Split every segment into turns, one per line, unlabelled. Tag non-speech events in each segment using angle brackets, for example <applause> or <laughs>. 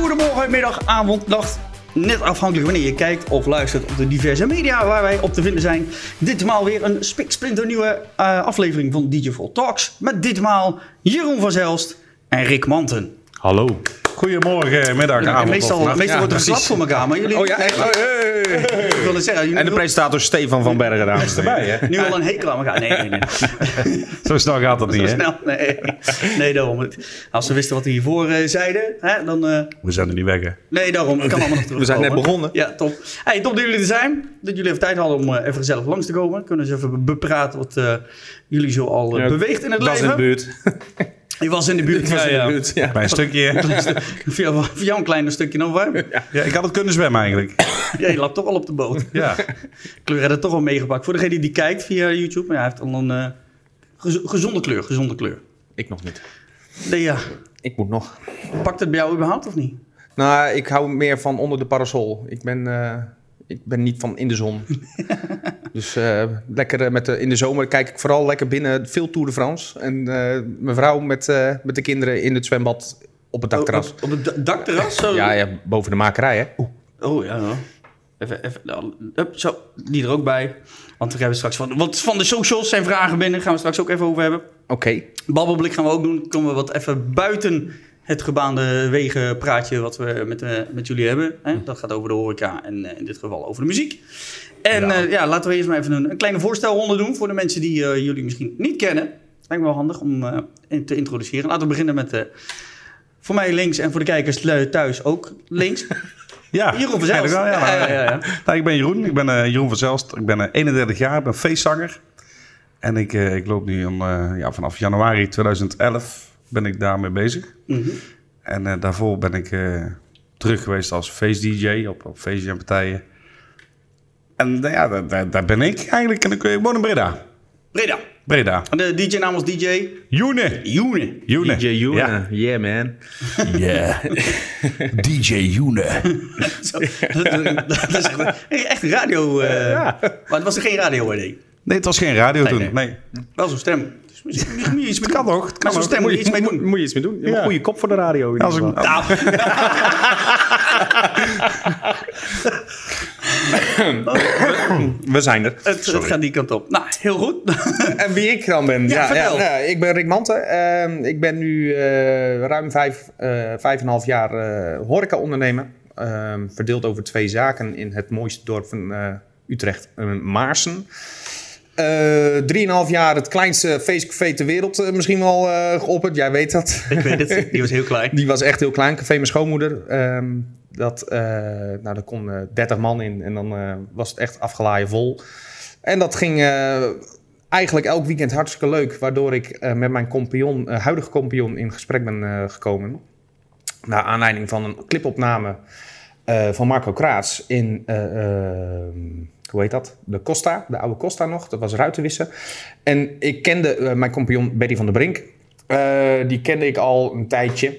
goedemiddag, avond, nacht. Net afhankelijk wanneer je kijkt of luistert op de diverse media waar wij op te vinden zijn. Ditmaal weer een spiksplinternieuwe nieuwe eh, aflevering van DJ Vol Talks. Met ditmaal Jeroen van Zelst en Rick Manten.
Hallo.
Goedemorgen, middag,
Ja, en
avond.
meestal
of nacht.
meestal wordt er
precies.
geslapt voor elkaar, maar jullie...
Oh ja, echt? Oh, hey.
Ik wilde zeggen, jullie
En de
doen
presentator Stefan van Bergen, dames en heren.
nu, al een hekel aan elkaar. Nee, nee, nee.
Zo snel gaat dat
Zo
niet, hè?
snel, nee. Nee, daarom. Als ze wisten wat we hiervoor eh, zeiden, hè, dan... eh,
We zijn er niet weg, hè?
Nee, daarom.
<laughs>
Ik kan allemaal nog terugkomen.
zijn net begonnen.
Ja, top. Hey, top dat jullie er zijn. Dat jullie even tijd hadden om eh, even gezellig langs te komen. Kunnen ze even bepraten wat eh, jullie zo al eh, beweegt in het
was
leven.
in de buurt.
Je was in de buurt.
was
ja,
in de
ja.
buurt, ja.
Bij een stukje.
Via, via een klein stukje nog
<laughs>
warm.
Ja, ik had het kunnen zwemmen eigenlijk.
Ja, je loopt toch al op de boot.
Ja.
Kleur had het toch al meegepakt. Voor degene die kijkt via YouTube. Maar hij heeft al een eh, gez- gezonde kleur. Gezonde kleur.
Ik nog niet.
Nee, ja.
Ik moet nog.
Pakt het bij jou überhaupt of niet?
Nou, ik hou meer van onder de parasol. Ik ben, eh, ik ben niet van in de <laughs> zon. dus eh, lekker eh, met de, in de zomer kijk ik vooral lekker binnen. Veel Tour de France. En eh, mijn vrouw met, eh, met de kinderen in het zwembad op het dakterras.
Oh,
Op, op het da- dakterras? Zo.
Ja, ja, boven de makerij, hè?
Oh ja. hoor. Even, even nou, hup, zo, die er ook bij. Want we hebben straks van, want van de socials zijn vragen binnen. Gaan we straks ook even over hebben.
Oké.
Babbelblik gaan we ook doen. Komen we wat even buiten het gebaande wegen praatje wat we met, eh, met jullie hebben. Hè? Dat gaat over de horeca en eh, in dit geval over de muziek. En ja, ja laten we eerst maar even een, een kleine voorstelronde doen voor de mensen die eh, jullie misschien niet kennen. Lijkt me wel handig om eh, in- te introduceren. Laten we beginnen met eh, voor mij links en voor de kijkers eh, thuis ook links.
Ja,
<laughs> Jeroen van Zijlst.
eigenlijk wel, ja.
Ja, ja, ja, ja.
Nou, ik ben Jeroen, ik ben eh, Jeroen van Zelst. Ik ben eh, 31 jaar, ik ben feestzanger. En ik, eh, ik loop nu om, eh, ja, vanaf januari 2011 ben ik daarmee bezig.
Mhm.
En eh, daarvoor ben ik eh, terug geweest als feest-dj op, op feestjes en partijen. En nou ja, daar, daar, daar ben ik eigenlijk. En ik eh, woon in Breda.
Breda.
Breda.
En de DJ eh, naam was DJ
June.
June.
June.
DJ June.
Ja.
Yeah, man.
<laughs>
DJ June.
<laughs> Zo, dat,
<laughs>
dat- dat is echt, echt radio. eh, Maar het was er geen radio hoor, nee.
Nee, het was geen radio
Nee,
toen.
nee.
Nee.
Wel zo'n stem. Dus misschien- misschien moet je iets mee
Het kan
doen.
toch? Het
Maar
kan
zo'n
ook.
stem moet je iets mee
<laughs>
doen.
Moet je iets mee doen? Je hebt
Ja.
Een goede kop voor de radio. In
Als ik,
ieder
<laughs>
geval.
Nou.
We zijn er.
Het, het gaat die kant op. Nou, heel goed. <laughs>
En wie ik dan ben?
Ja, vertel.
nou, ik ben Rick Manten. Ehm, ik ben nu eh, ruim vijf, eh, vijf en een half jaar eh horeca-ondernemer. Ehm, verdeeld over twee zaken in het mooiste dorp van eh, Utrecht, eh, Maarsen. Eh drieënhalf jaar het kleinste feestcafé ter wereld eh, misschien wel eh geopperd. Jij weet dat.
Ik weet het, die was heel klein.
Die was echt heel klein, café mijn schoonmoeder. Ehm, dat, eh nou, daar kon eh 30 man in en dan eh, was het echt afgelaaien vol. En dat ging eh, eigenlijk elk weekend hartstikke leuk. Waardoor ik eh, met mijn compagnon, eh, huidige compagnon in gesprek ben eh, gekomen. Naar aanleiding van een clipopname eh, van Marco Kraats in, eh, ehm, hoe heet dat? De Costa, de oude Costa nog. Dat was Ruitenwissen. En ik kende eh, mijn compagnon Betty van der Brink. Eh, die kende ik al een tijdje.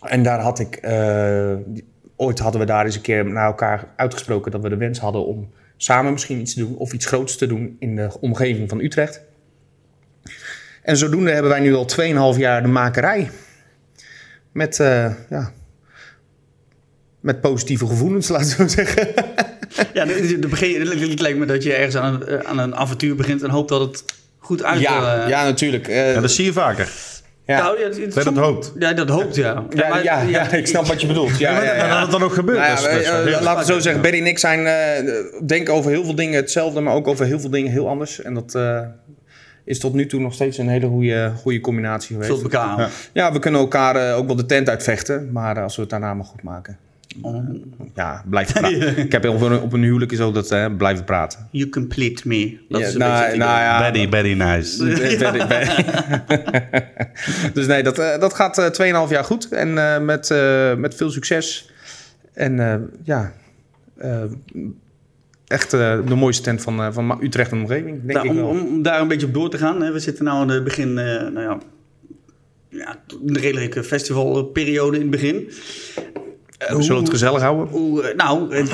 En daar had ik. eh, die- ooit hadden we daar eens een keer naar elkaar uitgesproken dat we de wens hadden om samen misschien iets te doen of iets groots te doen in de omgeving van Utrecht. En zodoende hebben wij nu al 2,5 jaar de makerij. Met, eh, ja, met positieve gevoelens, <laughs> laten we zo zeggen.
Ja, de- de- de begin- het lijkt- het lijkt me dat je ergens aan een, eh, aan een avontuur begint en hoopt dat het goed uit
Ja,
eh,
ja natuurlijk. Eh,
En dat zie je vaker.
ja.
nou, ja, het-
Dat je dat hoopt.
Ja, dat hoopt, ja.
Ja,
maar-
ja, ja, <laughs> ik snap wat je bedoelt. Ja, ja,
En
ja.
dat het dan ook gebeurt.
Nou ja,
dat is
wij,
best wel
eh,
heel-
laten we zo zeggen, Berry en ik zijn, eh, denken over heel veel dingen hetzelfde, maar ook over heel veel dingen heel anders. En dat eh, is tot nu toe nog steeds een hele goede, goede combinatie
Vult
geweest.
elkaar aan.
Ja.
Ja, we kunnen elkaar eh, ook wel de tent uitvechten, maar eh, als we het daarna maar goed maken.
Oh,
Ja, blijven praten.
<laughs>
Ik heb heel veel op een huwelijk is ook dat hè, blijven praten.
you complete me. Dat
Ja,
is een
nou,
beetje het idee.
nou ja,
Betty, Betty
<laughs>
nice.
Eh, Berry- Berry. <laughs> dus nee, dat, eh, dat gaat eh 2,5 jaar goed en eh, met, eh, met veel succes. En eh, ja, eh, echt eh, de mooiste tent van, eh, van Ma- Utrecht en omgeving, denk
Nou,
ik
om,
wel.
om, om daar een beetje op door te gaan. Hè, we zitten nu aan het begin, eh, nou ja, ja, een redelijke festivalperiode in het begin. Eh,
We zullen
hoe-
het gezellig houden.
hoe, eh, nou,
<laughs>
eh, in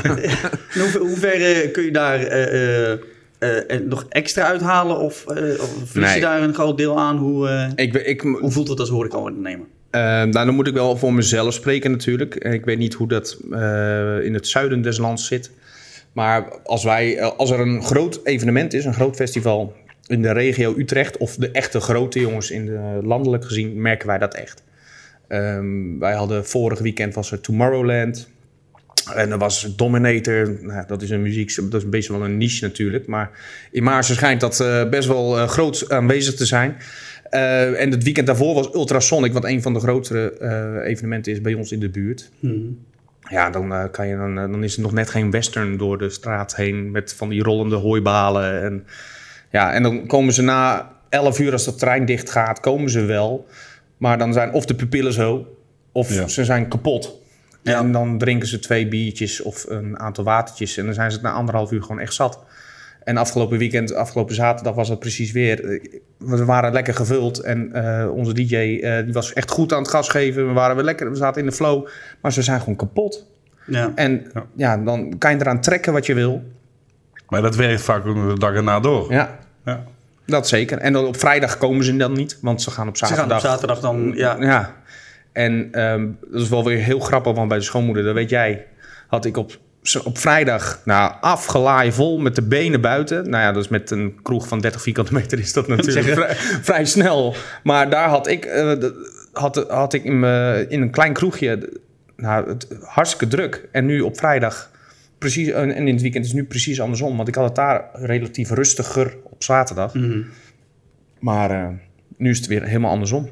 hoever- hoeverre kun je daar eh, eh, eh, eh, nog extra uithalen? Of, eh, of verlies je
Nee.
daar een groot deel aan? Hoe, eh,
Ik, ben- ik,
hoe voelt het als horeca-ondernemer?
Eh, nou, dan moet ik wel voor mezelf spreken natuurlijk. Eh, Ik weet niet hoe dat eh, in het zuiden des lands zit. Maar als, wij, eh, als er een groot evenement is, een groot festival in de regio Utrecht... of de echte grote jongens in de, landelijk gezien, merken wij dat echt. Ehm, wij hadden vorig weekend was er Tomorrowland. En er was Dominator. Nou, dat is een muziek, dat is best wel een niche natuurlijk. Maar in Maarsen schijnt dat eh, best wel eh, groot aanwezig te zijn. Eh, en het weekend daarvoor was Ultrasonic, wat een van de grotere eh, evenementen is bij ons in de buurt. Hmm. Ja, dan, eh, kan je, dan, eh, dan is het nog net geen western door de straat heen met van die rollende hooibalen. En, ja, en dan komen ze na 11 uur als de trein dicht gaat, komen ze wel. Maar dan zijn of de pupillen zo, of
Ja.
ze zijn kapot.
Ja.
En dan drinken ze twee biertjes of een aantal watertjes. En dan zijn ze het na anderhalf uur gewoon echt zat. En afgelopen weekend, afgelopen zaterdag was dat precies weer. Eh, We waren lekker gevuld en eh, onze DJ eh, die was echt goed aan het gas geven. We, waren weer lekker, we zaten in de flow, maar ze zijn gewoon kapot.
Ja.
En ja.
Ja.
dan kan je eraan trekken wat je wil.
Maar dat werkt vaak ook nog de dag erna door.
Ja,
Ja.
dat zeker. En dan op vrijdag komen ze dan niet, want ze gaan op
Ze gaan op
zaterdag.
zaterdag dan, ja,
Ja. En ehm, dat is wel weer heel grappig, want bij de schoonmoeder, dat weet jij, had ik op, z- op vrijdag nou, afgelaaien vol met de benen buiten. Nou ja, dus met een kroeg van 30 vierkante meter is dat natuurlijk vrij, vrij snel. Maar daar had ik, eh, d- had, had ik in, mijn- in een klein kroegje d- nou, het, hartstikke druk. En nu op vrijdag, precies, en en in het weekend is het nu precies andersom, want ik had het daar relatief rustiger op zaterdag. Maar eh, nu is het weer helemaal andersom.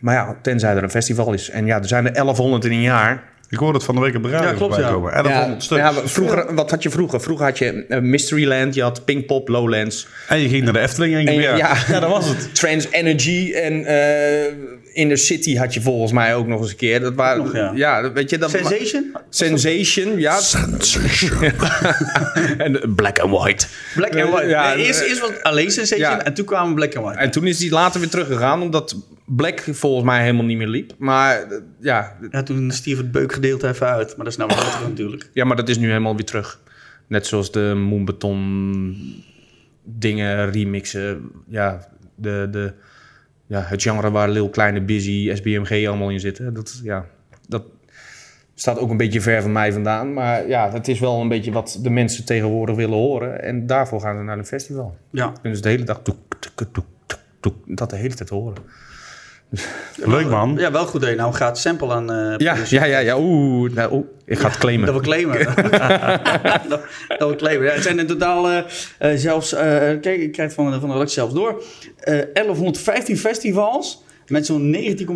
Maar ja, tenzij er een festival is. En ja, er zijn er 1100 in een jaar.
Ik hoorde het van de week op de radio
Ja, klopt,
voorbij
ja.
komen. 1100
ja,
stuks.
ja, vroeger, wat had je vroeger? Vroeger had je eh, Mysteryland, je had Pinkpop, Lowlands.
En je ging naar de Efteling en je
En
weer.
ja,
ja, dat was het.
Trans Energy en eh Inner City had je volgens mij ook nog eens een keer. Dat waren,
Ook nog,
ja.
ja.
dat- weet je, dat
Sensation?
Sensation, ja. en eh, Black and White.
Black and White.
Ja,
nee, eerst,
eh,
eerst was alleen Sensation
ja.
en toen kwamen Black and White.
En toen is die later weer teruggegaan, omdat Black volgens mij helemaal niet meer liep. Maar eh, ja,
Ja, toen stierf het beukgedeelte even uit, maar dat is nou wel later natuurlijk.
Ja, maar dat is nu helemaal weer terug. Net zoals de Moonbeton dingen remixen. Ja, de, de, ja, het genre waar Lil Kleine Busy, SBMG allemaal in zitten. Dat, ja, dat staat ook een beetje ver van mij vandaan. Maar ja, dat is wel een beetje wat de mensen tegenwoordig willen horen. En daarvoor gaan ze naar een festival.
Ja.
Kunnen ze de hele dag toek, toek, toek, toek, toek, dat de hele tijd horen.
Leuk man.
Ja, wel goed. hè. Nou gaat sample aan. eh,
Ja, ja, ja, ja. Oeh, nou, oeh, Dus- ik ga het claimen.
Dat we claimen. <laughs> dat, dat we claimen. Ja, het zijn in totaal eh, eh, zelfs... eh, kijk, ik krijg van, de- van de redactie zelfs door. eh 1115 festivals met zo'n 19,5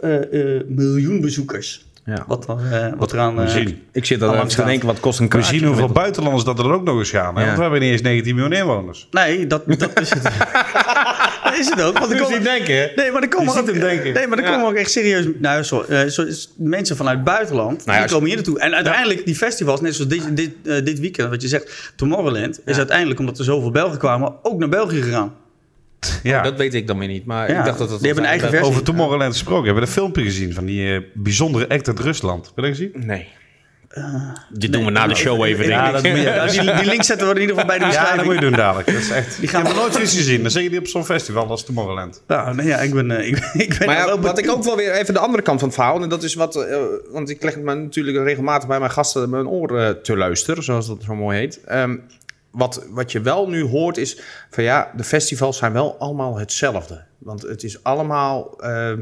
eh, eh, miljoen bezoekers.
Ja.
Wat, dan, eh, wat eraan...
We
eh,
zien,
Ik zit
Al
dan
langs
te denken, wat kost een
we
kaartje?
zien hoeveel buitenlanders dat er ook nog eens gaan. hè?
Ja.
Want we hebben niet eens 19 miljoen inwoners.
nee, dat, dat is het. dat is het ook. Want er komen,
denken, hè?
nee, maar er komen
ziet
ook,
hem denken.
Nee, maar er
Ja.
komen ook echt serieus... Nou, sorry, eh, zo- is- mensen vanuit het buitenland,
Nou ja, als-
die komen hier naartoe. En uiteindelijk, die festivals, net zoals dit, dit, eh, dit weekend, wat je zegt, Tomorrowland, is uiteindelijk, omdat er zoveel Belgen kwamen, ook naar België gegaan.
Ja.
Dat weet ik dan weer niet, maar
Ja,
ik dacht dat dat
die
was
hebben een
eigenlijk-
eigen
Over Tomorrowland gesproken. Hebben we dat filmpje gezien van die eh, bijzondere act uit Rusland? Wil je dat zien?
Nee.
Eh,
Dit doen we na de show even,
Ja,
denk
dat
ik.
moet je- ja, die, die link zetten we er in ieder geval bij de
Ja, dat
beschrijving.
moet je doen dadelijk. Dat is
<laughs>
echt...
Die gaan we
Ik heb nooit zoiets gezien. Dan zeker die op zo'n festival als Tomorrowland.
Nou, nee, ja, ik ben, eh, ik, ik ben
Maar
wel
ja, wat
benieuwd.
ik ook wel weer even de andere kant van het verhaal. En dat is wat. eh, want ik leg het me natuurlijk regelmatig bij mijn gasten mijn oor eh, te luisteren. Zoals dat zo mooi heet. Ehm, wat, wat je wel nu hoort is. Van ja, de festivals zijn wel allemaal hetzelfde. Want het is allemaal. ehm,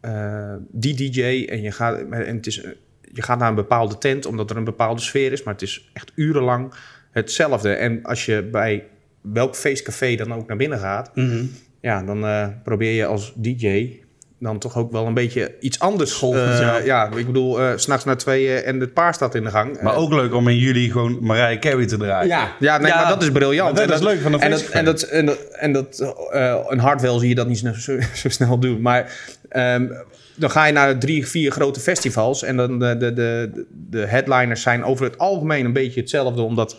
eh, die DJ en je gaat, en het is, eh, je gaat naar een bepaalde tent omdat er een bepaalde sfeer is, maar het is echt urenlang hetzelfde. En als je bij welk feestcafé dan ook naar binnen gaat,
Mhm.
ja, dan eh, probeer je als DJ dan toch ook wel een beetje iets anders. Eh, ja.
ja.
ik bedoel, eh, s s'nachts naar tweeën en het paar staat in de gang.
Maar
Eh,
ook leuk om in juli gewoon Mariah Carey te draaien.
ja, ja, nee,
Ja.
maar dat is briljant.
Maar dat is leuk van een
en dat,
feestcafé.
en dat, en dat, en dat eh, een hardwell zie je dat niet zo, zo, zo snel doen. Maar ehm, dan ga je naar drie, vier grote festivals. En dan de, de, de, de headliners zijn over het algemeen een beetje hetzelfde. Omdat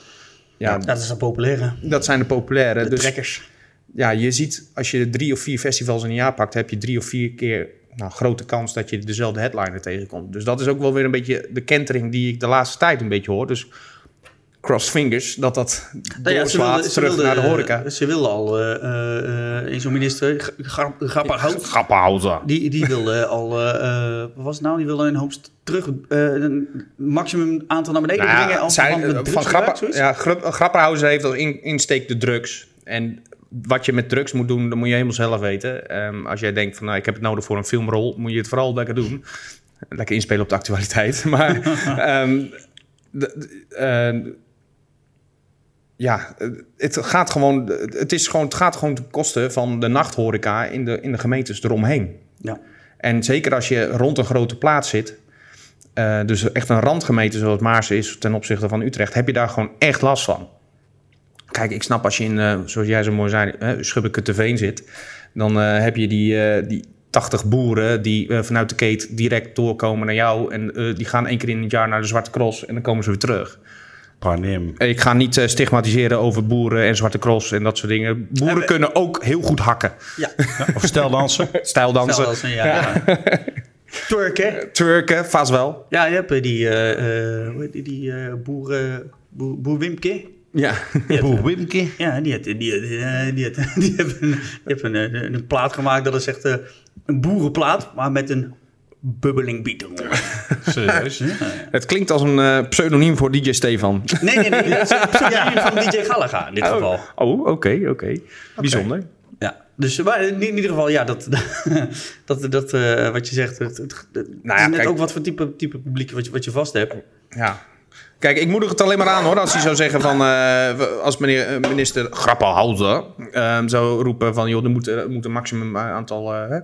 ja,
Ja, dat is een populaire.
dat zijn de populaire.
De
dus
trekkers.
ja, je ziet als je drie of vier festivals in een jaar pakt, heb je drie of vier keer nou, grote kans dat je dezelfde headliner tegenkomt. Dus dat is ook wel weer een beetje de kentering die ik de laatste tijd een beetje hoor. Dus cross fingers, dat dat
Nou ja, ze
doorslaat
wilde- ze
terug
wilde-
naar de horeca.
Ze wilde al, eh, eh, eh, zo'n minister, G- Gar- Grapperhaus,
Grappenhouder.
die, die
<laughs>
wilde al, eh, eh, wat was het nou? Die wilde een hoop st- terug, eh, een maximum aantal naar beneden
Nou ja,
brengen. als
zijn,
verband met
eh, van
drugsgebruik,
Grappa,
zoiets.
ja, Grap- Grapperhausen heeft als in- insteek de drugs. En wat je met drugs moet doen, dat moet je helemaal zelf weten. Ehm, als jij denkt van, nou, ik heb het nodig voor een filmrol, moet je het vooral lekker doen. Lekker inspelen op de actualiteit. <laughs> Maar ehm, de- de- ehm, ja, eh, het gaat gewoon, het is gewoon, het gaat gewoon ten koste van de nachthoreca in de, in de gemeentes eromheen.
Ja.
En zeker als je rond een grote plaats zit, eh, dus echt een randgemeente zoals Maars is ten opzichte van Utrecht, heb je daar gewoon echt last van. Kijk, ik snap als je in, eh, zoals jij zo mooi zei, eh, Schubbeke te Veen zit, dan eh, heb je die, eh, die 80 boeren die eh, vanuit de keet direct doorkomen naar jou en eh, die gaan één keer in het jaar naar de Zwarte Cross en dan komen ze weer terug.
Panim.
Ik ga niet eh, stigmatiseren over boeren en Zwarte Cross en dat soort dingen. Boeren kunnen ook heel goed hakken.
Ja,
Of steldansen.
<laughs>
Stel
Stijldansen,
dat ze- ja, ja.
<laughs>
Turken.
Turken, vast wel.
Ja, je hebt eh, die, eh, eh, hoe heet die, die eh, boeren, boer, boer Wimke.
Ja.
Boer Wimke.
Ja, die heeft die, die, eh, die, had- die heeft <laughs> een, die heeft een, eh, een, plaat gemaakt dat is echt eh, een boerenplaat, maar met een bubbeling beat
<laughs>
eronder.
Serieus?
Het klinkt als een eh, pseudoniem voor DJ Stefan.
Nee, nee, nee, dat is een pseudoniem van DJ Gallagher in dit geval.
Oh, oké, oké. Bijzonder.
Ja, dus maar in, in ieder geval, ja, dat, <laughs> dat, dat eh, wat je zegt, het, het, het
Nou ja,
is net
kijk.
ook wat voor type, type publiek wat je, wat je vast hebt.
Ja. Kijk, ik moedig het alleen maar aan hoor. Als hij zou zeggen van. eh, we- als meneer eh, minister Grappenhouder ehm zou roepen van. joh, er moet, er moet een maximum eh, aantal. eh, hè.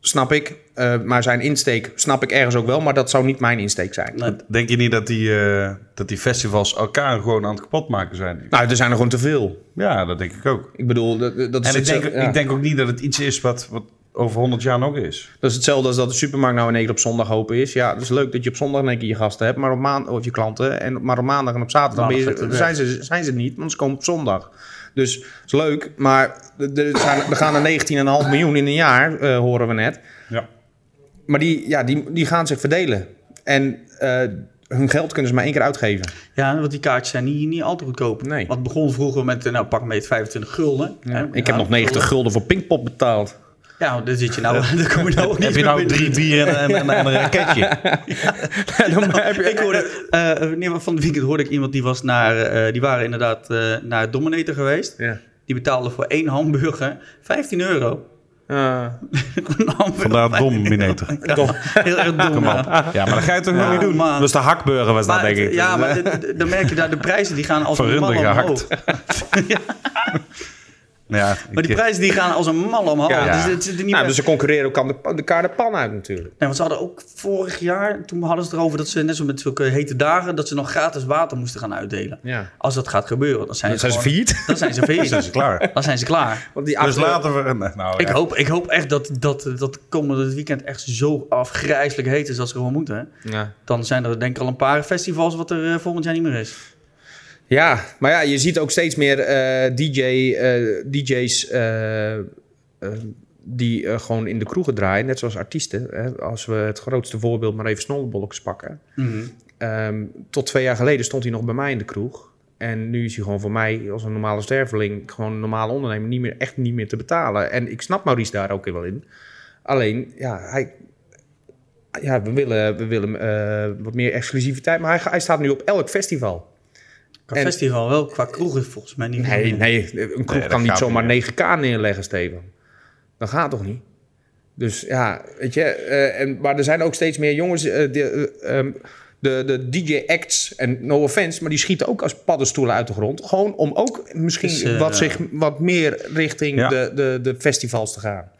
snap ik. Eh, maar zijn insteek snap ik ergens ook wel. Maar dat zou niet mijn insteek zijn.
Nou,
Denk je niet dat die, eh, dat die festivals elkaar gewoon aan het kapotmaken zijn?
Nou, er zijn er gewoon te veel.
Ja, dat denk ik ook.
Dus Ik bedoel, dat, dat, is,
En ik denk,
hetzelfde, ja.
ik denk ook niet dat het iets is wat, wat over 100 jaar nog is.
dat is hetzelfde als dat de supermarkt nou in één keer op zondag open is. Ja, het is leuk dat je op zondag in één keer je gasten hebt. Maar op maand, of je klanten. En, maar op maandag en op zaterdag ben je-
Maandag gaat het
zijn, ze, zijn ze niet, want ze komen op zondag. Dus het is leuk, maar er, er zijn, er gaan er 19,5 miljoen in een jaar, eh, horen we net.
Ja.
Maar die, ja, die, die gaan zich verdelen. En eh, hun geld kunnen ze maar één keer uitgeven.
Ja, want die kaartjes zijn niet, niet al te goedkoop.
Nee.
Want het begon vroeger met, eh, nou pak mee het 25 gulden. Ja,
Ik heb nog 90 gulden voor
<laughs>
Pinkpop betaald.
Ja, dan zit je nou, <laughs> dan kom je nou ook niet
Heb je
meer
nou
binnen.
drie bieren en, en, en een raketje?
<laughs>
<laughs>
Ik hoorde, eh, nee, maar van de weekend hoorde ik iemand die was naar, eh, die waren inderdaad eh, naar Dominator geweest.
Ja.
Die betaalden voor één hamburger 15 euro. <laughs>
Eh,
Ah. Een hamburger,
<laughs> Vandaar
15 <laughs>
Dominator.
euro. Ja, heel erg dom.
Kom op.
ja.
Ja, maar dat ga je toch
Ja,
nog niet doen?
man.
Dat is de hakburger was dat,
Maar
denk
het-
ik.
ja, maar het- het- dan merk je daar de prijzen die gaan als
Van
een man
Runder
omhoog.
gehakt.
Ja,
Ja,
maar die
ik-
prijzen die gaan als een man omhoog.
Ja.
Dus het zit er niet
nou,
meer-
dus ze concurreren ook aan de, de kaart de pan uit natuurlijk.
Nee, want ze hadden ook vorig jaar, toen hadden ze het erover dat ze net zo met zulke hete dagen, dat ze nog gratis water moesten gaan uitdelen.
Ja.
Als dat gaat gebeuren, dan zijn,
Dan zijn ze
gewoon-
failliet.
Dan zijn ze failliet.
Dat is
<laughs>
klaar.
Dan zijn ze klaar.
Want die
Dus
achter-
laten we... Nou, ja.
Ik, hoop, ik hoop echt dat dat, dat komende weekend echt zo afgrijzelijk heet is als ze gewoon moeten.
Ja.
Dan zijn er denk ik al een paar festivals wat er eh, volgend jaar niet meer is.
Ja, maar ja, je ziet ook steeds meer eh, DJ, eh, DJ's eh, eh, die eh, gewoon in de kroegen draaien, net zoals artiesten. Hè? Als we het grootste voorbeeld maar even Snollebolks pakken. Ehm, tot twee jaar geleden stond hij nog bij mij in de kroeg. En nu is hij gewoon voor mij als een normale sterveling, gewoon een normale ondernemer, niet meer, echt niet meer te betalen. En ik snap Maurice daar ook wel in. Alleen, ja, hij, ja we willen, we willen eh, wat meer exclusiviteit. Maar hij, hij staat nu op elk festival.
Qua
En-
festival wel, qua kroegen volgens mij niet
Nee,
meer.
nee, een kroeg
dat
kan niet
gaat
zomaar
niet.
9k neerleggen, Steven. Dat gaat toch niet? Dus ja, weet je, eh, en, maar er zijn ook steeds meer jongens, eh, die, eh, ehm, de, de DJ-acts, en no offense, maar die schieten ook als paddenstoelen uit de grond. Gewoon om ook misschien
Dus, eh,
wat, zich, wat meer richting
Ja.
de, de, de festivals te gaan.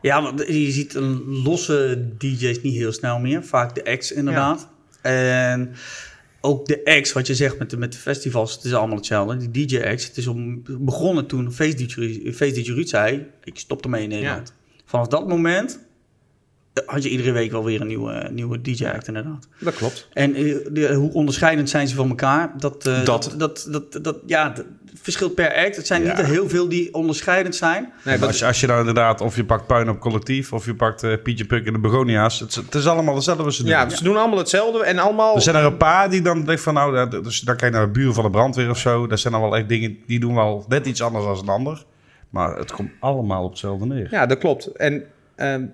Ja, want je ziet een losse DJ's niet heel snel meer. Vaak de acts inderdaad. En ook de acts, wat je zegt met de, met de festivals, het is allemaal hetzelfde. Die DJ acts, het is om, begonnen toen feest DJ Ruud zei, ik stop ermee in Nederland. Vanaf dat moment eh, had je iedere week wel weer een nieuwe, eh, nieuwe DJ act inderdaad.
Dat klopt.
En eh, de- hoe onderscheidend zijn ze van elkaar? Dat, eh,
Dat.
Dat, dat, dat, dat- ja, dat verschilt per act. Het zijn
Ja.
niet heel veel die onderscheidend zijn.
Nee,
als, je, als je nou inderdaad, of je pakt puin op collectief, of je pakt eh, Pietje Puk en de Begonia's. Het, is- het is allemaal hetzelfde wat ze doen.
ja, ze doen allemaal hetzelfde en allemaal...
Er zijn er een paar die dan denken van, nou, dat- dus dan kijk je naar de buren van de brandweer of zo. Dat zijn dan wel echt dingen, die doen wel net iets anders dan een ander. Maar het komt allemaal op hetzelfde neer.
Ja, dat klopt. En ehm,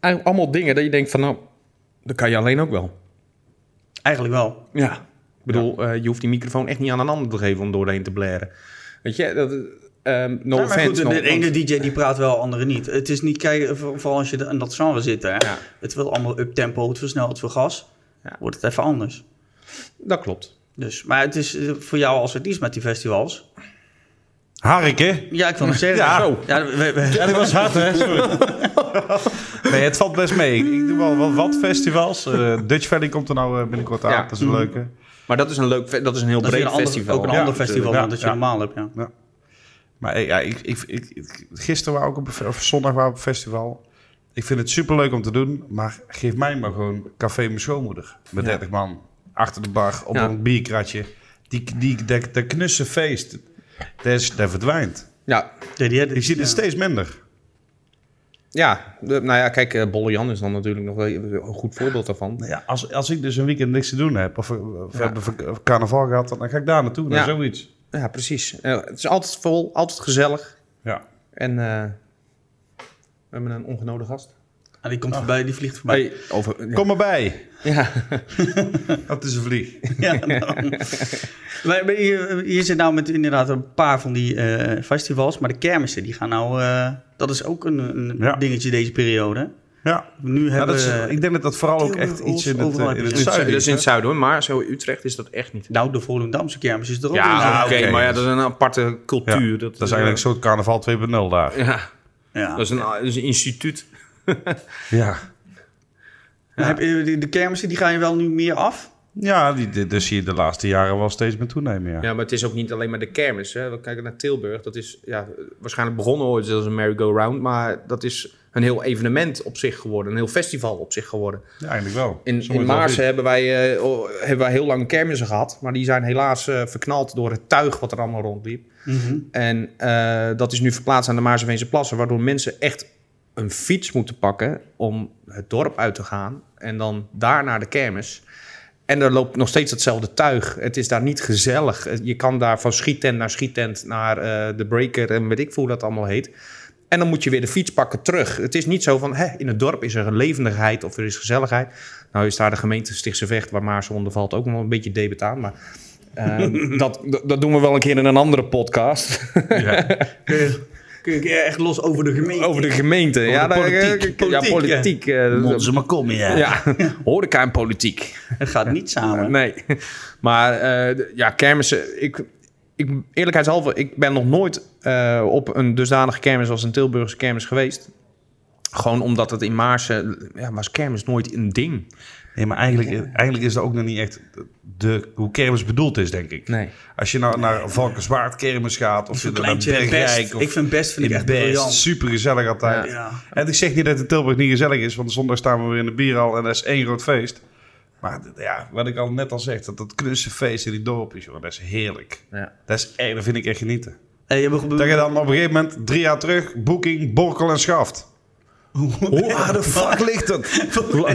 eigenlijk allemaal dingen dat je denkt van, nou, dat kan je alleen ook wel.
Eigenlijk wel.
Ja. Ik bedoel, eh, je hoeft die microfoon echt niet aan een ander te geven om doorheen te blaren. Weet je, dat, ehm no
Ja, maar
offense.
goed,
no-
de, de
want-
ene DJ die praat wel, andere niet. Het is niet, kijk, voor- vooral als je in dat genre zit. Hè.
Ja.
Het wil allemaal uptempo, het versnelt, het vergas.
Ja.
Wordt het even anders.
Dat klopt.
Dus, maar het is eh, voor jou als artiest met die festivals.
Harken.
Ja, ik wil het zeggen.
Ja.
Zo. ja we- we-
Ja, dat was hard,
<laughs>
hè? Sorry. Nee, het valt best mee. Ik, ik doe wel wat, wat festivals. Eh, Dutch Valley komt er nou eh, binnenkort aan.
Ja.
Dat is een leuke.
Maar dat is een leuk, fe- dat is een heel
dat is
breed
weer een ander-
festival.
ook een
Ja,
ander
natuurlijk.
festival
Ja,
dan dat je
ja.
normaal hebt. Ja.
Maar eh, ja, ik, ik, ik, ik- gisteren waren we ook op, een fe- of zondag waren we op een festival. Ik vind het superleuk om te doen, maar geef mij maar gewoon café mijn schoonmoeder. Met 30 man achter de bar op
Ja.
een bierkratje. Die, die, dat, dat knusse feest, dat, is- dat verdwijnt.
Ja,
Die- die- die-
Ik zie het
ja.
steeds minder.
ja. De- nou ja, kijk, eh, Bolle Jan is dan natuurlijk nog wel een goed voorbeeld daarvan.
Nou ja, als, als ik dus een weekend niks te doen heb, of, of we hebben vak- of carnaval gehad, dan ga ik daar naartoe, naar
Ja.
zoiets.
Ja, precies. Eh, het is altijd vol, altijd gezellig.
Ja.
En eh, we hebben een ongenode gast.
Ah, die komt voorbij, die vliegt voorbij.
Hey, over, ja.
Kom maar bij.
Ja.
Dat is een vlieg.
<laughs> Ja,
<laughs>
nou. Maar maar je, je zit nou met inderdaad een paar van die eh, festivals, maar de kermissen die gaan nou. eh, dat is ook een, een
Ja.
dingetje deze periode. hè?
Ja,
Nu
Nou,
hebben
dat is,
we-
ik denk dat dat vooral ook
Tilburg,
echt iets in
Oost,
het, eh,
overal
in
heb
het
je het.
Dat
zuiden
is
is.
in
hè?
het <laughs> zuiden hoor, maar zo in Utrecht is dat echt niet.
Nou, de Volendamse kermis is er ook.
Ja,
een.
Ja,
oké,
oké.
maar ja, dat is een aparte
Ja,
cultuur. eh,
dat, is eigenlijk een soort carnaval 2.0 daar.
Ja,
Ja.
dat is een, dat is een instituut.
Ja,
Maar heb je- die- de kermissen die ga je wel nu meer af.
ja die, die, dus zie je de laatste jaren wel steeds meer toenemen. Ja.
Ja, maar het is ook niet alleen maar de kermis. Hè. We kijken naar Tilburg. Dat is ja, waarschijnlijk begonnen ooit als een merry-go-round. Maar dat is een heel evenement op zich geworden. Een heel festival op zich geworden.
Ja, eigenlijk wel.
In,
Sommige
in Maarsen
wel
hebben wij, eh, o- hebben wij heel lang kermissen gehad. Maar die zijn helaas eh, verknald door het tuig wat er allemaal rondliep. En eh, dat is nu verplaatst aan de Maarseveense plassen. Waardoor mensen echt een fiets moeten pakken om het dorp uit te gaan. En dan daar naar de kermis. En er loopt nog steeds hetzelfde tuig. Het is daar niet gezellig. Eh, Je kan daar van schiettent naar schiettent naar eh, de breaker en weet ik veel hoe dat allemaal heet. En dan moet je weer de fiets pakken terug. Het is niet zo van, hè, in het dorp is er een levendigheid of er is gezelligheid. Nou is daar de gemeente Stichtse Vecht, waar Maarsen onder valt, ook nog wel een beetje debet aan. Maar eh, dat, dat, dat doen we wel een keer in een andere podcast.
goed. Ja.
Kun je, kun je echt los over de gemeente.
Over de gemeente. ja, daar- eh,
politiek.
ja, politiek. eh,
Monster maar kom, ja.
<laughs> ja, horeca en politiek.
<laughs> Het gaat niet samen.
Nee. <laughs> Maar eh, d- ja, kermissen. Ik, ik, eerlijkheidshalve, ik ben nog nooit eh, op een dusdanige kermis als een Tilburgse kermis geweest. Gewoon omdat het in Maarsen. Ja, was kermis nooit een ding.
Nee, maar eigenlijk, eigenlijk is dat ook nog niet echt de, hoe kermis bedoeld is, denk ik.
Nee.
Als je nou naar Valkenswaard kermis gaat, of
Ik
je
vind
naar Bergrijk,
best.
of
Ik vind best vind ik
in
echt
Best,
briljant.
super gezellig altijd.
Ja.
En ik zeg niet dat het Tilburg niet gezellig is, want zondag staan we weer in de bierhal en dat is één groot feest. Maar d- ja, wat ik al net al zeg, dat, dat knusse feest in die dorpjes, joh, dat is heerlijk.
Ja.
Dat, is, echt- dat vind ik echt genieten.
Hey, je hebt- <laughs>
Dat je dan op een gegeven moment, drie jaar terug, boeking, borkel en schaft. Hoe ah, de fuck ligt
<laughs>
dat?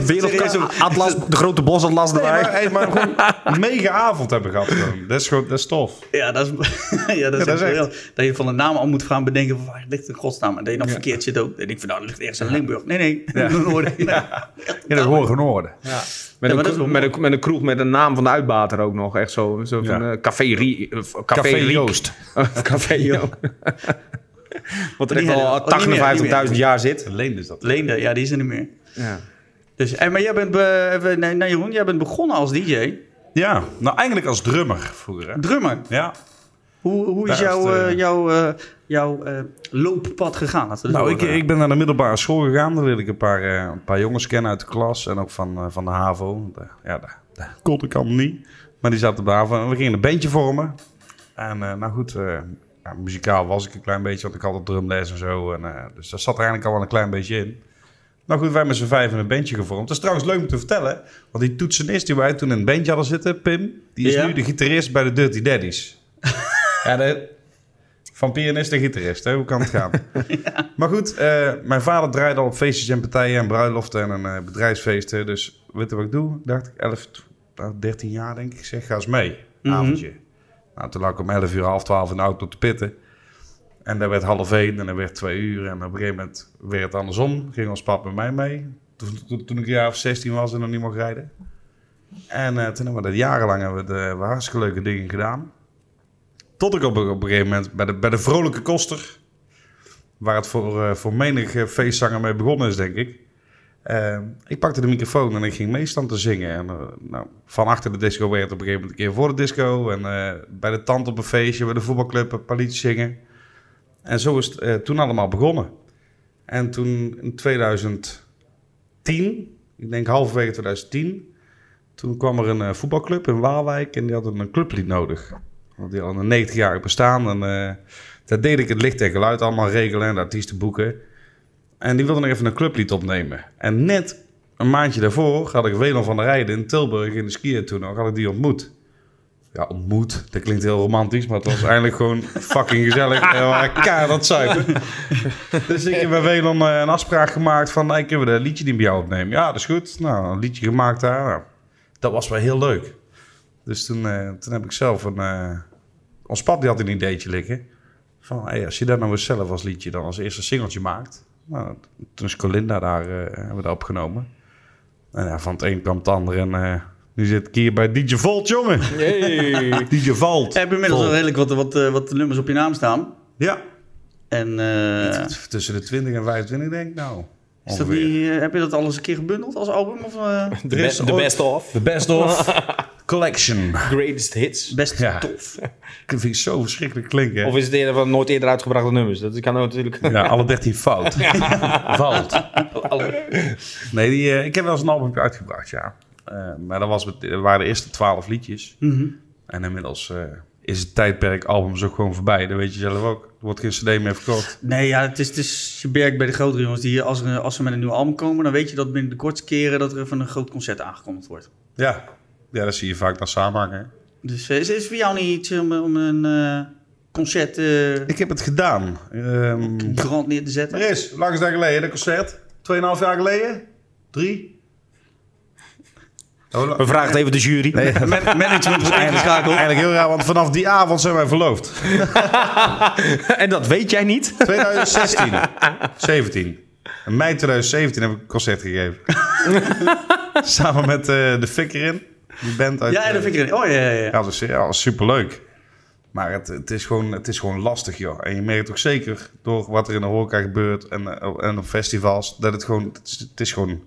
Wereldkaart. Atlas, de grote bosatlas
Nee,
erbij.
maar, hey, maar gewoon een mega avond hebben gehad. Gewoon. Dat, is gewoon, dat is tof.
Ja, dat is, <laughs> ja, dat is echt
dat is echt.
wel. Dat je van de naam al moet gaan bedenken van waar ligt het in godsnaam. En dat je dan verkeerd zit ook. En ik van nou, dat ligt ergens in Limburg. Nee, nee. <laughs> Noorden.
Ja, dat hoort gewoon horen.
Met,
Ja, maar
een,
dat is
kro-
wel
met, een, met een kroeg met een naam van de uitbater ook nog. Echt zo, zo van
Ja.
eh, Café Rie- eh, Café,
Café
Riek.
Joost.
Oh,
Café Joost. Wat
Die
er echt
hebben-
al
oh, niet meer, niet meer.
58.000 jaar zit.
Leen is dat.
Leende, ja, die is er niet meer.
Ja.
Dus, en, maar jij bent, be, we- nee, nee, Jeroen, jij bent begonnen als DJ.
Ja, nou eigenlijk als drummer vroeger. hè.
Drummer.
Ja,
Hoe, hoe is
Daar is
jouw,
de-
eh, jouw, eh, jouw eh, looppad gegaan? Laten we dat eh,
Nou,
zo
ik,
zeggen.
ik ben naar de middelbare school gegaan. Daar leerde ik een paar, eh, een paar jongens kennen uit de klas. En ook van, eh, van de HAVO. De- ja, daar, daar kon ik allemaal niet. Maar die zaten op de HAVO. En we gingen een bandje vormen. En eh, nou goed, eh, ja, muzikaal was ik een klein beetje. Want ik had al drumles en zo. En, eh, dus dat zat er eigenlijk al wel een klein beetje in. Nou goed, wij met z'n vijf in een bandje gevormd. Dat is trouwens leuk om te vertellen. Want die toetsenist die wij toen in een bandje hadden zitten, Pim... die is
Ja.
nu de gitarist bij de Dirty Daddies. ja, de, van pianist naar gitarist, hè? hoe kan het gaan? Maar goed, eh, mijn vader draaide al op feestjes en partijen... en bruiloften en een eh, bedrijfsfeesten. Dus weet je wat ik doe? Ik Dacht ik, 11, 12, 13 jaar denk ik. Ik Zeg, ga eens mee.
Mhm.
Avondje. Nou, toen lag ik om 11 uur, half 12 in de auto te pitten. En dat werd half één en dat werd twee uur. En op een gegeven moment werd het andersom. Ging ons pap met mij mee. Toen, toen, toen ik een jaar of 16 was en nog niet mocht rijden. En eh, toen hebben we dat jarenlang hebben we, de, we hartstikke leuke dingen gedaan. Tot ik op, een- op een gegeven moment bij de, bij de Vrolijke Koster... waar het voor, eh, voor menig eh, feestzanger mee begonnen is, denk ik... eh, ik pakte de microfoon en ik ging meestand te zingen. En, eh, nou, van achter de disco werd het op een gegeven moment een keer voor de disco. En eh, bij de tand op een feestje, bij de voetbalclub een paar liedjes zingen. En zo is het eh, toen allemaal begonnen. En toen in 2010, ik denk halverwege 2010, toen kwam er een eh, voetbalclub in Waalwijk en die hadden een clublied nodig. Want die hadden een 90-jarig bestaan en eh, daar deed ik het licht en geluid allemaal regelen en de artiesten boeken. En die wilden nog even een clublied opnemen. En net een maandje daarvoor had ik Welan van der Rijden in Tilburg in de skiën toen nog, had ik die ontmoet. Ja, ontmoet. Dat klinkt heel romantisch, maar het was eigenlijk gewoon fucking gezellig. En we waren keihard aan het zuipen. Dus ik heb bij Welan eh, een afspraak gemaakt van, hey, kunnen we dat liedje niet bij jou opnemen? Ja, dat is goed. Nou, een liedje gemaakt daar. Nou, dat was wel heel leuk. Dus toen, eh, toen heb ik zelf een... eh, ons pap die had een ideetje liggen. Van, hey, als je dat nou eens zelf als liedje dan als eerste singeltje maakt. Nou, toen is Colinda daar, eh, hebben we dat opgenomen. En ja, van het een kwam het ander en... eh, nu zit ik hier bij DJ Volt, jongen. <laughs> DJ Volt.
Ik heb inmiddels
Vol.
al redelijk wat, wat, eh, wat nummers op je naam staan.
Ja.
En eh,
Tussen de 20 en 25 denk ik nou.
is dat niet,
ongeveer.
eh, heb je dat alles een keer gebundeld als album? Of
<laughs>
eh,
De,
Er is
be- de
ooit-
best of.
The best
<laughs>
of collection.
Greatest hits.
best
Ja.
tof.
Dat vind ik zo verschrikkelijk klinken.
Of is het eerder van nooit eerder uitgebrachte nummers? Dat kan ook natuurlijk.
Ja, alle 13
<laughs>
fout. Valt. Nee, die, eh, ik heb wel eens een album uitgebracht, ja. Eh, maar dat was met, dat waren de eerste 12 liedjes.
Mhm.
En inmiddels eh, is het tijdperk albums ook gewoon voorbij. Dat weet je zelf ook. Er wordt geen cd meer verkocht.
Nee, ja, het is, het is je werk bij de grotere jongens. Die, als, er- als ze met een nieuw album komen, dan weet je dat binnen de kortste keren dat er even een groot concert aangekondigd wordt.
Ja, ja dat zie je vaak dan samenhangen. hè.
Dus eh, is, is voor jou niet iets om, om een eh, concert eh
Ik heb het gedaan. Ehm,
brand neer te zetten?
Er is, lang is dat geleden, dat concert. Tweeënhalf jaar geleden? Drie? Oh, la-
We vragen het even de jury.
Man- management wordt ingeschakeld.
Eigenlijk heel raar, want vanaf die avond zijn wij verloofd.
<laughs> en dat weet jij niet.
2016. 17. In mei 2017 heb ik een concert gegeven. Samen met eh, De Fikker in. Die band uit...
Ja, dat vind ik erin. Oh ja, ja,
eh,
ja.
ja, dat is, ja, dat is superleuk. Maar het, het, is gewoon, het is gewoon lastig, joh. En je merkt ook zeker door wat er in de horeca gebeurt en, eh, en op festivals... dat het gewoon... Het is, het is gewoon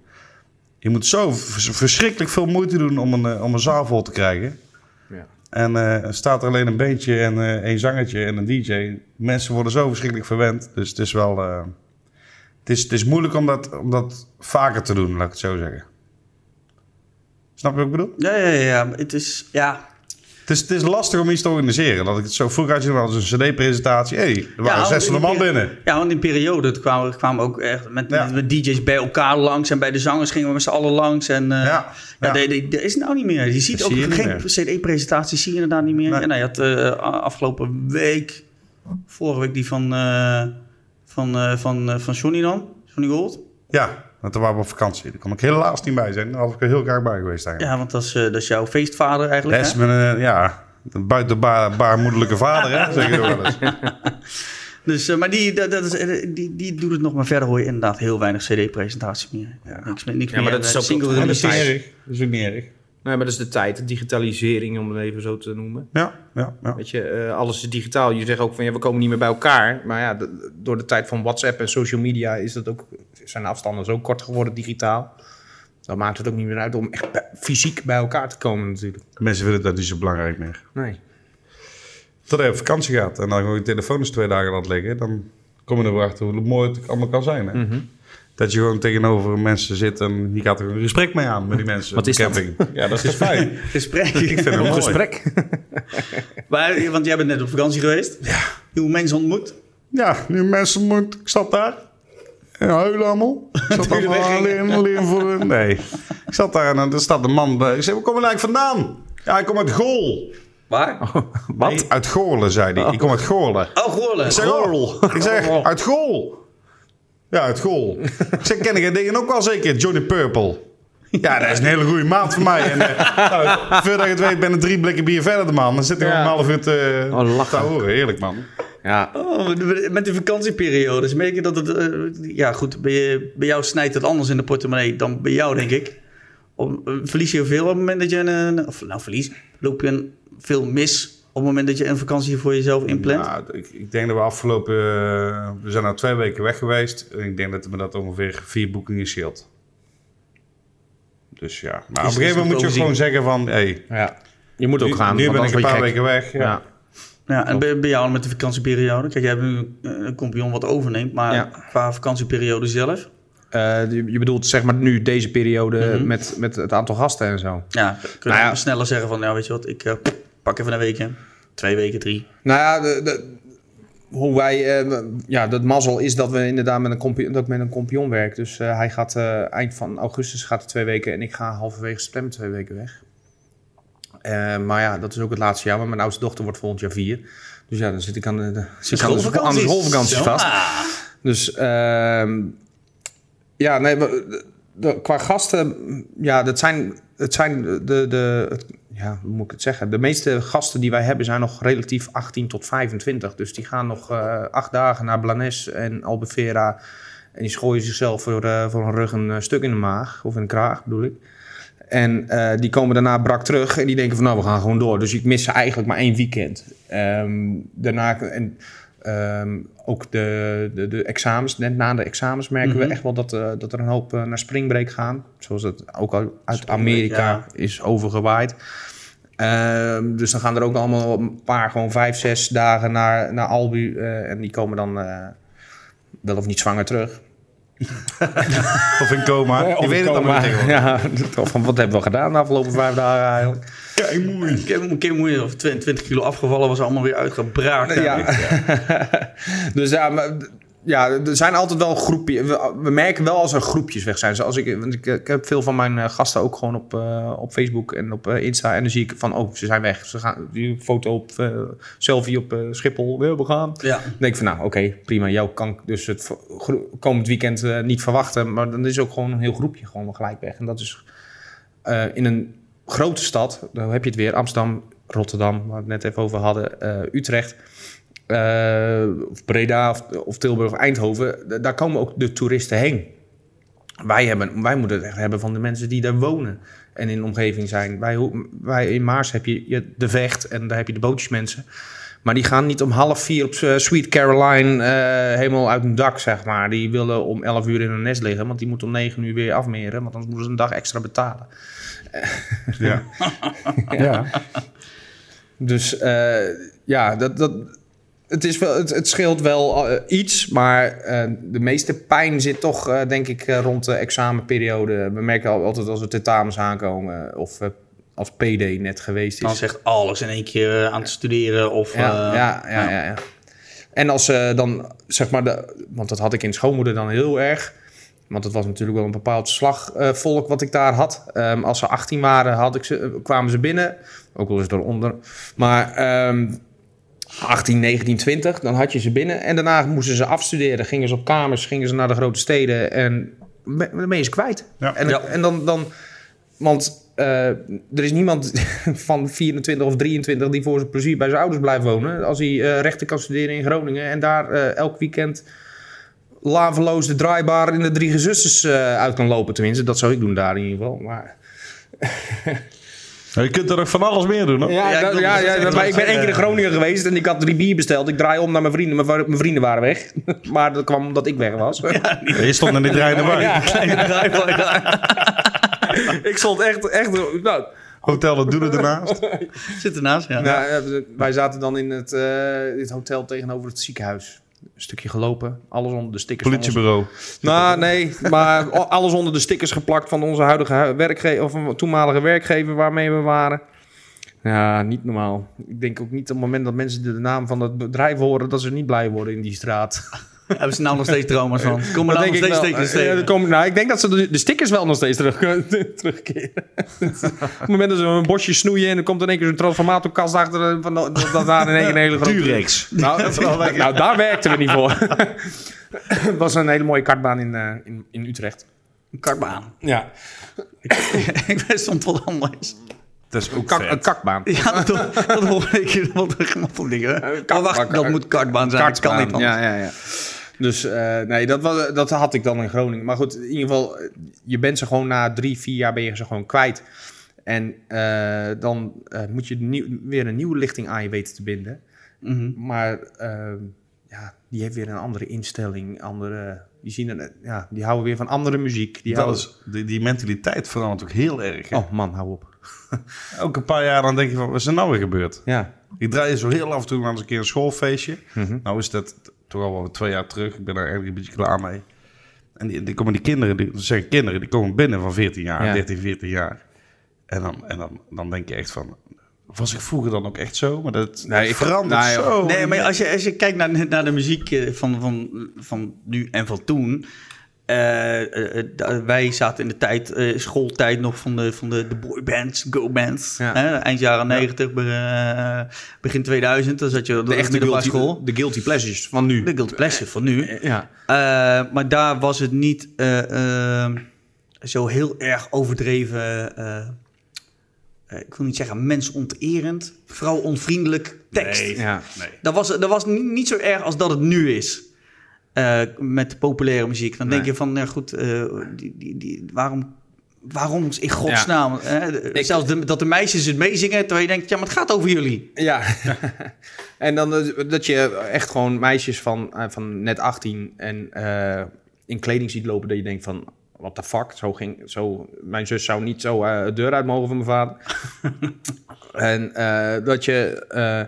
je moet zo vers- verschrikkelijk veel moeite doen om een, eh, om een zaal vol te krijgen.
Ja.
En eh, er staat er alleen een bandje en eh een zangertje en een DJ. Mensen worden zo verschrikkelijk verwend. Dus het is wel... eh, het, is, het is moeilijk om dat, om dat vaker te doen, laat ik het zo zeggen. Snap je wat ik bedoel?
Ja, ja, ja, ja. Het is, ja.
Het is, het is lastig om iets te organiseren. Dat ik het zo vroeg had je wel eens een cd-presentatie. Hé, hey, er waren
want
600
in die
man
peri-
binnen.
Ja, want in die periode toen kwamen, kwamen ook echt met,
Ja.
met DJ's bij elkaar langs. En bij de zangers gingen we met z'n allen langs. En eh,
Ja,
ja,
ja.
dat- dat- dat is nou niet meer. Je ziet
Dat
ook
zie je niet
geen
meer.
CD-presentaties, zie je inderdaad niet meer.
Nee.
En hij had eh, a- afgelopen week, vorige week, die van, eh, van, eh, van, eh, van Johnny dan. Johnny Gold.
Ja, want toen waren we op vakantie. Daar kon ik helaas niet bij zijn. Daar had ik er heel graag bij geweest eigenlijk.
Ja, want dat is, eh, dat is jouw feestvader eigenlijk.
Les
hè?
met een, eh, ja, een buitenbaar baarmoedelijke vader, hè, zeg je wel eens.
Dus, eh, maar die, dat, dat is, eh, die, die doet het nog maar verder. Hoor je inderdaad heel weinig CD-presentaties meer. Niks, meer- niks
Ja, maar
meer,
dat is
eh,
ook-
single
dat is
releases.
niet
erg. Dat is ook niet erg.
Nee, maar dat is de tijd. De digitalisering, om het even zo te noemen.
Ja, ja, ja.
Weet je, eh, alles is digitaal. Je zegt ook van ja, we komen niet meer bij elkaar. Maar ja, de- door de tijd van WhatsApp en social media is dat ook, zijn de afstanden zo kort geworden digitaal. Dan maakt het ook niet meer uit om echt bij- fysiek bij elkaar te komen natuurlijk.
Mensen vinden dat niet zo belangrijk meer.
Nee.
Totdat je op vakantie gaat en dan gewoon je telefoon eens twee dagen laat liggen, dan kom je er weer achter hoe mooi het allemaal kan zijn. Hè? Dat je gewoon tegenover mensen zit en je gaat er een gesprek mee aan met die mensen.
Wat
op de
is dat?
camping. Ja, <laughs> dat is fijn.
<laughs> Gesprek.
Ik vind het mooi.
Maar, eh, want jij bent net op vakantie geweest. Ja. Nieuwe mensen ontmoet.
Ja, nu mensen moet, ik zat daar. En huilen allemaal. Ik zat allemaal leren, leren voor... een- Nee. Ik zat daar en dan er staat een man bij. Ik zei, waar kom je nou eigenlijk vandaan? Ja, ik kom uit Gool.
Waar?
Wat? Uit Goorlen, zei hij. Ik kom uit Goorlen.
Oh, Goorlen.
Ik zeg, oh. Ik zeg, uit Gool. Ja, uit Gool. ik zeg, ken ik het ding ook wel zeker? Johnny Purple. Ja, dat is een hele goede maat voor mij. En, eh, nou, voordat je het weet, ben ik drie blikken bier verder, de man. Dan zit ik
Ja.
om een half uur te,
Oh, lachen.
te horen. Heerlijk, man.
<laughs> Ja.
Oh, de- met de vakantieperiodes merk je dat het... eh, ja, goed, bij, je- bij jou snijdt het anders in de portemonnee dan bij jou, denk ik. Om, eh, verlies je veel op het moment dat je een... Of nou, verlies. Loop je een, veel mis op het moment dat je een vakantie voor jezelf inplant.
Nou, ik, ik denk dat we afgelopen... eh, we zijn al twee weken weg geweest. En ik denk dat me dat ongeveer vier boekingen scheelt. Dus ja. Maar op
is
een gegeven
nog
moment moet je ook
overzien.
gewoon zeggen van... Hey,
Ja.
Je moet ook
nu,
gaan.
nu
want
ben ik
anders
een paar
word je gek.
weken weg. Ja.
Ja.
Ja, en bij, bij jou met de vakantieperiode? Kijk, jij hebt nu eh, een compagnon wat overneemt, maar
Ja.
qua vakantieperiode zelf?
Eh, je, je bedoelt zeg maar nu deze periode met, met het aantal gasten en zo.
Ja, kun je
Nou ja.
even sneller zeggen van, nou weet je wat, ik eh, pak even een weekje. Twee weken, drie.
Nou ja, de, de- hoe wij, eh, ja, dat mazzel is dat we inderdaad met een kompion, dat ik met een kompion werk. Dus eh, hij gaat eh, eind van augustus gaat hij twee weken en ik ga halverwege september twee weken weg. Eh, maar ja, dat is ook het laatste jaar, want mijn oudste dochter wordt volgend jaar vier. Dus ja, dan zit ik aan de, de, zit ik aan de- aan de schoolvakantie vast. Dus ehm, ja, nee, we- de- de- qua gasten, ja, dat zijn, het zijn de, de het- ja, hoe moet ik het zeggen? De meeste gasten die wij hebben zijn nog relatief 18 tot 25. Dus die gaan nog eh, acht dagen naar Blanes en Albufeira. En die schooien zichzelf voor, eh, voor een rug een eh, stuk in de maag, of in de kraag bedoel ik. En eh, die komen daarna brak terug en die denken van nou, we gaan gewoon door. Dus ik mis ze eigenlijk maar één weekend. Ehm, daarna, en Ehm, ook de, de, de examens, net na de examens merken
Mhm.
we echt wel dat, eh, dat er een hoop eh, naar springbreak gaan. Zoals dat ook al uit
Springbreak,
Amerika
ja.
is overgewaaid. Ehm, dus dan gaan er ook allemaal een paar, gewoon vijf, zes dagen naar, naar Albu. eh, en die komen dan eh, wel of niet zwanger terug.
Of in coma. je weet het allemaal niet tegenwoordig.
<laughs> Ja, of van wat hebben we gedaan de afgelopen vijf dagen eigenlijk?
Kijk, mooi.
Ik heb een keer moeite of 20 kilo afgevallen, was allemaal weer uitgebraakt.
Ja. <laughs> dus ja, maar, d- ja, er zijn altijd wel groepjes. We, we merken wel als er groepjes weg zijn. Zoals ik, want ik, ik heb veel van mijn eh, gasten ook gewoon op, eh, op Facebook en op eh, Insta. En dan zie ik van, oh, ze zijn weg. Ze gaan die foto op, eh, selfie op eh, Schiphol. Ja, We gaan.
Ja.
Dan denk ik van, nou, oké, prima. Jou kan ik dus het vo- gro- komend weekend eh, niet verwachten. Maar dan is ook gewoon een heel groepje gewoon wel gelijk weg. En dat is eh, in een grote stad, dan heb je het weer. Amsterdam, Rotterdam, waar we het net even over hadden. eh, Utrecht, eh, of Breda, of, of Tilburg, of Eindhoven. D- daar komen ook de toeristen heen. Wij, hebben, wij moeten het echt hebben van de mensen die daar wonen en in de omgeving zijn. Wij, ho- wij in Maars heb je je de Vecht en daar heb je de bootjesmensen. Maar die gaan niet om half vier op eh, Sweet Caroline eh, helemaal uit hun dak, zeg maar. Die willen om elf uur in hun nest liggen, want die moeten om negen uur weer afmeren. Want anders moeten ze een dag extra betalen.
Ja. ja.
<laughs> Dus eh, ja, dat, dat, het, is wel, het, het scheelt wel eh, iets, maar eh, de meeste pijn zit toch, eh, denk ik, eh, rond de examenperiode. We merken al, altijd als er tentamens aankomen of eh, als PD net geweest
Dan
is.
zegt alles in één keer eh, aan het studeren of...
Ja,
eh,
ja, ja, ja, ja. En als ze dan, zeg maar, de, want dat had ik in schoonmoeder dan heel erg. Want het was natuurlijk wel een bepaald slagvolk wat ik daar had. Ehm, als ze 18 waren, had ik ze, eh, kwamen ze binnen. Ook wel eens eronder. Maar ehm 18, 19, 20, dan had je ze binnen. En daarna moesten ze afstuderen. Gingen ze op kamers, gingen ze naar de grote steden. En me- dan ben je ze kwijt.
Ja.
En,
Ja.
en dan, dan, want eh, er is niemand van 24 of 23 die voor zijn plezier bij zijn ouders blijft wonen. Als hij eh, rechten kan studeren in Groningen en daar eh, elk weekend laveloos de draaibar in de Drie Gezusters eh, uit kan lopen. Tenminste, dat zou ik doen daar in ieder geval. Maar,
Je kunt er nog van alles meer doen, hoor.
ja,
ik
dat-
wil
ja,
net
ja,
zeggen,
maar
dat-
ik ben één keer in Groningen geweest en ik had drie bier besteld. Ik draai om naar mijn vrienden, maar wa- mijn vrienden waren weg. <laughs> maar dat kwam omdat ik weg was. <laughs>
Je stond in die trein erbij.
ik stond echt, echt nou,
Hotel dat doelen ernaast.
Zit ernaast, ja.
Nou, ja, we- wij zaten dan in het, eh, dit hotel tegenover het ziekenhuis. Een stukje gelopen, alles onder de stickers. van onze-
Politiebureau.
Nou, nee, maar o- alles onder de stickers geplakt van onze huidige hu- werkgever, of een toenmalige werkgever waarmee we waren. Ja, niet normaal. Ik denk ook niet op het moment dat mensen de naam van het bedrijf horen, dat ze niet blij worden in die straat.
Hebben ze nou nog steeds trauma's
<laughs>
van? Kom er
Dat
nou nog
denk ik
steeds
wel.
tekens
Eh, er
tegen.
komen- nou, ik denk dat ze de, de stickers wel nog steeds terug, <laughs> terugkeren. Op het moment dat ze een bosje snoeien en er komt in één keer zo'n transformatorkast achter. eh, Van, dat, dat daar in één keer een <laughs> hele grote...
Durex.
Nou,
<laughs>
dat- nou, daar werkten we niet voor. Het <laughs> was een hele mooie kartbaan in, eh, in, in Utrecht.
Een kartbaan. <laughs>
Ja,
ik ben soms wel anders.
Dat is ook vet.
een kakbaan.
Ja, <laughs> dat, dat hoor ik hier wel gemakkelijk dingen.
Eh,
Maar Oh, wacht, dat moet kartbaan zijn. Dat kan niet anders.
Ja, ja, ja. Dus eh, nee, dat, was, dat had ik dan in Groningen. Maar goed, in ieder geval, eh, je bent ze gewoon na drie, vier jaar ben je ze gewoon kwijt. En eh, dan eh, moet je nieuw- weer een nieuwe lichting aan je weten te binden.
Mhm.
Maar eh, ja, die heeft weer een andere instelling. Andere, die, zien er, ja, die houden weer van andere muziek. Die
Dat
houden-
is, die, die mentaliteit verandert ook heel erg. hè.
Oh man, hou op.
Ook een paar jaar dan denk je van, wat is er nou weer gebeurd?
Ja,
Ik draai zo heel af en toe nog eens een keer een schoolfeestje.
Mhm.
Nou is dat toch al wel twee jaar terug. Ik ben er eigenlijk een beetje klaar mee. En die, die komen die kinderen, die, dat zeggen kinderen, die komen binnen van 14 jaar,
Ja.
13, 14 jaar. En, dan, en dan, dan denk je echt van, was ik vroeger dan ook echt zo? Maar dat,
Nee,
dat
ik-
verandert
nee, joh.
zo.
Nee, maar als je, als je kijkt naar, naar de muziek eh, van, van, van nu en van toen. eh, eh, eh, da- wij zaten in de tijd, eh, schooltijd nog van de, van de, de boybands, go-bands.
Ja.
hè, eind jaren 90, be- eh, begin 2000. Dan zat je op de,
echte
middelbare
guilty-
school.
de eh, guilty pleasures van nu.
De Guild Pleasure van nu.
Ja,
Eh, maar daar was het niet eh, eh, zo heel erg overdreven. eh, eh, ik wil niet zeggen mensonterend, vrouwonvriendelijk tekst.
Nee.
ja.
Nee.
Dat was, dat was ni- niet zo erg als dat het nu is. Eh, met populaire muziek. Dan denk
Nee.
je van, nou goed, eh, die, die, die, waarom, waarom in godsnaam? hè? De-
Ik-
zelfs de- dat de meisjes het meezingen, terwijl je denkt, ja, maar het gaat over jullie.
Ja. <laughs> en dan eh, dat je echt gewoon meisjes van, eh, van net 18 en eh, in kleding ziet lopen dat je denkt van... What the fuck? Zo ging, zo, mijn zus zou niet zo eh, de deur uit mogen van mijn vader. en eh, dat je... eh, eh,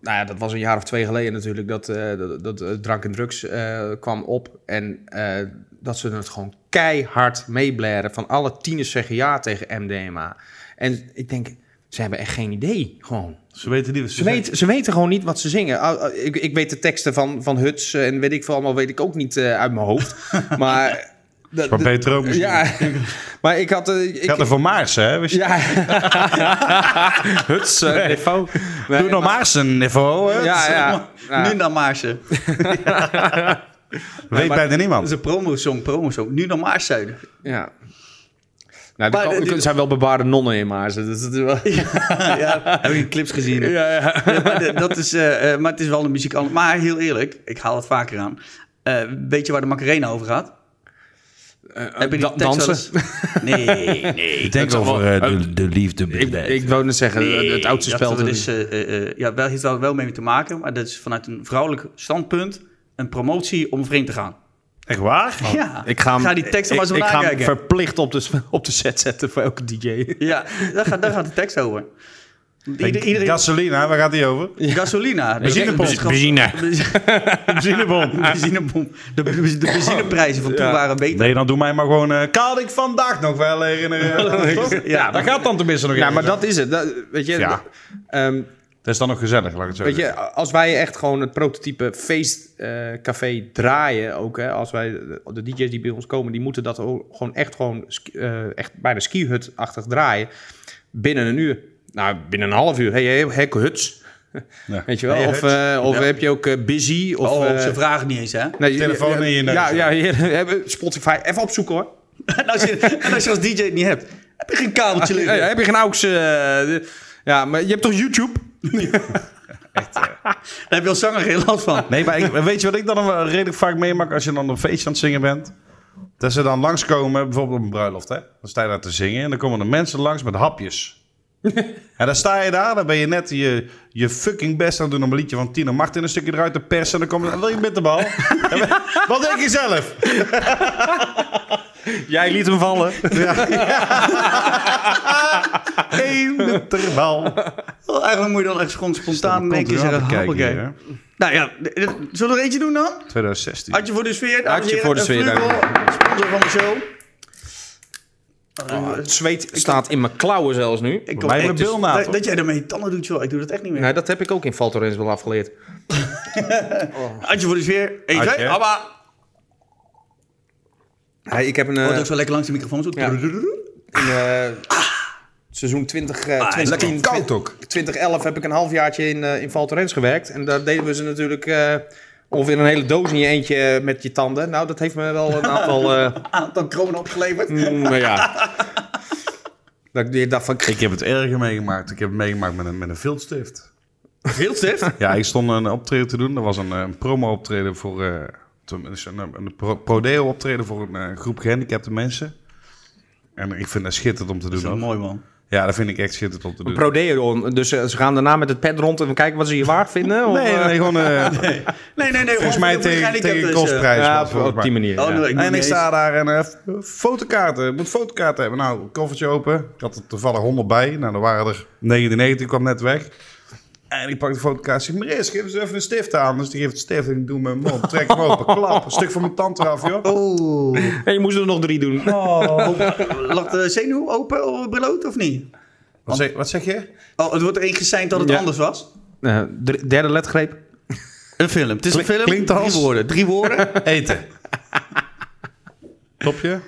nou ja, dat was een jaar of twee geleden natuurlijk dat, eh, dat, dat eh, drank en drugs eh, kwam op. En eh, dat ze het gewoon keihard meeblaren. Van alle tieners zeggen ja tegen MDMA. En ik denk, ze hebben echt geen idee gewoon.
Ze weten niet wat ze
Ze,
zeggen.
weten, ze weten gewoon niet wat ze zingen. Ah, ah, ik, ik weet de teksten van, van Huts en weet ik veel allemaal, weet ik ook niet eh, uit mijn hoofd.
<laughs>
Maar... dat-
Maar beter ook misschien.
ja, <laughs> maar ik had... eh, ik,
Ik had er van Maarsen, hè? Wist je?
<laughs> ja. <laughs> Huts, eh, niveau. Nee,
Doe nog Maarsen, niveau. hè?
<laughs>
Ja, ja. ja.
Nu dan Maarsen.
Weet
maar-
bijna
Dat is
niemand.
een promosong, promosong. Nu dan Maarsen.
Ja. Nou,
Maar,
er,
eh,
ko-
dit-
er zijn wel bebaarde nonnen in Maarsen. Dus dat is wel...
ja, <laughs> heb ik in clips gezien.
Ja, ja.
<laughs> Ja, maar, de- dat is, eh, eh, maar het is wel de muziek. al- Maar heel eerlijk, ik haal het vaker aan. Eh, weet je waar de Macarena over gaat? Heb je die
da-
tekst wel
Eh, dansen?
eens- Nee,
<laughs>
nee.
Ik denk
dat is
over
wel-
eh, de, de liefde.
Ik, ik wou net zeggen,
Nee,
het- het oudste
dat-
spel.
Dat
toen-
is, eh, eh, eh, ja, wel, heeft wel, wel mee te maken, maar dat is vanuit een vrouwelijk standpunt een promotie om vreemd te gaan.
Echt waar?
ja,
Oh, ik ga, hem-
die teksten maar
ik-
eens
Ik ga hem
nakijken.
verplicht op de, s- op de set zetten voor elke DJ.
Ja, daar gaat, daar gaat de tekst over. Ieder, iedereen,
Gasolina, waar gaat die over?
<laughs>
gasolina.
Benzinepomp.
Benzine.
Benzinebom.
<laughs> Benzinepomp. De, de benzineprijzen van toen waren beter.
Nee, dan doe mij maar gewoon... eh kan ik vandaag nog wel
<laughs>
herinneren? Toch?
eh,
ja, dat gaat dan tenminste nog
Ja,
even
maar
zo.
dat is het. Dat, weet je,
Ja.
ehm,
Dat is dan nog gezellig, laat ik het zo
weet
zeggen.
je, als wij echt gewoon het prototype feestcafé eh, draaien, ook hè, als wij de, de DJ's die bij ons komen, die moeten dat ook gewoon echt gewoon ski- eh, echt bijna skihut-achtig draaien binnen een uur. Nou, binnen een half uur. Hey, hey, hek huts.
Ja.
Weet je wel?
Hey,
of
Hut.
eh, of heb je ook eh, busy? Of,
oh,
eh,
ze vragen niet eens, hè?
nee,
telefoon
ja,
in je neus.
Ja, ja, <laughs> hier, Spotify. Even opzoeken hoor.
<laughs> en, als je, en als je als DJ het niet hebt, heb je geen kabeltje
Ja,
liggen.
heb je geen aux? eh, de- ja, maar je hebt toch YouTube?
Daar heb je als zanger geen last van.
Nee, maar ik, <laughs> weet je wat ik dan wel redelijk vaak meemaak als je dan op een feestje aan het zingen bent? Dat ze dan langskomen, bijvoorbeeld op een bruiloft, hè? Dan sta je daar te zingen en dan komen er mensen langs met
<laughs>
hapjes. en dan sta je daar, dan ben je net je, je fucking best aan het doen om een liedje van Tina Martin een stukje eruit te persen. En dan komt er, wil je met de
<laughs>
bal? wat denk je zelf?
Jij liet hem <laughs> vallen.
Eén bitterbal.
Oh, eigenlijk moet je dan echt gewoon spontaan in één keer zeggen, hoppakee. Nou ja, d- d- zullen we er eentje doen dan?
2016.
Hartje voor de sfeer. dames en
Hartje
heren.
voor de sfeer,
Een Flugel, Sponsor van de show.
Oh, het zweet staat in mijn klauwen zelfs nu.
Eh, Ik
Bij mijn
hoop echt
bilnaad,
dat,
hoor.
dat jij daarmee tanden doet, joh. Ik doe dat echt niet meer.
Nou, dat heb ik ook in Valtorens wel afgeleerd.
Adje voor de sfeer. Eén,
Adje.
twee, hoppa.
Hey, ik heb een...
Oh,
eh,
Wordt ook zo lekker langs de microfoon. Zo.
Ja. in, eh, seizoen 20, eh, 2010,
Ah, Lekker koud ook.
2011 heb ik een halfjaartje in, eh in Valtorens gewerkt. En daar deden we ze natuurlijk eh ongeveer een hele doos in je eentje eh, met je tanden. Nou, dat heeft me wel een aantal...
<laughs>
eh,
Aantal kronen Ah, opgeleverd.
<laughs> mm, nou ja. Dat ik weer dacht van...
Ik heb het erger meegemaakt. Ik heb het meegemaakt met een, met een viltstift.
Viltstift?
Ja, ik stond een optreden te doen. Dat was een, eh, een promo-optreden voor... eh, tenminste, een, een pro- prodeo-optreden voor een eh, groep gehandicapte mensen. En ik vind dat schitterend om te
Dat is
doen.
wel
hoor.
mooi, man.
Ja, dat vind ik echt schitterend om te doen.
Prodeo, dus eh, ze gaan daarna met het pet rond en kijken wat ze je waard vinden? of,
Nee,
eh?
nee, gewoon... eh,
Nee, nee, nee.
volgens
hoor,
mij
voor de
tegen,
handicapten
tegen
is, eh,
kostprijs.
ja,
was,
op,
volgens
op die
mij.
manier.
Oh,
ja.
nee, ik
En ik sta
daar.
daar en eh, f- fotokaarten. Ik moet fotokaarten hebben. Nou, koffertje open. Ik had er toevallig 100 bij. Nou, er waren er 99. Ik kwam net weg. En ik pak de fotokaart. Zeg, meneer, geef eens even een stift aan. Dus die geeft een stift en ik doe mijn mond. Trek hem open. Klap. Een stuk van mijn tand eraf, joh.
Oeh.
En je moest er nog drie doen.
Oh.
Oh. Lag de eh, zenuw open of bloot of niet?
Wat zeg, wat zeg je?
Oh, het wordt er één geseind dat het
Ja.
anders was.
Eh, dr- derde letgreep.
Een film. Het is
Klink- klinkt als-
Drie woorden. Drie woorden.
Eten. Topje.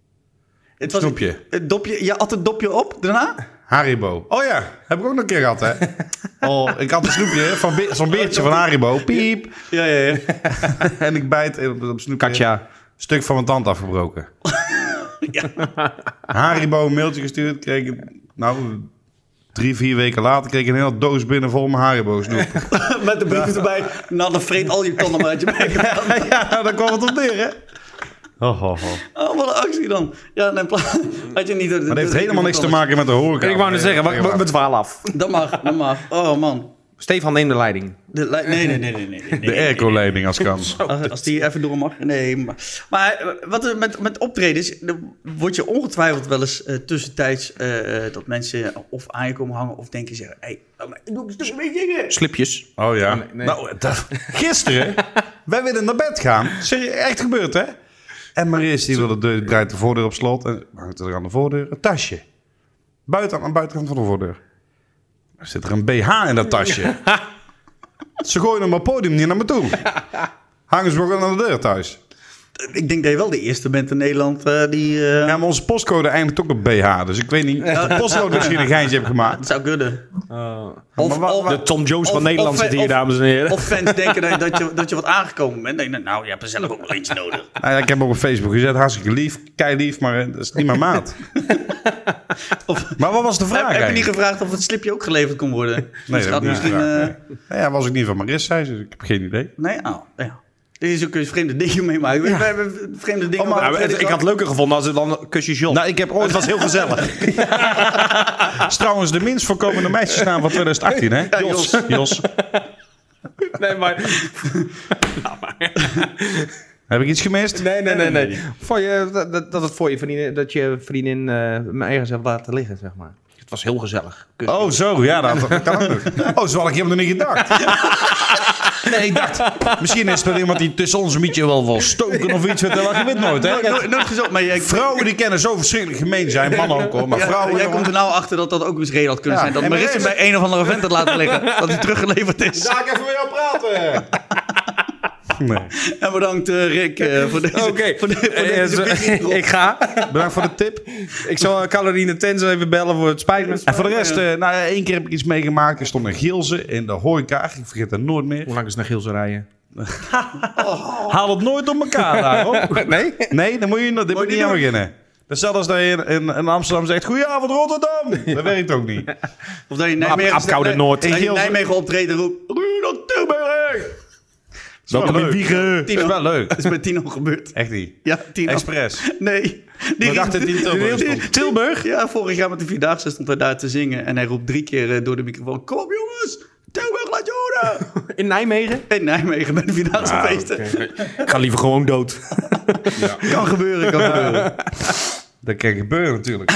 <laughs> Het was
Snoepje.
Het dopje. Je at het dopje op daarna?
Haribo. Oh ja, heb ik ook nog een keer gehad, hè? Oh, ik had een snoepje, van be- zo'n beertje van Haribo. Piep.
Ja, ja, ja.
En ik bijt en op dat snoepje.
Katja.
stuk van mijn tand afgebroken. Haribo een mailtje gestuurd. Kreeg ik, nou, drie, vier weken later kreeg ik een hele doos binnen vol met Haribo snoep.
<laughs> Met de brief erbij. Nou, dan vreet al je tanden maar <laughs> uit je bek.
ja, daar kwam het op neer, hè? Oh, oh, oh.
Oh, wat een actie dan. Ja, nee, pla- had je niet... door de-
Maar dat heeft
door de-
helemaal niks te maken met de horeca.
Ik wou net zeggen, we, we, we dwalen af.
Dat mag, dat mag. Oh, man.
Stefan neemt de leiding.
De li- nee, nee, nee, nee, nee. <laughs> nee.
De airco-leiding als kan.
Als, als die even door mag. Nee, maar, maar eh, wat er met, met optredens, dan word je ongetwijfeld wel eens eh, tussentijds eh, eh, dat mensen of aan je komen hangen of denken zeggen, hey, laat mij- doe ik eens een beetje zingen.
Slipjes.
Oh ja.
nee.
Nou, dat-
<laughs>
gisteren, wij willen naar bed gaan. Serieus, echt gebeurd, hè? En Maris, die wilde de, draait de voordeur op slot en hangt er aan de voordeur een tasje. Buiten, aan de buitenkant van de voordeur. Er zit er een BH in dat tasje. <laughs> Ze gooien hem op het podium niet naar me
<laughs>
toe. Hangen ze me gewoon aan de deur thuis.
Ik denk dat je wel de eerste bent in Nederland eh, die... eh,
Ja, maar onze postcode eindigt ook op BH. Dus ik weet
<laughs>
niet of de postcode misschien een geintje heeft
Het
gemaakt.
zou kunnen. Of,
wa-
of-
wa-
De Tom Jones
Of-
van Nederland
of-
zit hier,
of-
dames en heren.
of fans denken dat, dat, je, dat je wat aangekomen bent. Nee, nou, je hebt er zelf ook wel eentje nodig.
Nou ja, ik heb hem op Facebook gezet. Hartstikke lief. Kei lief, maar eh, dat is niet mijn <laughs> maat.
Of-
Maar wat was de vraag
Heb, heb je
eigenlijk?
niet gevraagd of het slipje ook geleverd kon worden?
Nee,
Dus gaat
dat heb ik niet
misschien,
gevraagd,
eh,
nee. Nou ja, was ik niet van Maris, zei ze. dus ik heb geen idee.
Nee, oh, ja. Dit is ook een vreemde ding mee, maar we hebben vreemde
Oh,
dingen. <laughs>
Nou,
maar,
het- ik had het leuker gevonden als het dan kusje John.
Nou, ik
Oh,
heb ooit... Het was heel
<laughs>
gezellig. Dat is trouwens de minst voorkomende meisjesnaam van 2018, <laughs> hè? Jos. Jos.
nee, maar...
Heb ik iets gemist?
Nee, nee, nee. nee. Voor je, dat- dat, dat het voor je vriendin, dat je vriendin eh mijn ergens hebt laten liggen, zeg maar. Het was heel gezellig. Kus.
Oh, zo. <laughs> Ja, dat, dat kan ook nog. Oh, zo had ik helemaal niet gedacht. <laughs> Nee, ik dacht... Misschien is er wel iemand die tussen ons een beetje wel wil stoken of iets. weet je wel. Je weet nooit, hè?
nooit, nooit gezocht, maar jij,
Vrouwen die kennen zo verschrikkelijk gemeen zijn. Mannen ook, hoor. Maar
jij-
vrouwen...
jij
jongen.
komt er nou achter dat dat ook eens reden had kunnen
Ja,
zijn. Dat
en
Marissa
Marissa-
bij een of andere vent had laten
<laughs>
liggen. dat hij teruggeleverd is.
Ga ik even met jou praten. Nee.
En bedankt eh, Rick eh, voor deze,
<laughs> Oké.
<laughs> voor de- voor
Eh,
deze
eh,
visie.
<laughs> ik ga.
Bedankt voor de tip. eh,
Ik zal Caroline Tenzo even bellen voor het spijt me.
En voor de rest, eh, nou, één keer heb ik iets meegemaakt. Er stond een Gilze in de horeca. Ik vergeet dat nooit meer.
Hoe lang is naar Gielse rijden?
Haal het nooit op elkaar daar, hoor.
Nee?
<laughs> Nee, dan moet je, dit moet je
niet
niet aan
doen.
beginnen. Dat is zelfs als dat je in, in, in Amsterdam zegt... Goedenavond Rotterdam! Dat werkt ook niet.
Of dat je in Nijmegen,
Apkoude
dat-
Noord.
dat je in
Heel-
Nijmegen optreden roept. Ruud Tilburg!
Welkom in
Wiegen.
Het is wel leuk.
Dat is bij Tino gebeurd.
Echt niet.
Ja, Tino.
Expres.
Nee. Die
We dachten dat die in Tilburg
die-
stond.
Tilburg?
Ja, vorig jaar met de Vierdaagse stond hij daar te zingen. En hij roept drie keer eh, door de microfoon... Kom op jongens, Tilburg laat je
<laughs>
horen!
In Nijmegen?
In Nijmegen bij de Vierdaagse
Ah,
feesten.
Ik ga liever gewoon dood.
Kan gebeuren, kan gebeuren.
Dat kan gebeuren natuurlijk.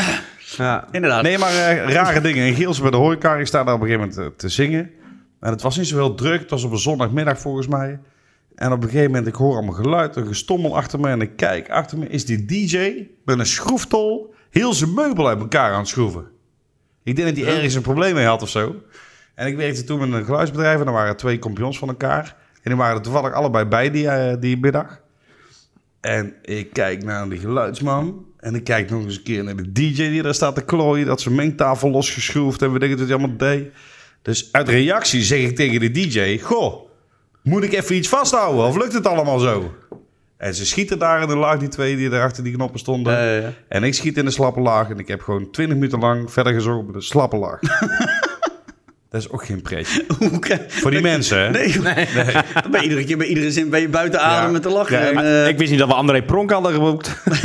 Ja.
Inderdaad.
Nee, maar eh, rare dingen. In Gielse bij de horeca, ik sta daar op een gegeven moment eh, te zingen. En het was niet zo heel druk. Het was op een zondagmiddag volgens mij. En op een gegeven moment, ik hoor allemaal geluid, een gestommel achter me. En ik kijk achter me, is die DJ met een schroeftol heel zijn meubel uit elkaar aan het schroeven. Ik denk dat hij ergens een probleem mee had of zo. En ik werkte toen met een geluidsbedrijf en er waren twee kompions van elkaar. En die waren er toevallig allebei bij die, eh, die middag. En ik kijk naar die geluidsman. En ik kijk nog eens een keer naar de DJ die daar staat te klooien. Dat zijn mengtafel losgeschroefd en we denken dat hij allemaal deed. Dus uit reactie zeg ik tegen de DJ: Goh, moet ik even iets vasthouden of lukt het allemaal zo? En ze schieten daar in de laag, die twee die daar achter die knoppen stonden.
Eh,
En ik schiet in de slappe laag en ik heb gewoon 20 minuten lang verder gezorgd op de slappe
<laughs>
laag. dat is ook geen pretje.
hoe krijg-
Voor die mensen, hè?
Nee, Dan ben je iedere keer bij iedere zin ben je buiten adem
Ja.
met te lachen.
Ja,
en,
maar
eh,
ik wist niet dat we André Pronk hadden geboekt. oh.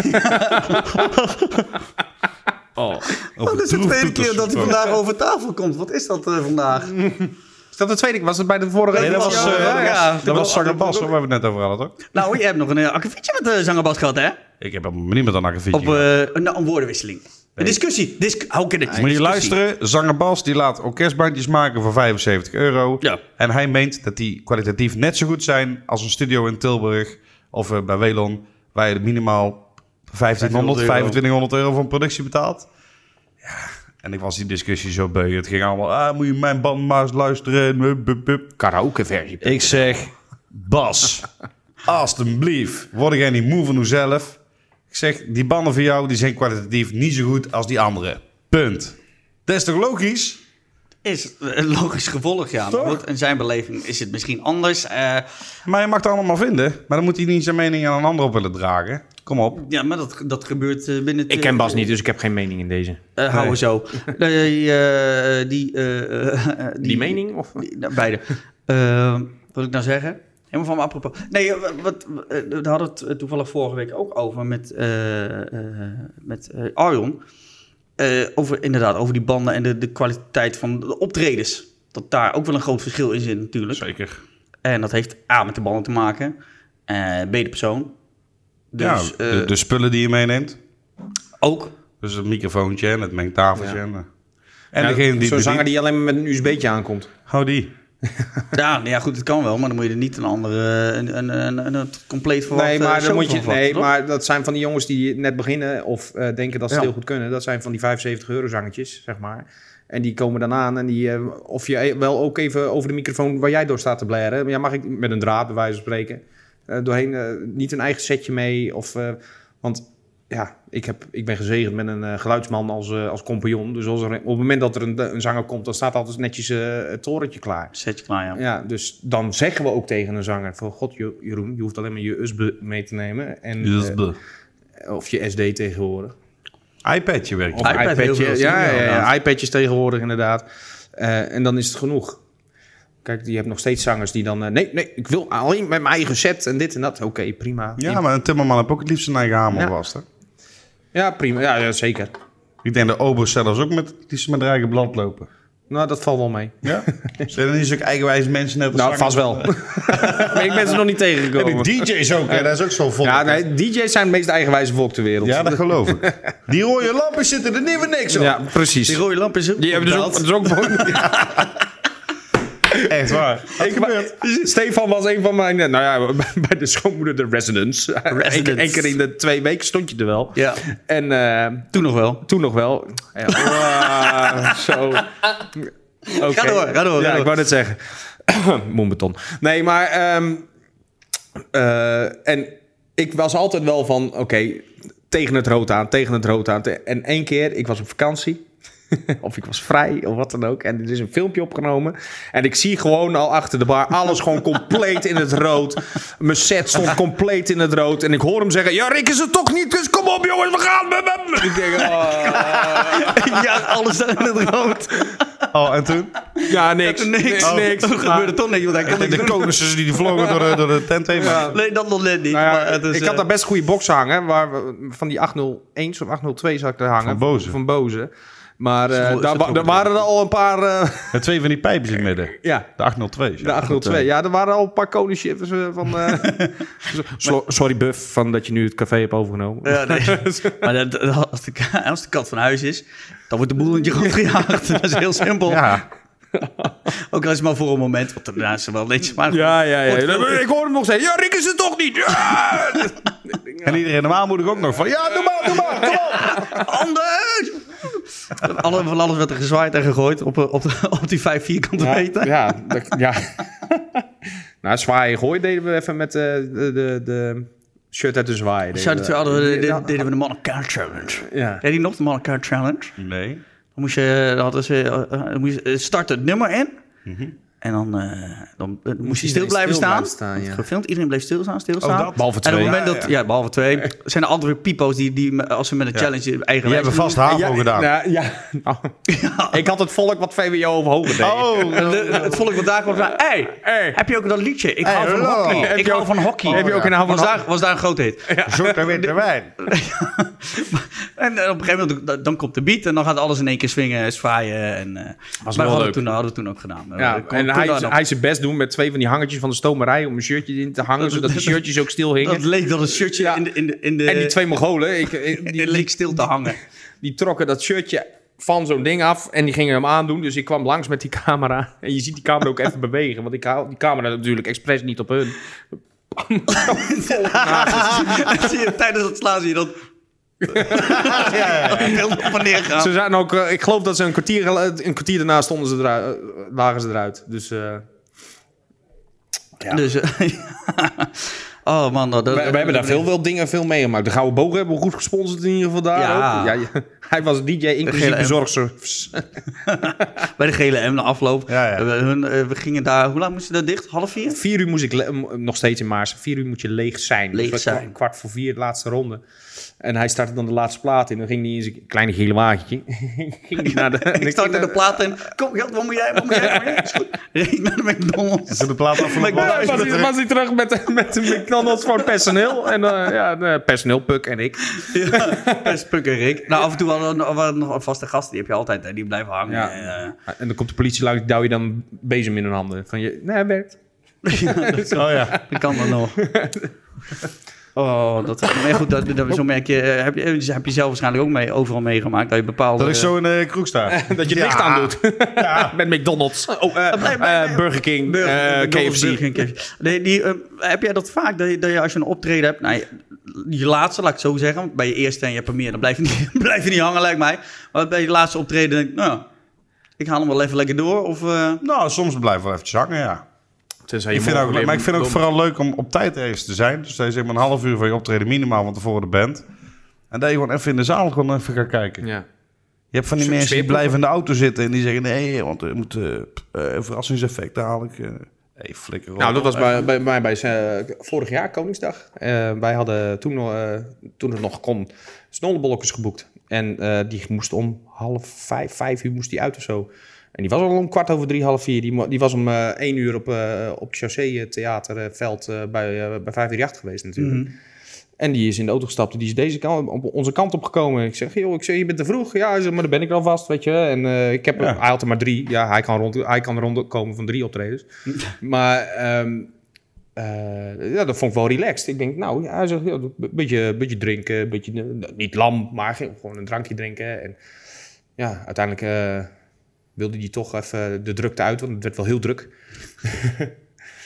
Over
oh, dit is de
droeftoeters
tweede keer dat hij
gesproken.
vandaag over tafel komt. Wat is dat eh, vandaag?
Is dat de tweede? Was het bij de vorige
Nee, dat
Ja,
was, eh
ja,
dat was,
ja.
dat was Zanger Bas, hoor, waar we het net over hadden, toch?
nou, je hebt nog een uh, met de zangerbas gehad, hè?
Ik heb helemaal niet met een akkefietje.
Op eh, een, een woordenwisseling. Een discussie. Dis Hou ik in het?
Moet je
Discussie.
luisteren, zanger Bas die laat orkestbandjes maken voor 75 euro.
Ja.
En hij meent dat die kwalitatief net zo goed zijn als een studio in Tilburg of eh, bij Welon, waar je minimaal 1500, 2500 euro voor een productie betaalt. Ja, en ik was die discussie zo beu. Het ging allemaal, ah, moet je mijn band maar eens luisteren. eh, Hup, hup, hup.
Karaoke versie.
Ik zeg, Bas, alstublieft, word jij niet moe van uzelf? Ik zeg, die banden van jou die zijn kwalitatief niet zo goed als die andere. Punt. Dat is toch logisch?
Is een logisch gevolg, ja. Maar goed, in zijn beleving is het misschien anders. eh,
Maar je mag het allemaal vinden. Maar dan moet hij niet zijn mening aan een ander op willen dragen. Kom op.
ja, maar dat, dat gebeurt eh, binnen... het-
Ik ken Bas niet, dus ik heb geen mening in deze.
Eh, houden we zo. Die, eh, die, eh, eh,
Die mening? Of?
die- nou, beide. Eh, wat wil ik nou zeggen? Helemaal van me apropos. Nee, eh, wat, eh, we hadden het eh, toevallig vorige week ook over met, eh, eh, met eh, Arjon. Eh, over, inderdaad, over die banden en de, de kwaliteit van de optredens. Dat daar ook wel een groot verschil in zit natuurlijk.
Zeker.
En dat heeft A, met de banden te maken. eh B, de persoon. Dus
ja,
eh,
de, de spullen die je meeneemt.
ook.
Dus het microfoontje en het mengtafeltje.
Ja.
En, eh, en degene die...
Zo'n zanger
bedient-
die alleen maar met een USB'tje aankomt.
Hou die.
Ja, nou ja, goed, het kan wel, maar dan moet je er niet een andere, een, een, een, een, een compleet verwacht
Nee, maar,
eh, show
dan moet
van
je,
verwachten,
nee
toch?
maar dat zijn van die jongens die net beginnen of eh, denken dat ze het
Ja.
heel goed kunnen. Dat zijn van die 75 euro zangetjes, zeg maar. En die komen dan aan en die, eh, of je eh, wel ook even over de microfoon waar jij door staat te blaren. Ja, mag ik met een draad, bij wijze van spreken, eh, doorheen eh, niet een eigen setje mee. Of, eh, want ja, ik, heb, ik ben gezegend met een eh, geluidsman als, eh, als compagnon. Dus als er, op het moment dat er een, een zanger komt, dan staat altijd netjes eh, het torentje klaar.
Zet je klaar, ja.
Ja, dus dan zeggen we ook tegen een zanger van... God, Jo- Jeroen, je hoeft alleen maar je USB mee te nemen. En,
Dus
eh, of je SD tegenwoordig.
iPadje werkt.
Of
iPad heel veel
iPadje.
zien
Ja,
we
ja, ja,
inderdaad.
iPadjes tegenwoordig inderdaad. Eh, en dan is het genoeg. Kijk, je hebt nog steeds zangers die dan... eh, nee, nee, ik wil alleen met mijn eigen set en dit en dat. Oké, prima.
Ja, maar een timmerman heb ook het liefst zijn eigen hamer
Ja.
vast. Hè?
Ja, prima. Ja, ja, zeker.
Ik denk de obo's zelfs ook met, die ze met haar eigen blad lopen.
Nou, dat valt wel mee.
Ja? Zijn er niet
dus
zulke eigenwijze mensen net als
Nou,
zanger?
vast wel. <laughs> maar ik ben ze nog niet
En
tegengekomen.
die DJ's ook, hè? dat is ook zo vol.
Ja, nee, DJ's zijn het meest eigenwijze volk ter wereld.
ja, dat geloof ik. <laughs> Die rode lampen zitten er niet voor niks op.
Ja, precies.
Die rode lamp is ook
Die hebben dus ook,
opgedaald.
dat is
<laughs>
ook voor-
Echt waar.
Ik, Stefan was een van mijn. Nou ja, <laughs> bij de schoonmoeder de Residence.
Residence.
Eén keer- één keer in de twee weken stond je er wel.
Ja,
En eh,
toen nog wel.
toen nog wel. Ja, wauw, zo. Oké.
Ga door, ga door,
Ja,
ga door.
ik wou net zeggen. <coughs> Moenbeton. Nee, maar. ehm, eh, en ik was altijd wel van. Oké, tegen het rood aan, tegen het rood aan. Te- En één keer, ik was op vakantie. <laughs> of ik was vrij, of wat dan ook. En er is een filmpje opgenomen. En ik zie gewoon al achter de bar alles
<laughs>
gewoon compleet in het rood. Mijn set stond compleet in het rood. En ik hoor hem zeggen: Ja, Rick is het toch niet, dus kom op jongens, we gaan. Bum, bum. Ik denk: oh.
<laughs> ja, alles daar in het rood.
Oh, en <laughs> toen?
<laughs> Ja, <laughs> niks.
Niks,
Oh.
niks. Er gebeurde toch niks, want hij kon
De,
niks
de
doen.
konussen die vlogen door, de- door de tent heen.
Ja.
Nee, dat nog net niet.
Nou ja,
maar het is,
ik had
eh,
daar best goede boksen hangen. Waar we, van die 801 of 802 zag ik er hangen.
Van Boze.
Van Boze. Maar eh,
Zo- is dat
daar, wa-
ook
daar
weer.
waren er al een paar... eh,
En twee van die pijpen in het midden.
ja,
De 802's.
<laughs> de 802. Ja, er waren al een paar koningschiffers eh, van... eh, Slo- sorry, Buff, van dat je nu het café hebt overgenomen.
ja,
<laughs>
nee. maar dat, dat- als, de, ka- als de kat van huis is, dan wordt de boel in je grond gejaagd. <laughs> Dat is heel simpel.
Ja.
<laughs> Ook al is het maar voor een moment, want daarna is het wel
<laughs>
netjes. Maar
Ja, ja, ja. Ik hoor hem nog zeggen, ja, Rick is het toch niet? Ja!
En iedereen normaal moet ik ook nog van... Ja, normaal
doe maar, kom op.
Anders! Van alle- Van alles werd er gezwaaid en gegooid op, eh, op, de- op die vijf vierkante
Ja,
meter.
ja, dat- ja. <laughs> nou, zwaaien gooi deden we even met eh, de, de, de shirt uit de zwaai. deden
Shout out
we. nou,
to hadden we, de-
Ja.
de- deden we de Mannenkaart Challenge.
Ja.
Ken je die nog, de Mannenkaart Challenge?
Nee.
Dan moest je, dan hadden ze, eh, eh, dan moest je eh, start het nummer in. En dan, eh, dan eh, moest je stil
Mhm.
blijven
iedereen stil
staan.
blijven staan,
Wordt
ja.
Gefilmd, iedereen bleef stilstaan, stilstaan.
Oh, dat?
Behalve
En op
twee.
het moment
Ja,
dat, ja,
ja.
behalve twee, zijn er andere pipo's die, die eh, als ze met een challenge eigen
Die hebben vast HAVO gedaan.
Nou, <laughs> ja. Nou, Ik had het volk wat VWO overhoog deed.
Oh,
En de- de- het volk wat daar kwam zei, hey,
Hey.
heb je ook dat liedje? Ik hou van
hallo.
hockey.
Heb
Ik
je
hou
ook-
van hockey.
heb je ook een hou van
was daar, was daar een groot hit.
zwarte witte wijn.
En eh, op een gegeven moment, dan- dan komt de beat en dan gaat alles in één keer swingen, zwaaien. En, eh, maar
wel
dat hadden we,
leuk.
toen, hadden we toen ook gedaan.
Ja,
We kon-
en
kon
hij,
daar nog-
hij zijn best doen met twee van die hangertjes van de stomerij om een shirtje in te hangen, zodat die shirtjes ook stil hingen.
dat leek dat een shirtje
Ja.
in de... In de, in de
en die twee Mongolen, ik, ik- die,
het leek stil te
<laughs>
hangen. <laughs>
die trokken dat shirtje van zo'n ding af en die gingen hem aandoen. Dus ik kwam langs met die camera en je ziet die camera ook even <laughs> bewegen, want ik haal die camera natuurlijk expres niet op hun.
Dan zie je, tijdens het slaan zie je dat...
<laughs>
ja, ja, ja. op en neer gaan.
Ze zijn ook, eh, ik geloof dat ze een kwartier, gel- een kwartier daarna stonden ze eruit, eh, lagen ze eruit. Dus eh,
Dus, eh, <laughs> oh man, dat, dat-
we, we hebben daar veel, wel dingen veel meegemaakt. De Gouden Bogen hebben we goed gesponsord in ieder geval daar
Ja.
ook. Ja, je- <laughs> hij was DJ inclusief
gele M.
bezorgservice.
bij de gele M de afloop.
Ja, ja.
We, hun, eh, we gingen daar, hoe laat moest je daar dicht? Half vier?
Vier uur moest ik, le- m- nog steeds in Maarsen, vier uur moet je leeg zijn.
Leeg
dat
zijn.
kwart- Kwart voor vier, de laatste ronde. En hij startte dan de laatste plaat in. Dan ging hij in zijn kleine gele wagentje. <laughs> ging hij naar de,
<laughs> Ik startte de plaat in. Kom, geld, wat moet jij? Wat moet jij? Is
<laughs>
goed. Reed naar de McDonald's.
Ze de plaat af van de
Maar <laughs> ik
Ja,
bal.
was, hij, was hij terug met, de- met de McDonald's voor het personeel. En eh, ja, de personeelpuk en ik.
Spuk en Rick. Nou, af en toe hadden we, waren er nog een vaste gasten. Die heb je altijd, hè, die blijven hangen.
Ja.
En, eh,
En dan komt de politie langs, duw je dan bezem in hun handen. Van je, nee, het werkt.
Oh ja.
Dat kan dan nog. <laughs> Oh, dat maar goed, dat, dat, zo merk je, eh, heb je, heb je zelf waarschijnlijk ook mee, overal meegemaakt, dat je bepaalde...
Dat ik zo in de kroeg sta. <laughs>
Dat je niks aan doet. <laughs> met McDonald's. Oh, eh,
blijft
eh, Burger King,
Burger-
eh,
McDonald's,
KFC.
Burger King, KFC. Nee, die, eh, heb jij dat vaak, dat je, dat je als je een optreden hebt, nou, je, je laatste, laat ik het zo zeggen, want bij je eerste en je hebt er meer, dan blijf je niet, <laughs> blijf je niet hangen, lijkt mij. Maar bij je laatste optreden denk ik, nou, ik haal hem wel even lekker door, of... eh,
Nou, soms blijven we wel eventjes hangen, ja.
Tenzij je
Ik vind
morgen
ook,
weer
maar ik vind ook
McDonald's-
vooral leuk om op tijd ergens te zijn. Dus dat je zeg maar een half uur van je optreden minimaal van tevoren bent. En dat je gewoon even in de zaal gewoon even gaat kijken.
Ja.
Je hebt van die
Zo-
mensen die
zweeproeven.
blijven in de auto zitten en die zeggen... Nee, want er moet eh p- eh, verrassingseffecten haal ik. eh hey, flikker op.
Nou, dat was bij, bij mij bij eh, vorig jaar Koningsdag. Eh, wij hadden toen, nog, eh, toen het nog kon snollebolletjes geboekt. En eh, die moest om half vijf, vijf uur moest die uit of zo. En die was al om kwart over drie, half vier. Die, mo- die was om eh, één uur op, eh, op het Chaussee-theaterveld eh bij, eh bij 538 geweest natuurlijk. En die is in de auto gestapt. en Die is deze kant, op onze kant opgekomen. Ik zeg, joh, ik zeg, je bent te vroeg. Ja, hij zegt, maar dan ben ik er alvast, weet je. En eh, ik heb,
Ja.
hij had er maar drie. Ja, hij kan, rond, hij kan rondkomen van drie optredens. maar ehm, eh, ja, dat vond ik wel relaxed. Ik denk, nou, ja, hij zegt, joh, een beetje, beetje drinken. Een beetje, eh, niet lam, maar gewoon een drankje drinken. En ja, uiteindelijk eh, wilde hij toch even de drukte uit. Want het werd wel heel druk. <laughs>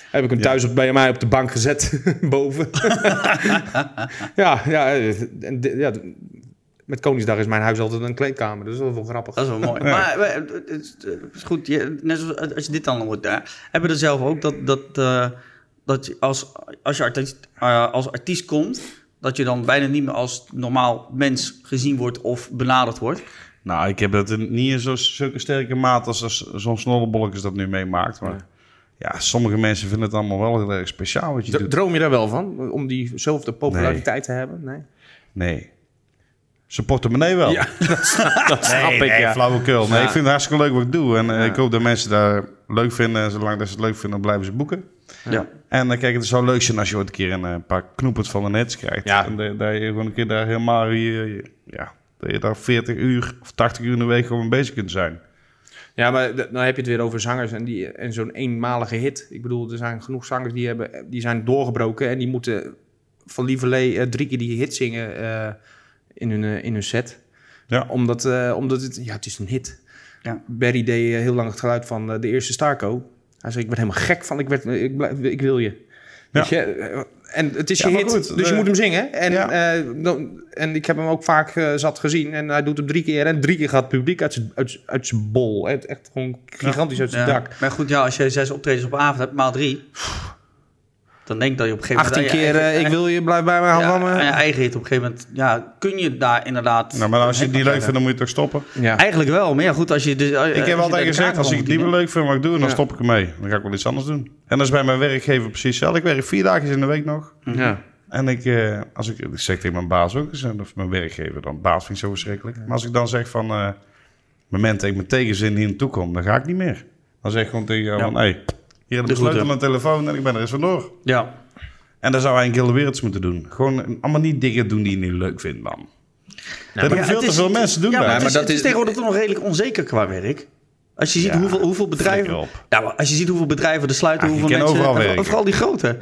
Heb ik hem thuis op, bij mij op de bank gezet, <laughs> boven. ja, ja, eh, en di- ja, d- met Koningsdag is mijn huis altijd een kleedkamer, dus dat is wel grappig.
Dat is wel mooi. Maar eh, het is- het is goed, je, net zoals als je dit dan hoort, hè, hebben we er zelf ook dat, dat, eh, dat je als, als je artiest, eh, als artiest komt, dat je dan bijna niet meer als normaal mens gezien wordt of benaderd wordt.
Nou, ik heb dat in- niet in zo, zulke sterke mate als, als zo'n snorrebolletjes dat nu meemaakt. Maar ja. sommige mensen vinden het allemaal wel heel erg speciaal wat je
Dro-
doet.
Droom je daar wel van, om diezelfde populariteit te hebben? Nee.
Nee. Zijn portemonnee wel.
Ja, dat snap
nee,
ik,
nee,
ja.
flauwekul. Nee,
Ja.
ik vind het hartstikke leuk wat ik doe. En eh, ik hoop dat mensen daar leuk vinden. En zolang dat ze het leuk vinden, dan blijven ze boeken.
Ja.
En dan kijk, het zou leuk zijn als je ooit een keer een eh, paar knoepert van de nets krijgt.
Ja.
En de- dat je gewoon een keer daar helemaal... Je, je- ja, dat je daar 40 uur of 80 uur in de week gewoon mee bezig kunt zijn.
Ja, maar d- dan heb je het weer over zangers en, die, en zo'n eenmalige hit. Ik bedoel, er zijn genoeg zangers die, hebben, die zijn doorgebroken en die moeten van lieverlee eh, drie keer die hit zingen eh, in, hun, eh, in hun set.
Ja.
Omdat, eh, omdat het, ja, het is een hit.
Ja.
Barry deed eh, heel lang het geluid van eh, de eerste Starco. Hij zei, ik werd helemaal gek van, ik, werd, ik, blijf- ik wil je. Weet je? eh,
En het is
Ja,
je
maar
hit,
goed,
dus je
de-
moet hem zingen. En,
Ja.
eh, dan, en ik heb hem ook vaak eh, zat gezien. En hij doet hem drie keer. En drie keer gaat het publiek uit zijn- uit zijn- uit zijn bol. Het- echt gewoon gigantisch uit zijn
Ja.
dak.
Maar goed, ja, als je zes optredens op een avond hebt, maal drie. Dan denk ik dat je op een gegeven
18
moment... aan je
keer,
eigen-
eh, ik wil je, blijf bij mij, hou
ja,
van me.
aan je eigen hit op een gegeven moment. Ja, kun je daar inderdaad...
Nou, maar als je het niet leuk vindt, dan moet je toch stoppen.
Ja.
Eigenlijk wel, maar ja goed, als je... Dus,
Ik heb altijd gezegd, als ik het niet meer leuk vind wat ik doe, dan stop ik ermee. Dan ga ik wel iets anders doen. En dat is bij mijn werkgever precies hetzelfde. Ik werk vier dagen in de week nog.
Ja.
En ik, eh, als ik, ik zeg tegen mijn baas ook eens, en of mijn werkgever dan, baas vind ik zo verschrikkelijk. Maar als ik dan zeg van, eh, op het moment dat ik mijn tegenzin hier naartoe kom, dan ga ik niet meer. Dan zeg ik gewoon tegen jou
Ja.
van, hé, hey, hier heb ik de
Doe goed,
sleutel
hè.
en de telefoon en ik ben er eens vandoor.
Ja,
En dat zou eigenlijk heel de wereld eens moeten doen. Gewoon eh, allemaal niet dingen doen die je niet leuk vindt, man. dat
Ja,
doen veel
het
te
is-
veel mensen doen
ja,
bij.
maar het,
maar
is,
dat
het is
is-
tegenwoordig toch nog redelijk onzeker qua werk. Als je ziet
Ja,
hoeveel, hoeveel
flikker
bedrijven...
op.
Ja, maar als je ziet hoeveel bedrijven er sluiten,
Ja, je
hoeveel
kan
mensen...
overal
en
werken.
Vooral die grote.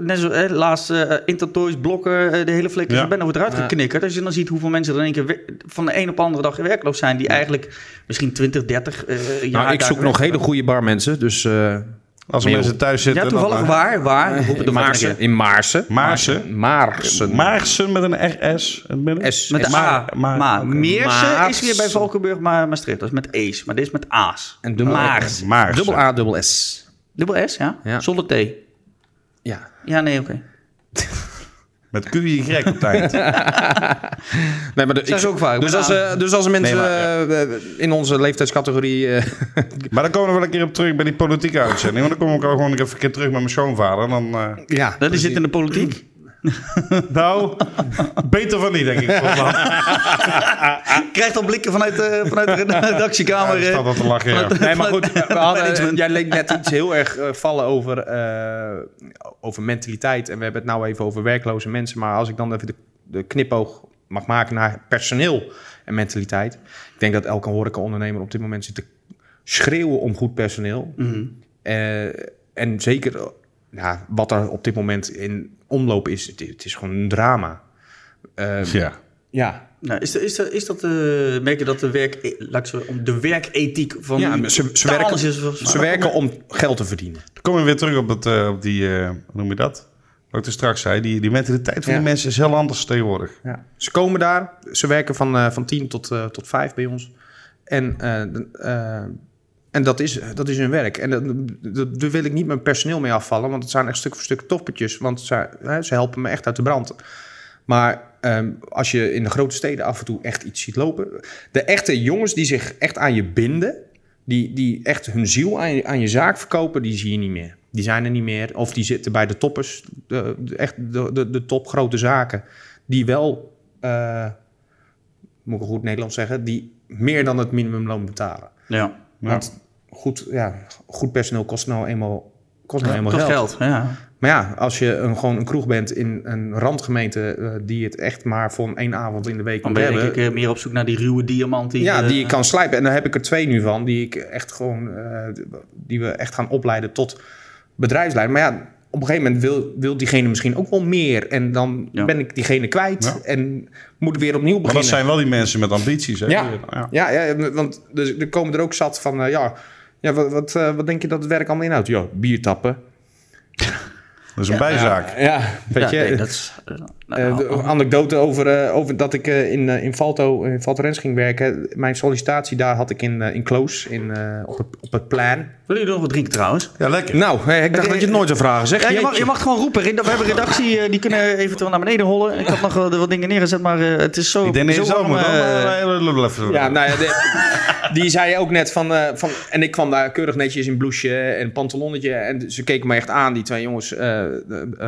Net zo, hè, laatst eh, Intertoys, Blokker, eh, de hele flikker.
Ja.
Ik ben over eruit geknikkerd. Als je dan ziet hoeveel mensen er in één keer we- van de een op de andere dag werkloos zijn... die eigenlijk misschien 20, 30 eh, jaar...
Nou, ik
daar
zoek nog hele goede barmensen. Dus eh
Als
Mail.
mensen thuis zitten...
Ja,
dan,
toevallig
eh,
waar, waar. Roep het
in
nog maar
Maarsen. In Maarsen.
Maarsen.
Maarsen.
Maarsen met een RS in het midden.
S.
Met de
S.
A.
maar-
Maar,
oké.
Meersen is
Maarsen.
weer bij Valkenburg, maar Maastricht. Dat is met E's. Maar dit is met A's.
En dubbel
Maars.
Maarsen.
Dubbel A, dubbel S.
Dubbel S, ja?
Ja.
Zonder T.
Ja.
Ja, nee, oké.
Met QY op het eind.
Nee, maar de,
Zijn ze ook vaak,
Dus
met
als,
A.
eh, dus als er mensen
Nee, maar,
eh, eh, in onze leeftijdscategorie... eh,
Maar dan komen we wel een keer op terug bij die politieke uitzending. Want dan kom ik al gewoon even een keer terug met mijn schoonvader. Dan, eh,
ja.
Dat is zit in de politiek.
Nou, beter van niet, denk ik. voor Vlaanderen. <laughs>
Krijgt al blikken vanuit, eh, vanuit de <laughs>
Ja,
redactiekamer.
ik sta
eh.
wel te lachen, ja.
Nee, maar goed, we hadden, eh,
Management.
jij leek net iets heel erg eh, vallen over, eh, over mentaliteit. En we hebben het nou even over werkloze mensen. Maar als ik dan even de, de knipoog mag maken naar personeel en mentaliteit. Ik denk dat elke horecaondernemer op dit moment zit te schreeuwen om goed personeel.
Mhm.
Eh, en zeker eh, ja, wat er op dit moment in omloop is. Het, het is gewoon een drama. Eh,
Dus Ja.
ja,
Nou, is, de- is, de- is dat, eh merk je dat de, werk, eh, laat ik zo, om de werkethiek van
Ja, maar ze- ze
totaal
werken-
anders is volgens
ze
mij?
werken om geld te verdienen.
Dan komen we weer terug op, het, eh, op die, eh, hoe noem je dat? Wat ik er straks zei, die, die mentaliteit van
Ja.
die mensen is heel anders tegenwoordig.
Ja. Ze komen daar, ze werken van, eh, van 10 tot, eh, tot 5 bij ons. En, eh, d- eh, en dat, is, dat is hun werk. En dat- dat- daar wil ik niet mijn personeel mee afvallen, want het zijn echt stuk voor stuk toppertjes. Want ze, hè, ze helpen me echt uit de brand. Maar ehm, als je in de grote steden af en toe echt iets ziet lopen. De echte jongens die zich echt aan je binden, die, die echt hun ziel aan je, aan je zaak verkopen, die zie je niet meer. Die zijn er niet meer. Of die zitten bij de toppers, de, de- echt de, de, de topgrote zaken. Die wel, eh, moet ik goed Nederlands zeggen, die meer dan het minimumloon betalen.
Ja,
Want goed, ja, goed personeel kost nou eenmaal, kost nou eenmaal
toch
geld.
geld. Ja.
Maar ja, als je een, gewoon een kroeg bent in een randgemeente eh, die het echt maar van één avond in de week
Dan
moet
ben je
hebben.
denk ik eh, meer op zoek naar die ruwe diamant. Die,
ja,
eh,
die je kan slijpen. En daar heb ik er twee nu van, die ik echt gewoon, eh, die we echt gaan opleiden tot bedrijfsleider. Maar ja, op een gegeven moment wil, wil diegene misschien ook wel meer. En dan
Ja.
ben ik diegene kwijt
Ja.
en moet weer opnieuw
Maar
beginnen.
dat zijn wel die mensen met ambities. Hè?
Ja.
ja.
Ja, ja, want dus er, er komen er ook zat van, eh, ja, ja wat, wat, eh, wat denk je dat het werk allemaal inhoudt? Ja, bier tappen.
Dat is een bijzaak.
Ja, weet
ja,
je.
nee, dat is, eh, nou,
Eh, de anekdote over, eh, over dat ik eh, in, eh, in Valto, in Valto Rens ging werken. Mijn sollicitatie daar had ik in, eh, in Kloos, in, eh, op, het, op het plan.
Willen jullie nog wat drinken trouwens?
Ja, lekker.
Nou, hé, ik dacht dat je het nooit zou vragen, zeg.
Ja, je, mag,
Jeetje.
je mag gewoon roepen. Red- We hebben redactie, eh, die kunnen eventueel naar beneden hollen. Ik had nog wel wat dingen neergezet, maar eh, het is zo...
ik denk dat
zo
je zo
warm,
moet.
eh,
Ja, nou ja, de- die zei ook net van, eh, van... En ik kwam daar keurig netjes in blouseje en een pantalonnetje. En ze keken me echt aan, die twee jongens. eh, eh,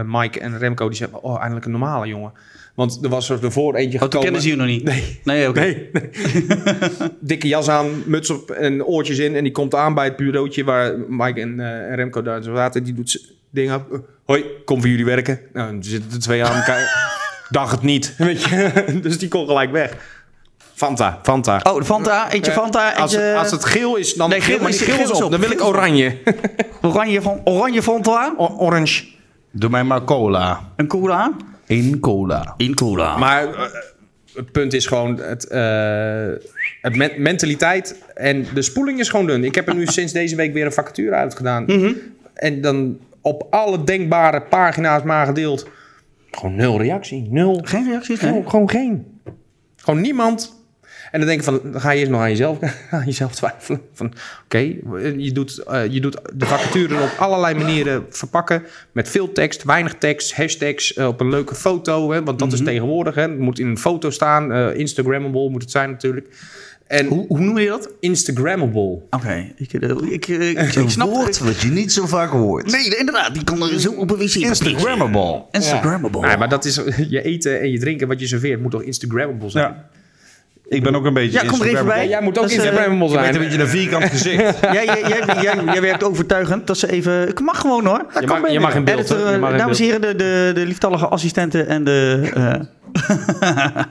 Mike en Remco, die zeiden... Oh, eindelijk een normale jongen. Want er was er voor eentje
Oh, toen
gekomen.
kennen ze je nog niet?
Nee.
Nee, oké.
Nee. <laughs> Dikke jas aan, muts op en oortjes in. En die komt aan bij het bureautje waar Mike en, eh, en Remco daar zo zaten. Die doet z'n ding op. Eh, Hoi, kom voor jullie werken. Nou, dan zitten de twee
<laughs>
aan elkaar. Dag het niet. Weet je? <laughs> Dus die kon gelijk weg. Fanta, Fanta.
Oh, de Fanta. Eentje Fanta,
als,
eentje
als het geel is, dan
Nee,
eh, geel, maar
is-
die geel
geel
is
is
op.
op.
Dan wil ik oranje.
oranje, van, oranje Fanta.
O- orange.
Doe mij maar cola.
Een cola.
In cola.
In cola.
<laughs> Maar eh, het punt is gewoon het, eh, het men- mentaliteit Mhm. en de spoeling is gewoon dun. Ik heb er nu sinds deze week weer een vacature uit gedaan. En dan op alle denkbare pagina's maar gedeeld. Gewoon nul reactie. Nul.
Geen reacties, nee.
Gewoon, gewoon geen. Gewoon niemand. En dan denk ik van, dan ga je eerst nog aan jezelf, <laughs> aan jezelf twijfelen. Van, oké, je, doet, eh, je doet de vacature op allerlei manieren verpakken. Met veel tekst, weinig tekst, hashtags, eh, op een leuke foto. Hè, want dat is tegenwoordig. Hè, het moet in een foto staan. eh Instagrammable moet het zijn natuurlijk. En hoe, hoe noem je dat? Instagrammable.
Oké, ik, eh, ik, eh, ik, ik snap
woord wat je niet zo vaak hoort.
Nee, inderdaad, die kan er zo op een wc
Instagrammable.
Instagrammable.
Nee, maar dat is <laughs> je eten en je drinken wat je serveert moet toch Instagrammable zijn?
Ja. Ik ben ook een beetje
Ja, kom er even bij.
Ja, jij moet ook
Dat is, eh,
Instagrammable
Je bent
zijn.
een beetje een vierkant
<laughs>
gezicht.
jij, jij, jij, jij, jij werkt overtuigend dat ze even... Het mag gewoon hoor. Dat kan
Je mag- je
benen.
mag in beeld,
Editor, eh,
hè? Je mag in
dames en heren, de, de, de lieftallige assistenten en de... eh, <laughs>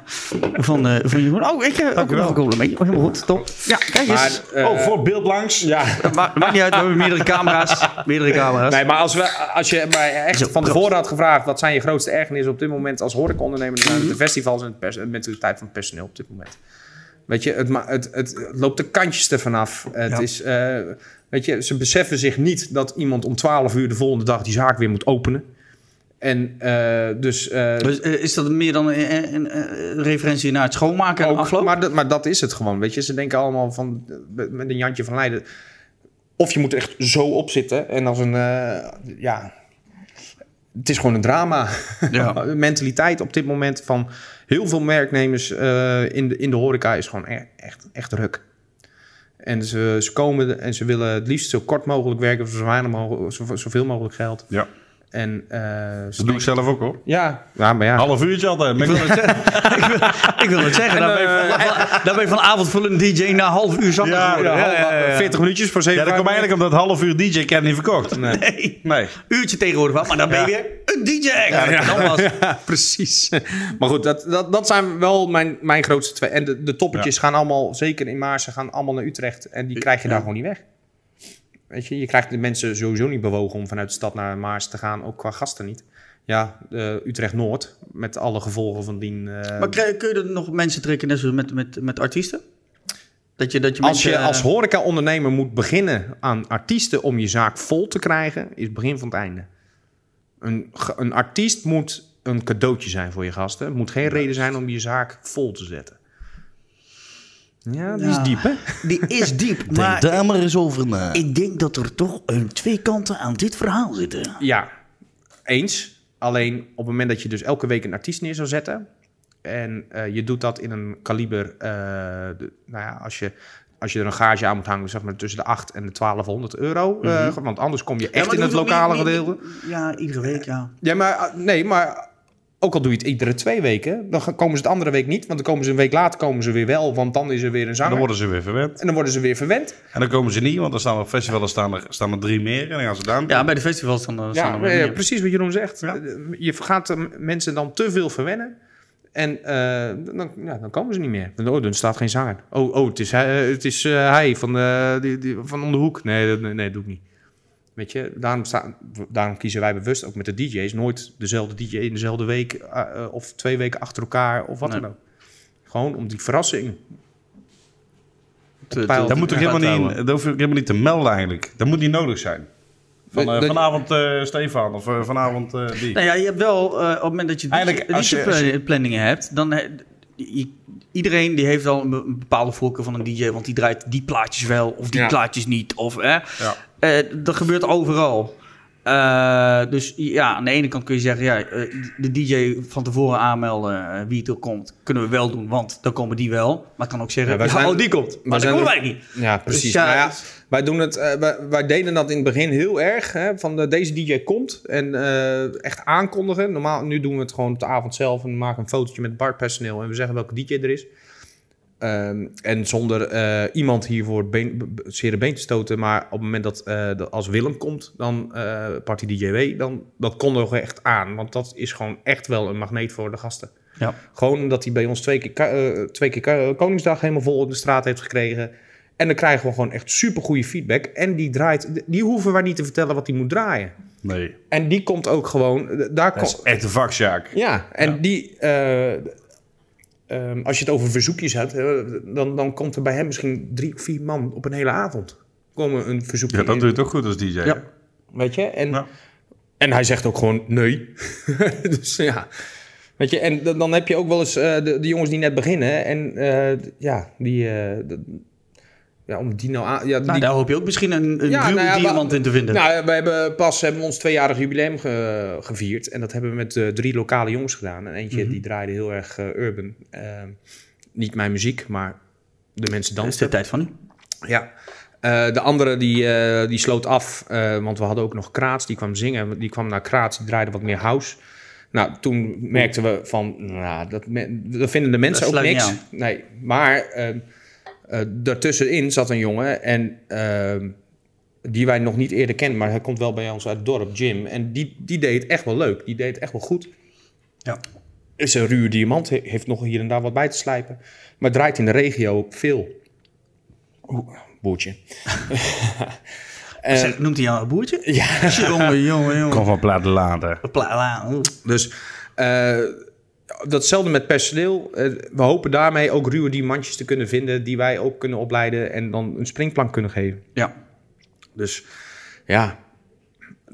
van, eh van Jeroen. Oh, ik heb ook nog een complimentje. Oh, helemaal goed, top. Ja, kijk eens.
Maar, eh,
voor beeld langs.
ja.
Ma- maakt niet uit, we hebben meerdere camera's. Meerdere camera's.
Nee, maar als, we, als je mij
Zo,
echt van
klopt.
tevoren had gevraagd... wat zijn je grootste ergernissen op dit moment als horecaondernemer... dan zijn het de festivals en het pers- en met de tijd van het personeel op dit moment. Weet je, het, ma- het, het loopt de kantjes er vanaf. Het is, eh, weet je, ze beseffen zich niet dat iemand om 12 uur de volgende dag die zaak weer moet openen. En eh, dus... eh,
Dus, eh, is dat meer dan een, een- een, eh, referentie naar het schoonmaken en
Ook,
afloop?
Maar, dat, maar dat is het gewoon, weet je. Ze denken allemaal van, eh, met een Jantje van Leiden... Of je moet er echt zo op zitten en als een, eh, ja... Het is gewoon een drama.
Ja.
<laughs> De mentaliteit op dit moment van heel veel werknemers eh, in, de, in de horeca is gewoon e- echt, echt druk. En ze, ze komen en ze willen het liefst zo kort mogelijk werken voor zo weinig mogelijk, zo- zoveel mogelijk geld.
Ja.
En, eh, ze
Dat Oh, doe ik
denken-
zelf ook hoor.
ja, ja, maar ja.
Half uurtje altijd. Maar ik wil
<laughs>
het
Ik wil het zeggen, dan ben, je <laughs> van, dan ben je van avondvullend DJ na half uur zakken
Ja,
geworden.
Ja,
ja, ja, ja.
40 minuutjes voor
ja,
7
dat komt eigenlijk omdat half uur DJ Ken niet verkocht. Nee.
Nee. uurtje tegenwoordig wat, maar dan ben je weer een DJ. Ja, was.
Precies. Maar goed, dat, dat, dat zijn wel mijn, mijn grootste twee. En de, de toppetjes gaan allemaal, zeker in Maarsen, gaan allemaal naar Utrecht. En die krijg je daar gewoon niet weg. Weet je, je krijgt de mensen sowieso niet bewogen om vanuit de stad naar Maarsen te gaan. Ook qua gasten niet. Ja, eh, Utrecht-Noord, met alle gevolgen van dien.
<laughs>
eh,
Maar krijg- kun je er nog mensen trekken, net zoals met, met, met artiesten? Dat je, dat je
als je
mensen,
als
eh,
horeca-ondernemer moet beginnen aan artiesten om je zaak vol te krijgen, is het begin van het einde. Een, ge- een artiest moet een cadeautje zijn voor je gasten. Het moet geen reden zijn om je zaak vol te zetten. Ja, die
Ja.
is diep, hè?
Die is <laughs> diep,
Denk
maar
daar maar eens over na.
ik denk dat er toch een twee kanten aan dit verhaal zitten.
Ja, eens. Alleen op het moment dat je dus elke week een artiest neer zou zetten... en eh, je doet dat in een kaliber... eh, de- nou ja, als je, als je er een gage aan moet hangen... zeg maar tussen de 8 en de 1200 euro. eh, want anders kom je echt in het lokale gedeelte.
Ja, iedere week, ja.
Ja, maar ah, nee, maar ook al doe je het iedere twee weken, dan gaan- komen ze de andere week niet, want dan komen ze een week later komen ze weer wel, want dan is er weer een
En
zanger.
dan worden ze weer verwend.
En dan worden ze weer verwend.
En dan komen ze niet, want dan staan er op festivals staan er, staan er drie meer. En dan gaan ze daar.
Ja, bij de festivals dan, dan staan
Ja,
er weer
eh,
meer.
precies wat Jeroen zegt.
Ja.
Eh, Je gaat eh, mensen dan te veel verwennen. En eh, dan, ja, dan komen ze niet meer. Dan- Oh, dan staat geen zanger. Oh, oh het is hij, eh, het is, eh, hij van, eh, die, die, van om de hoek. Nee, dat- nee, nee, dat doe ik niet. Weet je, daarom, staan, daarom kiezen wij bewust ook met de DJ's nooit dezelfde DJ in dezelfde week eh, eh, of twee weken achter elkaar of wat
Nee.
dan ook. Gewoon om die verrassing.
Te-
pijl.
te-
Dat moet toch
Ja,
helemaal niet,
trouwen.
dat hoef je ook helemaal niet te melden eigenlijk. Dat moet niet nodig zijn. Van, eh,
Dat-
vanavond eh, Stefan of eh, vanavond eh, die.
Nou ja, je hebt wel, eh, op het moment dat je
Eigenlijk, als je- als je-
DJ planningen hebt, dan he- i- iedereen die heeft al een be- een bepaalde voorkeur van een DJ, want die draait die plaatjes wel of die
Ja.
plaatjes niet. Of, hè. Eh, dat gebeurt overal. Eh, dus ja, aan de ene kant kun je zeggen, ja, eh, de DJ van tevoren aanmelden eh, wie het ook komt, kunnen we wel doen, want dan komen die wel. Maar het kan ook zeggen,
Ja,
ja,
wij zijn-
oh die komt, maar dan
zijn
komen
ook-
wij niet.
Ja, precies.
Dus ja,
Nou ja,
het is-
wij, doen het, eh, wij, wij deden dat in het begin heel erg. Hè, van eh, deze DJ komt en eh, echt aankondigen. Normaal, nu doen we het gewoon op de avond zelf. En we maken een fotootje met het barpersoneel. En we zeggen welke DJ er is. Ehm, en zonder eh, iemand hiervoor het been, b- b- zere been te stoten. Maar op het moment dat, eh, dat als Willem komt, dan eh party DJW, dan dat kon er ook echt aan. Want dat is gewoon echt wel een magneet voor de gasten.
Ja.
Gewoon omdat hij bij ons twee keer, ka- eh, twee keer ka- Koningsdag helemaal vol in de straat heeft gekregen. En dan krijgen we gewoon echt super goede feedback. En die draait, die hoeven wij niet te vertellen wat hij moet draaien.
Nee,
En die komt ook gewoon, daar
dat is
komt.
echt een vakzaak.
Ja, en die, eh, ehm, als je het over verzoekjes hebt, eh, dan, dan komt er bij hem misschien drie of vier man op een hele avond. Komen een verzoekje.
Ja, dat
in,
doe je toch goed als DJ.
Ja.
Weet je? En
Ja.
En hij zegt ook gewoon nee. <laughs> dus ja. Weet je, en dan, dan heb je ook wel eens eh, de, de jongens die net beginnen. En eh, d- ja, die. eh, d- ja, om die nou aan. Ja,
Nou,
die,
daar hoop je ook misschien een, een
Ja,
ruwe
nou ja,
diamant
wa-
in te vinden.
nou, ja, we hebben pas hebben we ons tweejarig jubileum ge- gevierd. En dat hebben we met eh, drie lokale jongens gedaan. En eentje
Mhm.
die draaide heel erg eh, urban. Ehm, niet mijn muziek, maar de mensen
dat is
dansen.
de tijd van nu.
Ja. Eh, de andere die, eh, die sloot af, eh, want we hadden ook nog Kraats, die kwam zingen. Die kwam naar Kraats, die draaide wat meer house. Nou, toen merkten we van, nou, dat, me- dat vinden de mensen ook
sluit niet
niks.
aan.
Nee, maar ehm, eh, daartussenin zat een jongen en ehm, die wij nog niet eerder kennen, maar hij komt wel bij ons uit het dorp, Jim. En die, die deed het echt wel leuk, die deed het echt wel goed.
Ja.
Is een ruwe diamant, he- heeft nog hier en daar wat bij te slijpen. Maar draait in de regio ook veel. Oeh, boertje. Eh,
Zeg, noemt hij jou een boertje?
<laughs> ja,
<laughs> jongen, jongen, jongen.
Kom van plaat later.
Pla- la- oeh.
dus eh, datzelfde met personeel. Eh, we hopen daarmee ook ruwe diamantjes te kunnen vinden die wij ook kunnen opleiden en dan een springplank kunnen geven.
Ja.
Dus ja,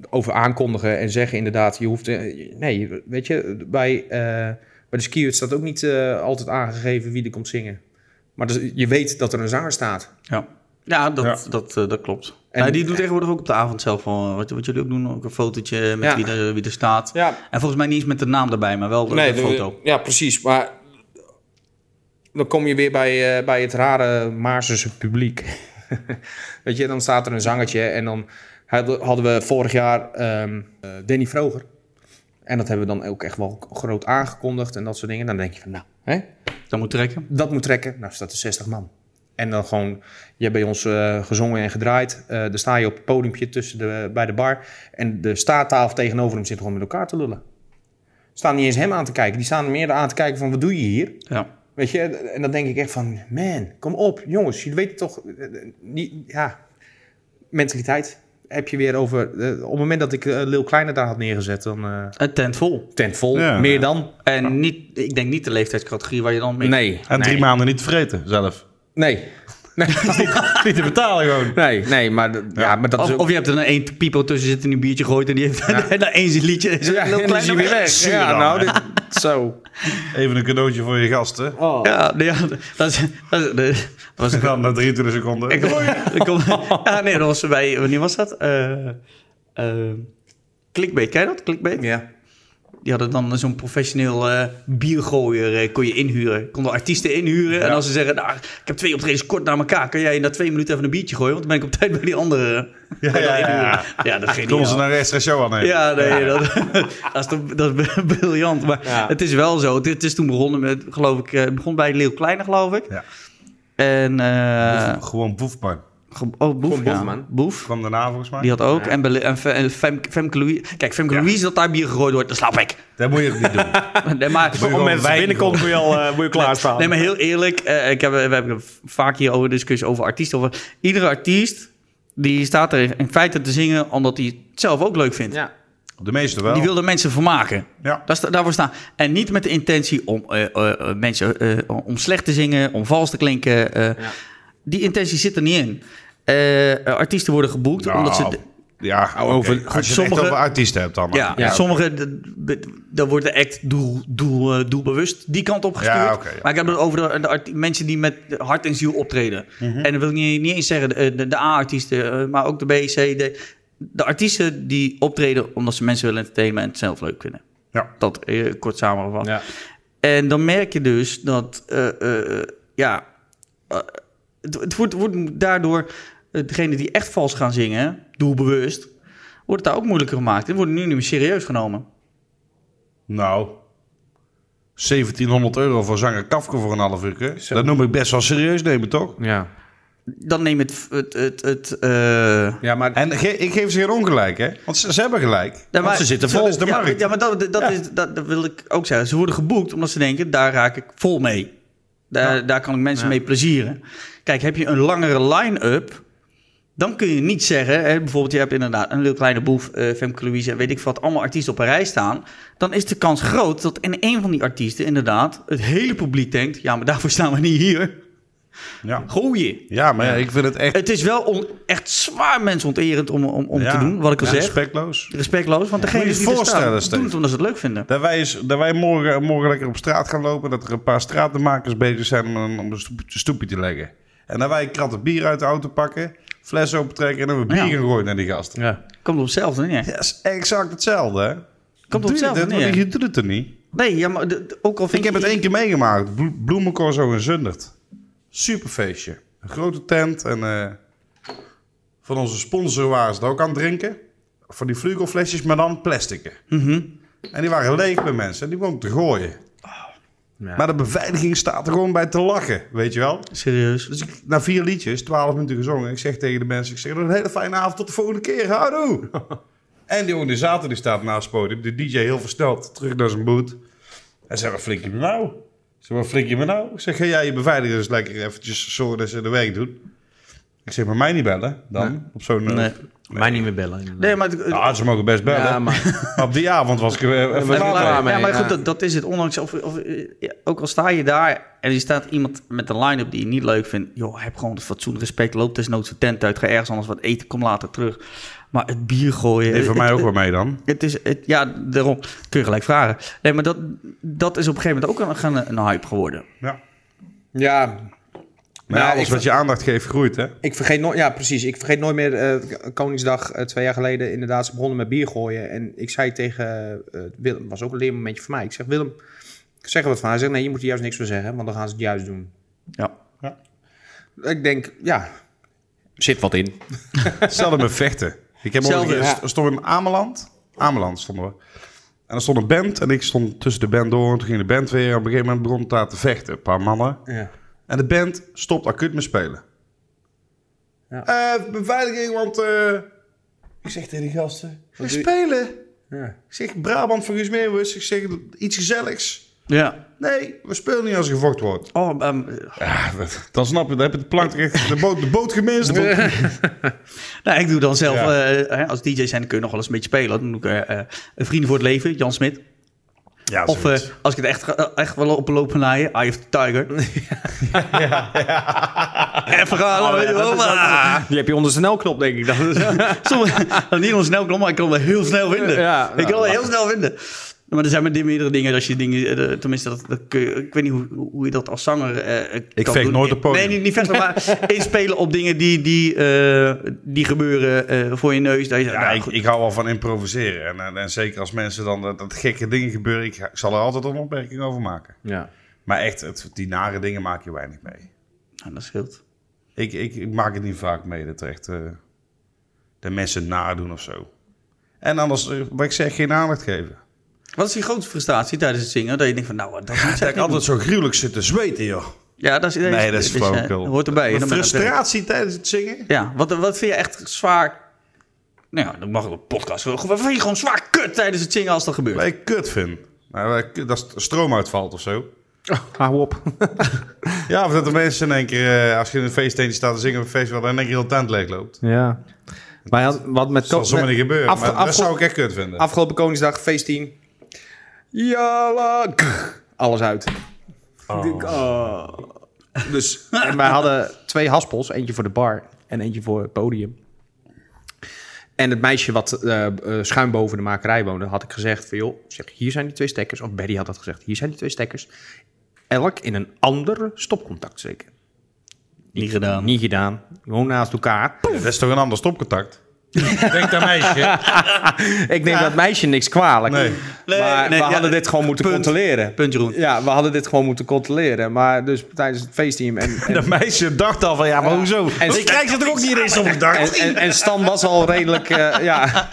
over aankondigen en zeggen inderdaad, je hoeft... eh, Nee, weet je, bij, eh, bij de skiers staat ook niet eh, altijd aangegeven wie er komt zingen. Maar dus, je weet dat er een zanger staat.
Ja, ja, dat, Dat, eh, dat klopt.
En-
Nee, die doet tegenwoordig ook op de avond zelf wel, eh, wat, wat jullie ook doen, ook een fotootje met
Ja.
wie, er, wie er staat.
Ja,
En volgens mij niet eens met de naam erbij, maar wel de,
nee,
de
de-
foto.
Ja, precies. Maar dan kom je weer bij, eh, bij het rare Maarsense publiek. <laughs> Weet je, dan staat er een zangertje en dan hadden hadden we vorig jaar ehm, eh, Danny Vroger. En dat hebben we dan ook echt wel groot aangekondigd en dat soort dingen. Dan denk je van, nou, hè,
Dat moet trekken.
dat moet trekken. Nou, staat er 60 man. En dan gewoon, je hebt bij ons eh, gezongen en gedraaid. Eh dan sta je op het podiumpje tussen de, bij de bar. En de staattafel tegenover hem zit gewoon met elkaar te lullen. Staan niet eens hem aan te kijken. Die staan meer aan te kijken van, wat doe je hier?
Ja.
Weet je, en dan denk ik echt van, man, kom op, jongens, jullie weten toch, eh, eh, niet, ja, mentaliteit heb je weer over. eh, op het moment dat ik eh, Lil Kleine daar had neergezet, dan eh,
Het tent vol.
tent vol,
Ja.
meer dan.
En niet, ik denk niet de leeftijdscategorie waar je dan mee...
Nee,
En
nee,
drie maanden niet te vreten zelf.
Nee.
<laughs>
Nee,
Niet te betalen gewoon.
nee, nee, maar, d- ja, maar dat is
Of,
ook...
of je hebt er dan één piepo tussen zitten die een biertje gooit en die heeft <laughs> en dan één zijn liedje. Is
<laughs> ja,
heel
en dan
klein
is hij
nog-
weer weg.
Zie je
Ja,
dan,
nou, dit- zo.
Even een cadeautje voor je gasten.
Oh.
Ja, nee, ja, dat is... Dat is, dat was
En dan na 23 seconden.
Ik ik <laughs> kom, ja, nee, dat was bij... Wanneer was dat? Eh eh, clickbait, ken je dat? Clickbait?
Ja.
Die hadden dan zo'n professioneel eh, biergooier, eh, kon je inhuren. Konden artiesten inhuren. En als ze zeggen, nou, ik heb twee optredens kort na elkaar. Kan jij in na twee minuten even een biertje gooien? Want dan ben ik op tijd bij die andere. eh, Ja,
ja, ja.
ja dat ging
Kom ze
niet.
naar een extra show aan. nemen.
Ja, nee, Dat, <laughs> dat, is toch, dat is <laughs> briljant. Maar
Ja.
het is wel zo. Het, het is toen begonnen met, geloof ik, eh, het begon bij Leeuw Kleine, geloof ik.
Ja.
En, eh,
Gewoon boefpan.
ge- oh, Boef,
Gewoon Boef,
ja.
man.
Boef.
Kwam daarna volgens mij.
Die had ook. En, Bele- en, Fe- en Femke, Femke Louise. Kijk, Femke Louise, dat daar bier gegooid wordt, dan slaap ik.
Dat moet je ook niet doen.
<laughs> Nee, maar,
Op het moment dat ze binnenkomt moet je al eh, moet je klaarstaan.
Nee, maar heel eerlijk, eh, ik heb, we hebben vaak hier over discussie over artiesten. Over, iedere artiest die staat er in feite te zingen omdat hij het zelf ook leuk vindt.
Ja.
De meeste wel.
Die wil er mensen vermaken.
Ja.
Daar sta- daarvoor staan. En niet met de intentie om eh, eh, eh, mensen eh, om slecht te zingen, om vals te klinken. eh. Die intentie zit er niet in. Eh, artiesten worden geboekt
Nou,
omdat ze. Oh,
Ja,
over-
over, als je het echt
sommige-
over artiesten hebt dan.
Ja,
Ja.
sommige, dan wordt de act doel, doel, eh, doelbewust die kant op gestuurd.
Ja, oké, ja.
Maar ik heb het over de, de arti- mensen die met hart en ziel optreden.
Mhm.
En dat wil ik niet, niet eens zeggen, de, de, de A-artiesten, eh, maar ook de B, C, D. De artiesten die optreden omdat ze mensen willen entertainen en het zelf leuk vinden.
Ja.
Dat eh, kort samengevat.
Ja.
En dan merk je dus dat, eh, eh, ja, eh, het, het wordt, wordt daardoor, eh, degene die echt vals gaan zingen, doelbewust, wordt het daar ook moeilijker gemaakt. En worden nu niet meer serieus genomen.
Nou, 1700 euro voor zanger Kafka voor een half uur. hè? Dat noem ik best wel serieus nemen, toch?
Ja.
Dan neem het, het, het, het eh,
ja, maar
En ge- ik geef ze geen ongelijk, hè? Want ze, ze hebben gelijk.
Ja, maar-
Want ze zitten
zo-
vol. Dat is de
ja,
markt.
Ja, maar dat, dat, Is, dat, dat wil ik ook zeggen. Ze worden geboekt omdat ze denken, daar raak ik vol mee. Daar, daar kan ik mensen mee plezieren. Kijk, heb je een langere line-up, dan kun je niet zeggen... Hè, bijvoorbeeld, je hebt inderdaad een heel kleine boef, eh, Femke Louise... en weet ik wat, allemaal artiesten op een rij staan. Dan is de kans groot dat in één van die artiesten inderdaad... het hele publiek denkt, ja, maar daarvoor staan we niet hier.
Ja.
Gooien.
Ja, maar ja, ik vind het echt
Het is wel on- echt zwaar mensonterend om, om, om te
ja,
doen, wat ik al
ja,
zeg.
respectloos.
Respectloos, want degene
Moet je
die
je
er staan,
voorstellen,
doen het
Steve?
omdat ze het leuk vinden.
Dat wij, eens- dat wij morgen, morgen lekker op straat gaan lopen. Dat er een paar stratenmakers bezig zijn om een, om een stoep- stoepje te leggen. En dat wij een krat bier uit de auto pakken, fles opentrekken en dan weer bier
Ja.
in gooien naar die gasten.
Ja.
Komt op hetzelfde neer.
Dat is exact hetzelfde, hè?
Komt op
Doe je
hetzelfde
dit? Want
neer.
Je doet het er niet.
Nee, ja, maar de- de- ook al vind
Ik heb het één keer meegemaakt. Blo- Bloemencorso in Zundert. Superfeestje. Een grote tent en eh, van onze sponsor waren ze het ook aan het drinken. Van die flugelflesjes, maar dan plasticen. En die waren leeg bij mensen en die begonnen te gooien. Maar de beveiliging staat er gewoon bij te lachen, weet je wel.
Serieus.
Dus ik, na vier liedjes, twaalf minuten gezongen, ik zeg tegen de mensen, ik zeg een hele fijne avond, tot de volgende keer, houdoe. en die organisator die staat naast het podium, de DJ heel versneld, terug naar zijn boot. Hij zegt, wat flink je me nou? Ik zeg, wat flink je me nou? Ik zeg, ga jij je beveiligers lekker eventjes zorgen dat ze de werk doen? Ik zeg, maar mij niet bellen, dan, op zo'n... eh,
Nee.
Mij niet meer bellen.
Nee, maar, het- het-
Nou, ze mogen best bellen.
Ja, maar
Maar <laughs> op die avond was ik eh, even
Even
laat.
klaar.
ja,
mee,
maar
ja.
goed, dat, dat is het. Ondanks, of, of, eh, ja, ook al sta je daar en er staat iemand met een line-up die je niet leuk vindt. Joh, heb gewoon het fatsoen, respect. Loop desnoods de tent uit. Ga ergens anders wat eten. Kom later terug. Maar het bier gooien.
Nee, voor
het-
mij ook
het-
wel mee dan.
Het is, het, ja, daarom kun je gelijk vragen. Nee, maar dat, dat is op een gegeven moment ook een, gaan een, hype geworden.
Ja.
Ja,
Maar
Nou,
ja, alles
ik-
wat je aandacht geeft groeit, hè?
Ik vergeet nooit, ja precies, ik vergeet nooit meer eh, K- Koningsdag eh, twee jaar geleden. Inderdaad, ze begonnen met bier gooien. En ik zei tegen eh, Willem, was ook een leermomentje voor mij. Ik zeg, Willem, zeg er wat van. Hij zegt, nee, je moet er juist niks van zeggen, want dan gaan ze het juist doen.
Ja.
Ja.
Ik denk, ja, zit wat in.
Hetzelfde met vechten. Ik heb
Hetzelfde,
ooit een keer-
ja.
stond in Ameland. Ameland stonden we. En er stond een band en ik stond tussen de band door. En toen ging de band weer. En op een gegeven moment begon het daar te vechten. Een paar mannen.
Ja.
En de band stopt acuut met spelen.
Ja.
Eh, beveiliging, want... eh, Ik zeg tegen die gasten... We
doe je?
spelen.
Ja.
Ik zeg Brabant van Guusmeerwus. Dus Ik zeg iets gezelligs.
Ja.
Nee, we spelen niet als er gevochten wordt.
Oh, ehm,
Ja, dat- dan snap je, dan heb je de plank terecht, de boot, de boot gemist.
Nou, ik doe dan zelf,
Ja.
eh, hè, als DJ zijn, dan kun je nog wel eens een beetje spelen. Dan doe ik eh, eh, een Vrienden voor het Leven, Jan Smit.
Ja,
Of eh, als ik het echt, ga- echt wil oplopen naar je, Eye of the
<laughs>
Tiger. Even gaan,
Oh,
weet je wel. maar-
Ah, Die heb je onder zijn knop denk ik. Dat is,
<laughs>
Soms, <laughs> nou, niet ontsnel snel maar ik kan hem heel snel vinden.
Ja,
ik
nou,
kan hem heel snel vinden. Maar er zijn maar meerdere dingen. Als je dingen eh, de- tenminste, dat, dat kun je- ik weet niet hoe, hoe je dat als zanger. eh
Ik
kan
veeg
doen.
nooit op podium.
Nee, niet, niet verder, maar
<laughs>
inspelen op dingen die, die, eh, die gebeuren eh, voor je neus. Dat je, zegt,
Ja,
nou,
ik,
goed.
ik hou wel van improviseren. En, en, en zeker als mensen dan dat, dat gekke dingen gebeuren, ik, ik zal er altijd een opmerking over maken.
Ja.
Maar echt, het, die nare dingen maak je weinig mee.
Nou, dat scheelt.
Ik, ik, ik maak het niet vaak mee dat er echt eh, de mensen nadoen of zo. En anders, eh, wat ik zeg, geen aandacht geven.
Wat is die grote frustratie tijdens het zingen? Dat je denkt van, nou, dat moet
Dat
ik
ik altijd zo gruwelijk zit te zweten, joh.
Ja, dat is,
Nee, dat is
eh,
flauwekul.
Hoort erbij.
De
Dan ben je aan het werk.
frustratie tijdens het zingen?
Ja, wat, wat vind je echt zwaar... Nou ja, dan mag ik op podcast. Wat vind je gewoon zwaar kut tijdens het zingen als dat gebeurt?
Wat ik kut vind. Nou, wat ik kut- dat er stroom uitvalt of zo.
Hou op.
Ja, of dat de mensen in één keer, eh, als je in een feestteentje staat te zingen op een festival, dan in één keer heel de tent leeg loopt.
ja. Maar ja, wat met
Dat zal zomaar
met-
niet gebeuren.
af-
maar
af-
dat zou ik echt kut vinden.
Afgelopen Koningsdag, feestteam. Jala, kr, alles uit. Ik denk, ah. Dus, <laughs> en wij hadden twee haspels. Eentje voor de bar en eentje voor het podium. En het meisje wat eh, eh, schuin boven de makerij woonde, had ik gezegd van... joh, zeg, hier zijn die twee stekkers. Of Betty had dat gezegd. Hier zijn die twee stekkers. Elk in een ander stopcontact steken.
Niet gedaan.
Niet gedaan. Gewoon naast elkaar.
Ja, dat is toch een ander stopcontact? <laughs> Denk aan meisje.
Ik neem dat meisje niks kwalijk.
Nee.
Nee, nee,
maar we
ja, eh,
hadden dit gewoon moeten
punt.
controleren.
Punt, Jeroen.
Ja, we hadden dit gewoon moeten controleren. Maar dus tijdens het feestteam. En,
<laughs>
en,
Dat meisje dacht al van, ja, maar hoezo?
en-
Ik krijg ze toch ook niet eens op
en,
gedacht?
en, en Stan was al redelijk. eh, ja.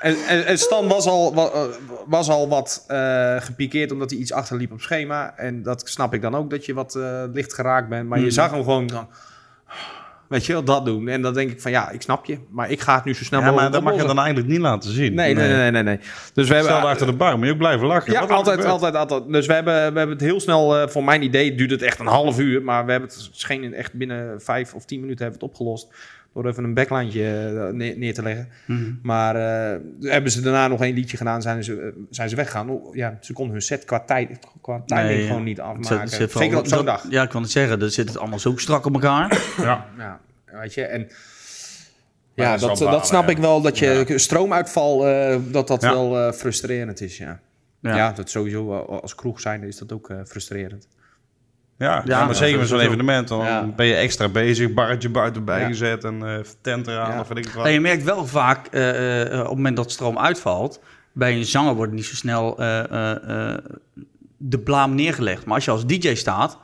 en, en, en Stan was al, wa- eh, was al wat eh gepikeerd omdat hij iets achterliep op schema. En dat snap ik dan ook, dat je wat eh, licht geraakt bent.
Hmm.
Maar je zag hem gewoon. dan, weet je wel, dat doen. En dan denk ik van ja, ik snap je. Maar ik ga het nu zo snel
Ja, maar
mogelijk.
dat mag je
oplossen.
dan eigenlijk niet laten zien.
Nee, nee, nee, nee, nee. nee. Dus we hebben.
Stel achter de bar, moet je ook blijven lachen.
Ja,
Wat er
altijd,
gebeurt.
altijd, altijd. Dus we hebben, we hebben het heel snel, eh, voor mijn idee duurde het echt een half uur, maar we hebben het scheen in echt binnen vijf of tien minuten hebben we het opgelost. Door even een backlandje eh, neer, neer te leggen.
Mhm.
Maar eh, hebben ze daarna nog één liedje gedaan, zijn ze, eh, zijn ze weggegaan. Oh, ja, ze konden hun set qua, tijd, qua timing
Nee, ja.
gewoon niet
Het
afmaken.
zit- zit vooral-
Zeker op zo'n
dat-
dag.
Ja, ik kan het zeggen. Dan zit het allemaal zo strak op elkaar.
Ja, weet je, en...
Maar
Ja,
dat is
dat,
wel
dat
balen,
snap
ja.
ik wel. Dat je stroomuitval, eh, dat dat
Ja.
wel eh, frustrerend is, ja.
Ja.
Ja. dat sowieso eh, als kroeg zijn is dat ook eh, frustrerend.
Ja,
Ja,
maar
dat
zeker met zo'n
sowieso.
evenement. Dan
Ja.
ben je extra bezig, barretje buiten
Ja.
bijgezet en eh, tent eraan
Ja.
of weet ik wat.
En je merkt wel vaak, eh, eh, eh, op het moment dat stroom uitvalt... bij een zanger wordt niet zo snel eh, eh, eh, de blaam neergelegd. Maar als je als DJ staat,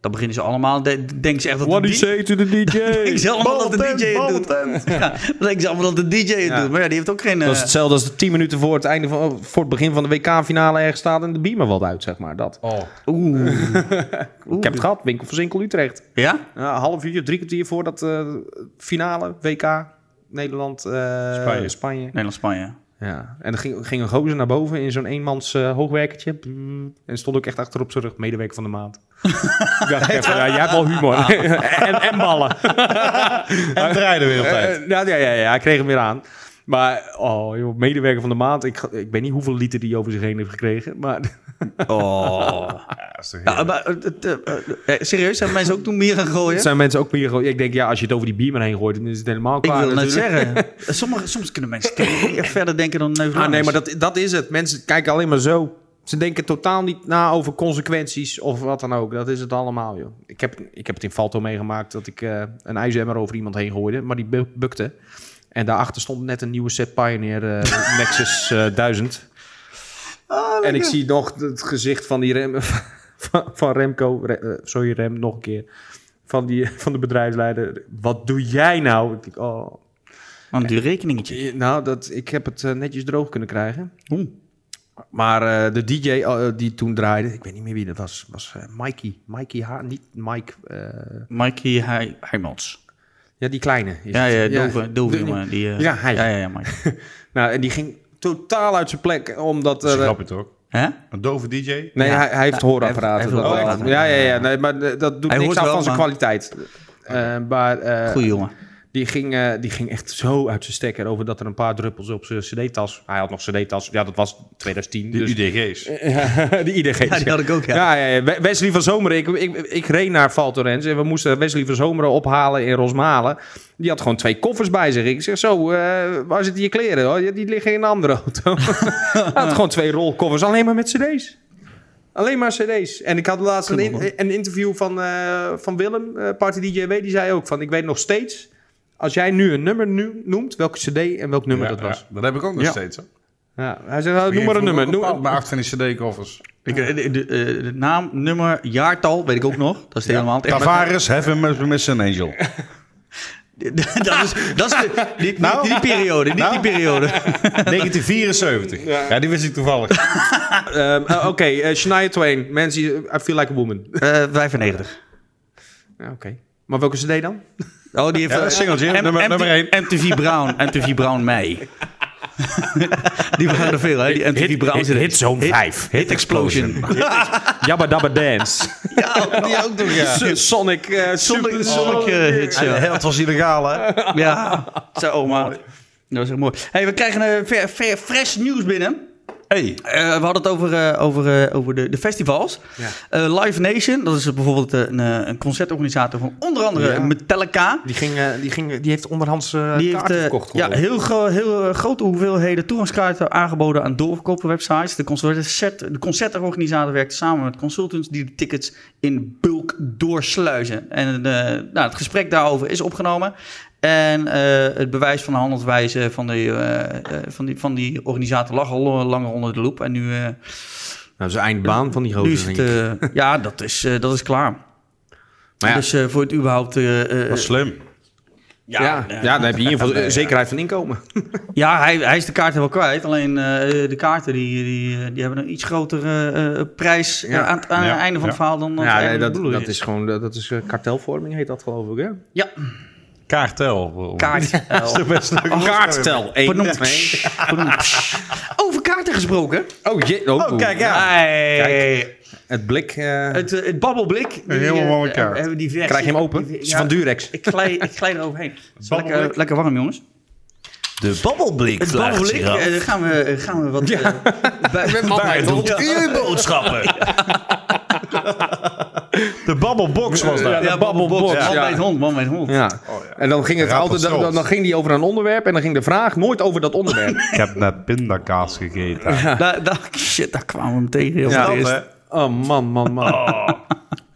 dan beginnen ze allemaal... de- denken ze echt dat de DJ...
to the
<laughs>
Denken
DJ?
ze allemaal dat de DJ het doet. <laughs> Ja, dan denken ze allemaal dat de DJ het
Ja.
doet. Maar ja, die heeft ook geen... eh,
dat is hetzelfde als tien minuten voor het, einde van, eh, voor het begin van de WK-finale ergens staat en de beamer wat uit, zeg maar. Dat.
Oh.
Oeh.
Ik heb het gehad, winkel voor zinkel Utrecht.
Ja?
Ja, een half uurtje, drie kwartier voor dat eh, finale, WK, Nederland, eh,
Spanje.
Spanje.
Nederland-Spanje.
Ja. En er ging, ging een gozer naar boven in zo'n eenmans eh, hoogwerkertje. Brrr. En stond ook echt achterop zijn rug, medewerker van de
<laughs>
maand. Ik dacht echt van, ja, jij hebt wel
Ah.
humor. <laughs> en, en ballen.
En draaien de hele
Eh,
tijd.
eh, nou, ja, ja, ja, hij kreeg hem weer aan. Maar, oh joh, medewerker van de maand. Ik, ga- ik weet niet hoeveel liter die over zich heen heeft gekregen. Maar <laughs>
Oh. Ja, maar, eh, het, eh, eh, serieus, hebben mensen ook toen bier gaan gooien?
het <laughs> zijn mensen ook meer... gewoon- Ik denk, ja, als je het over die bierman heen gooit, dan is het helemaal
Ik
klaar.
wil net
natuurlijk.
zeggen. <laughs> Sommige, soms kunnen mensen toch niet verder denken dan een
Ah, nee, maar dat, dat is het. Mensen kijken alleen maar zo. Ze denken totaal niet na over consequenties of wat dan ook. Dat is het allemaal, joh. Ik heb, ik heb het in Valto meegemaakt dat ik eh, een ijzermer over iemand heen gooide, maar die bu- bukte. En daarachter stond net een nieuwe set Pioneer eh, <laughs> Nexus eh, 1000. en ik zie nog het gezicht van die rem, <laughs> van, van Remco, Re- eh, sorry Rem, nog een keer. Van, die, <laughs> van de bedrijfsleider. Wat doe jij nou? Ik denk, oh,
Een duur rekeningetje.
ja, Nou, dat, ik heb het eh, netjes droog kunnen krijgen.
Oeh.
Maar eh, de DJ eh, die toen draaide, ik weet niet meer wie dat was, was eh, Mikey. Mikey H, niet Mike. eh,
Mikey Hij- Heimans.
ja, die kleine. is
Ja,
het.
ja, dove, dove
de-
jongen. Die, eh,
Ja, hij.
Ja, ja, ja, Mike.
Nou, en die ging totaal uit zijn plek, omdat...
Dat is
eh,
grappig toch?
Hè?
Een dove DJ?
nee,
Ja.
hij, hij heeft
Ja, hij
hoorapparaten.
heeft- hij heeft
dat wel.
hoorapparaten.
ja, ja, ja. Nee, maar eh, dat doet
Hij
niks
hoort
af
wel,
van zijn
maar-
kwaliteit. Eh, maar eh,
Goeie jongen.
die ging, eh, die ging echt zo uit zijn stekker over dat er een paar druppels op zijn cd-tas... Hij had nog cd-tas, ja, dat was 2010.
Die
dus-
UDG's.
Ja, <laughs> die IDG's.
Ja, die had ik ook, ja.
Ja, ja, ja. We- Wesley van Zomeren, ik, ik, ik reed naar Valtorens en we moesten Wesley van Zomeren ophalen in Rosmalen. Die had gewoon twee koffers bij zich. Ik zeg zo, eh, waar zitten je kleren? Oh, ja, die liggen in een andere
<laughs>
auto. Hij had gewoon twee rolkoffers, alleen maar met cd's. Alleen maar cd's. En ik had laatst een, in- een interview van, eh, van Willem, eh Party DJW, die zei ook van, ik weet nog steeds, als jij nu een nummer nu noemt, welke cd en welk nummer
Ja,
dat was.
ja, dat heb ik ook nog
Ja.
steeds. Hoor.
Ja. Hij zei, nou, noem maar een nummer. Noem,
Maar acht van die CD-koffers.
Ik, eh, de, de, eh, de naam, nummer, jaartal weet ik ook nog. Dat is helemaal het echt.
Tavares, Heaven Must Be Miss an Angel.
<laughs> dat is, dat is de- die, die, die periode. Niet die periode.
1974. Ja. die wist ik toevallig.
Ehm, eh, Oké, eh, Shania Twain, Man's I Feel Like a
<laughs>
Woman. <laughs>
Eh 95.
Ja, Oké. Maar welke cd dan?
Oh, die heeft...
Ja,
eh,
dat singeltje,
M-
nummer,
MT-
nummer 1.
MTV Brown. MTV Brown <laughs> mei. die waren er veel, hè? Die MTV Brown. zitten.
Hitzone 5.
Hit Explosion.
<laughs> Jabba Dabba <laughs> Dance.
Die ook nog, ja.
Su- Sonic. eh,
Sonic,
Super-
Sonic eh, hits, ja.
Het was illegaal, hè?
<laughs> Ja, zo oma. Dat was echt mooi. Hey, we krijgen eh, ver, ver- fresh nieuws binnen.
Hey.
Eh, we hadden het over, eh, over, eh, over de, de festivals. Eh, Live Nation, dat is bijvoorbeeld een, eh, een concertorganisator van onder andere
Ja.
Metallica.
Die, ging, eh, die, ging, die heeft onderhands eh
Die heeft
kaarten
eh,
verkocht.
ja,
geloof ik.
heel, gro- heel eh, grote hoeveelheden toegangskaarten aangeboden aan doorverkoperwebsites. De, concert, de concertorganisator werkt samen met consultants die de tickets in bulk doorsluizen. En eh, nou, het gesprek daarover is opgenomen. En eh, het bewijs van de handelswijze van, de, eh, eh, van, die, van die organisator lag al eh, langer onder de loep. En nu, eh,
Nou, zijn eindbaan van die
nu is
gozer.
het...
denk ik.
eh, ja, dat is, eh, dat is klaar.
Maar ja.
Dus eh, voor het überhaupt... eh, eh,
Dat is slim.
ja, ja, dan heb je in ieder geval eh, zekerheid van inkomen.
Ja, hij, hij is de kaarten wel kwijt. Alleen eh, de kaarten die, die, eh, die hebben een iets grotere eh, prijs eh,
Ja.
aan, het- aan
Ja.
het einde van het verhaal dan dat
Ja, nee,
eigenlijk
dat,
de bedoeling
dat is gewoon dat dat is, eh, kartelvorming, heet dat geloof ik. Hè?
Ja,
Kaartel.
kaart.
<laughs>
eh,
Dat is de beste.
Oh, Kaartel. één,
Benoemd.
twee.
Over kaarten
Twente gesproken.
Oh, je, oh,
Oh, kijk, ja.
Het blik. eh,
Het, eh, het babbelblik. die,
helemaal
eh,
wel elkaar.
eh, hebben die versie-
krijg je hem open?
die-
Het is
ja,
van Durex.
Ik glij, ik glij
<laughs>
eroverheen. Het is wel
babbelblik.
eh, lekker, lekker warm, jongens.
De babbelblik.
Het
vraagt
babbelblik.
zich af.
eh, gaan, we, eh, gaan we wat... eh, bij-
<laughs>
bij-
Doet u <laughs> boodschappen?
De babbelbox was dat.
Ja, babbelbox. Man bij het hond, man bij het hond.
Ja. En dan ging, het
Raad
altijd,
dat
dan,
zelf.
dan, dan ging die over een onderwerp en dan ging de vraag nooit over dat onderwerp.
Ik heb net pindakaas gegeten.
Daar, daar, shit, daar kwamen we hem tegen. heel
Ja.
voor het eerst.
oh man, man, man.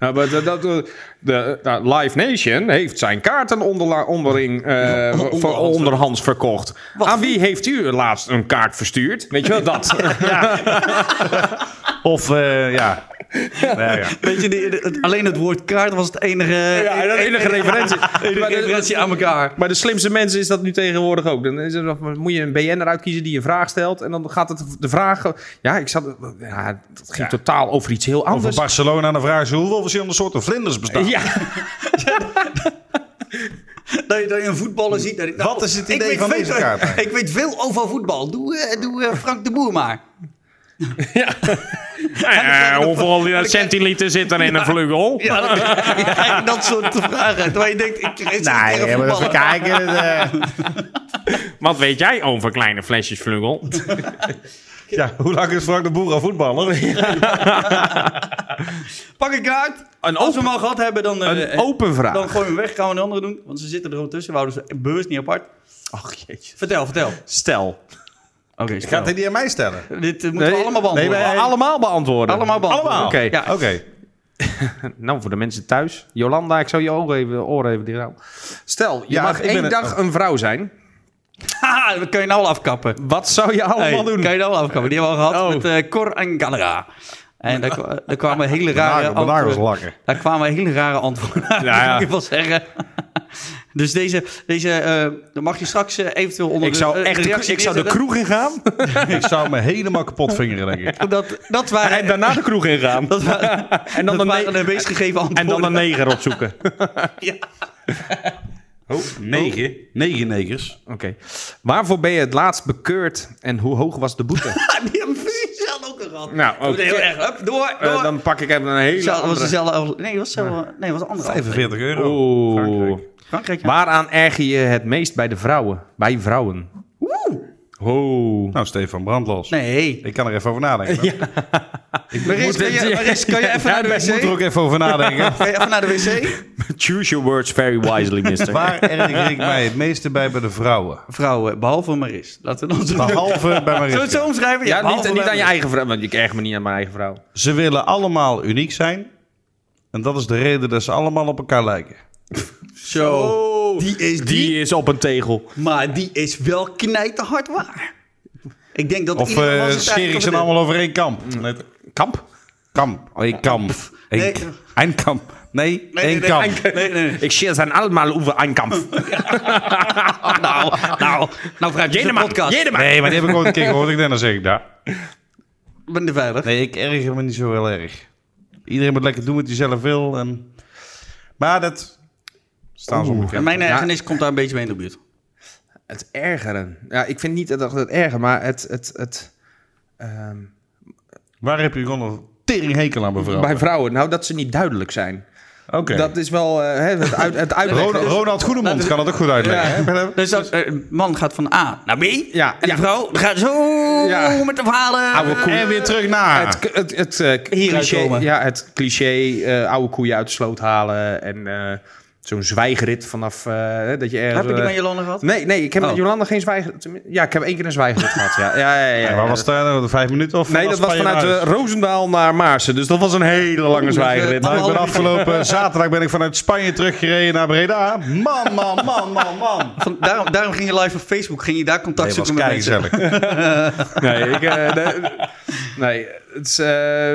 Ja, maar dat, dat, eh, de, nou, Live Nation heeft zijn kaarten onderla- onderling, eh, voor-
onderhands.
onderhands verkocht. Aan wie heeft u laatst een kaart verstuurd? Weet je wel, dat.
Of, eh, ja. Nee, ja.
Weet je, die- het- alleen het woord kaart was het enige... eh,
Ja, en de enige referentie.
enige
Maar de-
referentie aan elkaar.
Maar de slimste mensen is dat nu tegenwoordig ook. Dan is het, moet je een BN'er uitkiezen die een vraag stelt. En dan gaat het de vraag... Ja, ik zat, ja dat ging totaal over iets heel
Over
anders.
Barcelona, dan vragen ze hoeveel verschillende soorten vlinders bestaan.
ja,
Dat je, dat je een voetballer ziet. dat ik- nou,
Hmm. Wat is het
ik
idee
weet
van
veel-
deze <laughs> kaart?
Ik weet veel over voetbal. Doe, eh, doe eh, Frank de Boer maar.
Eh, hoeveel eh, centiliter zit er in een vleugel?
Ja, dan krijg je dat <laughs> soort vragen. Terwijl je denkt, ik zit nee,
Nee, maar even
eh.
kijken.
Wat weet jij over kleine flesjes
<laughs>
vleugel?
Ja, hoe lang is Frank de Boer al voetballer?
Eh, Pak een kaart. Als we hem al gehad hebben, dan, eh,
een open
dan
vraag.
gooien we hem weg. Gaan we een andere doen. Want ze zitten er gewoon tussen. We houden ze bewust niet apart.
Ach, jeetje.
Vertel, vertel.
Stel.
Oké,
Gaat hij die aan mij stellen?
Dit eh, moeten we allemaal
Nee,
beantwoorden.
maar allemaal beantwoorden.
Allemaal beantwoorden.
Allemaal. Oké.
Ja.
Oké.
Nou, voor de mensen thuis. Jolanda, ik zou je oren even, oren even dicht houden. Stel, je
Ja,
mag
ik ben
één
een-
dag een vrouw zijn.
<laughs> Haha, dat kun je nou al afkappen.
Wat zou je allemaal
Hey,
doen?
Kan je nou al afkomen? Die hebben we al gehad
Oh.
met eh, Cor en Gallera. En
<laughs>
daar, kwa- daar kwamen hele rare
Mijn nagels
antwoorden.
lakken.
Daar kwamen hele rare antwoorden. uit,
Ja, ja.
moet ik wel zeggen. Dus deze, deze eh, dan mag je straks eh, eventueel onder
Ik zou
de, eh,
echt de,
reactie
ik zou de
neerzetten.
kroeg ingaan.
Ik zou me helemaal kapot vingeren, denk ik.
Dat, dat waren,
En daarna de kroeg ingaan.
<laughs> dat waren,
<laughs> En dan,
dat
een,
waren
ne-
de meest gegeven
en
antwoorden.
dan een neger opzoeken.
Oh, negen. Negen negers.
Oké. Waarvoor ben je het laatst bekeurd en hoe hoog was de boete?
Ja, <laughs> die hebben we precies zelf ook al gehad.
<laughs> nou,
Dat
oké.
was Heel erg. Hup, door, door.
Eh, dan pak ik even een hele
Zelf- was
andere.
dezelfde, nee, was zelf, nee, was een andere.
45 euro.
Oeh.
Frankrijk, ja.
Waaraan erger je het meest bij de vrouwen? Bij vrouwen. Oeh.
Nou, Stefan Brandlos.
Nee.
Ik kan er even over nadenken. Ja.
Maris, kan je, Maris, kan
<laughs>
je even naar de
Ik moet er
wc?
ook even over nadenken.
Kan je even naar de wc?
Choose your words very wisely,
<laughs>
mister.
Waar erger ik mij het meeste bij bij de vrouwen?
vrouwen, behalve Maris. Laten we dan zo, Zullen
Behalve bij
we
Marissa.
het zo omschrijven.
Ja,
behalve
niet, niet aan je
Maris.
eigen vrouw, want ik erger me niet aan mijn eigen vrouw.
Ze willen allemaal uniek zijn. En dat is de reden dat ze allemaal op elkaar lijken.
Zo.
die, is, die is op een tegel.
Maar die is wel knijterhard waar. Ik denk dat
Of
iedereen
eh
was het
scheer ik
eigenlijk
ze
over
allemaal over één kamp? Nee,
Kamp?
Kamp. Oh, één kamp. Eén
Nee.
één kamp. Nee,
de-
één kamp.
Nee, nee, nee.
<laughs> Ik scheer zijn allemaal over een
<laughs>
kamp.
Nou, nou, nou vraag je de
Jeneman,
podcast.
Jeneman.
Nee, maar die heb ik ooit een keer gehoord. Ik denk, dan zeg ik dat.
Ik ben er veilig.
Nee, ik erger me niet zo heel erg. Iedereen moet lekker doen wat hij zelf wil. En... Maar dat staan ze onbekend.
Mijn ergernis komt daar een beetje mee in de buurt.
Het ergeren. Ja, ik vind niet dat het erger, maar het... het, het ehm,
Waar heb je gewoon een teringhekel aan, mevrouw?
bij vrouwen, nou dat ze niet duidelijk zijn.
Oké.
Dat is wel eh, hè, het, uit,
<laughs>
het uitleggen.
Ronald, Ronald Goedemond kan dat ook goed uitleggen. hè?
Dus dat eh, man gaat van A naar B.
Ja,
en
ja.
de vrouw gaat zo
Ja.
met de verhalen.
Oude koe.
En weer terug naar.
Het, het, het, eh,
Hier
cliché,
uitkomen.
ja, het cliché eh, oude koeien uit de sloot halen en eh, zo'n zwijgrit vanaf eh, dat je ergens...
Heb je die
eh,
met Jolande gehad?
Nee, nee, ik heb
Oh.
met Jolanda geen zwijgrit. Ja, ik heb één keer een zwijgrit gehad, ja. Ja, ja, ja, ja.
Ja, waar was het? eh, Vijf minuten of?
Nee, dat was
Spanje
vanuit
naar huis?
eh, Roosendaal naar Maarsen. Dus dat was een hele lange
eh,
zwijgrit.
Nou, ik ben
Anderhalf
afgelopen zaterdag ben ik vanuit Spanje teruggereden naar Breda. Man, man, man, man, man.
Van- daarom, daarom ging je live op Facebook. Ging je daar contact
Nee, was
zoeken met mensen.
keigezellig.
Nee, ik, eh, nee, nee, het is, eh,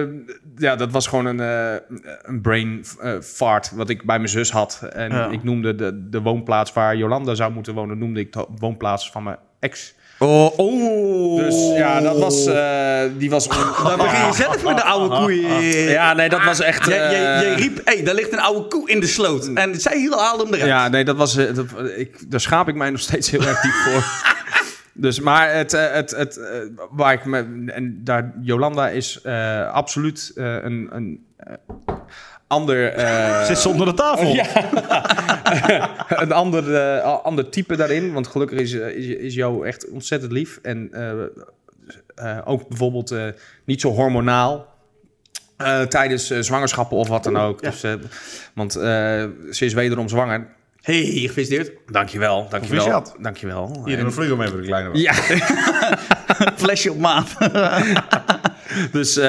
ja, dat was gewoon een, eh, een brain eh, fart wat ik bij mijn zus had. En
Ja.
ik noemde de, de woonplaats waar Jolanda zou moeten wonen, noemde ik de woonplaats van mijn ex.
Oh, oh.
Dus ja, dat was, eh, die was...
Dan begin je zelf met de oude koeien.
<laughs> Ja, nee, dat was echt...
Jij- jij- jij
eh,
riep, hé, daar ligt een oude koe in de sloot. En zij hielden haalde hem eruit.
Ja, nee, dat was. eh, dat, ik, daar schaap ik mij nog steeds heel erg diep voor. Dus, maar het, eh, het, het, eh, waar ik me, en daar, Jolanda is eh, absoluut eh, een, een eh, ander, eh, <laughs>
Zit ze onder de tafel.
een ander, eh, a- ander type daarin. Want gelukkig is, eh, is, is Jo echt ontzettend lief. En eh, eh, ook bijvoorbeeld eh, niet zo hormonaal. eh, tijdens eh, zwangerschappen of wat dan ook. Dus, eh, want eh, ze is wederom zwanger.
Hey, gefeliciteerd.
Dankjewel, dankjewel.
Proficiat.
Dankjewel.
Hier, doe een vlugel mee voor de kleine. man.
Ja,
Flesje op maat.
<laughs> Dus, eh,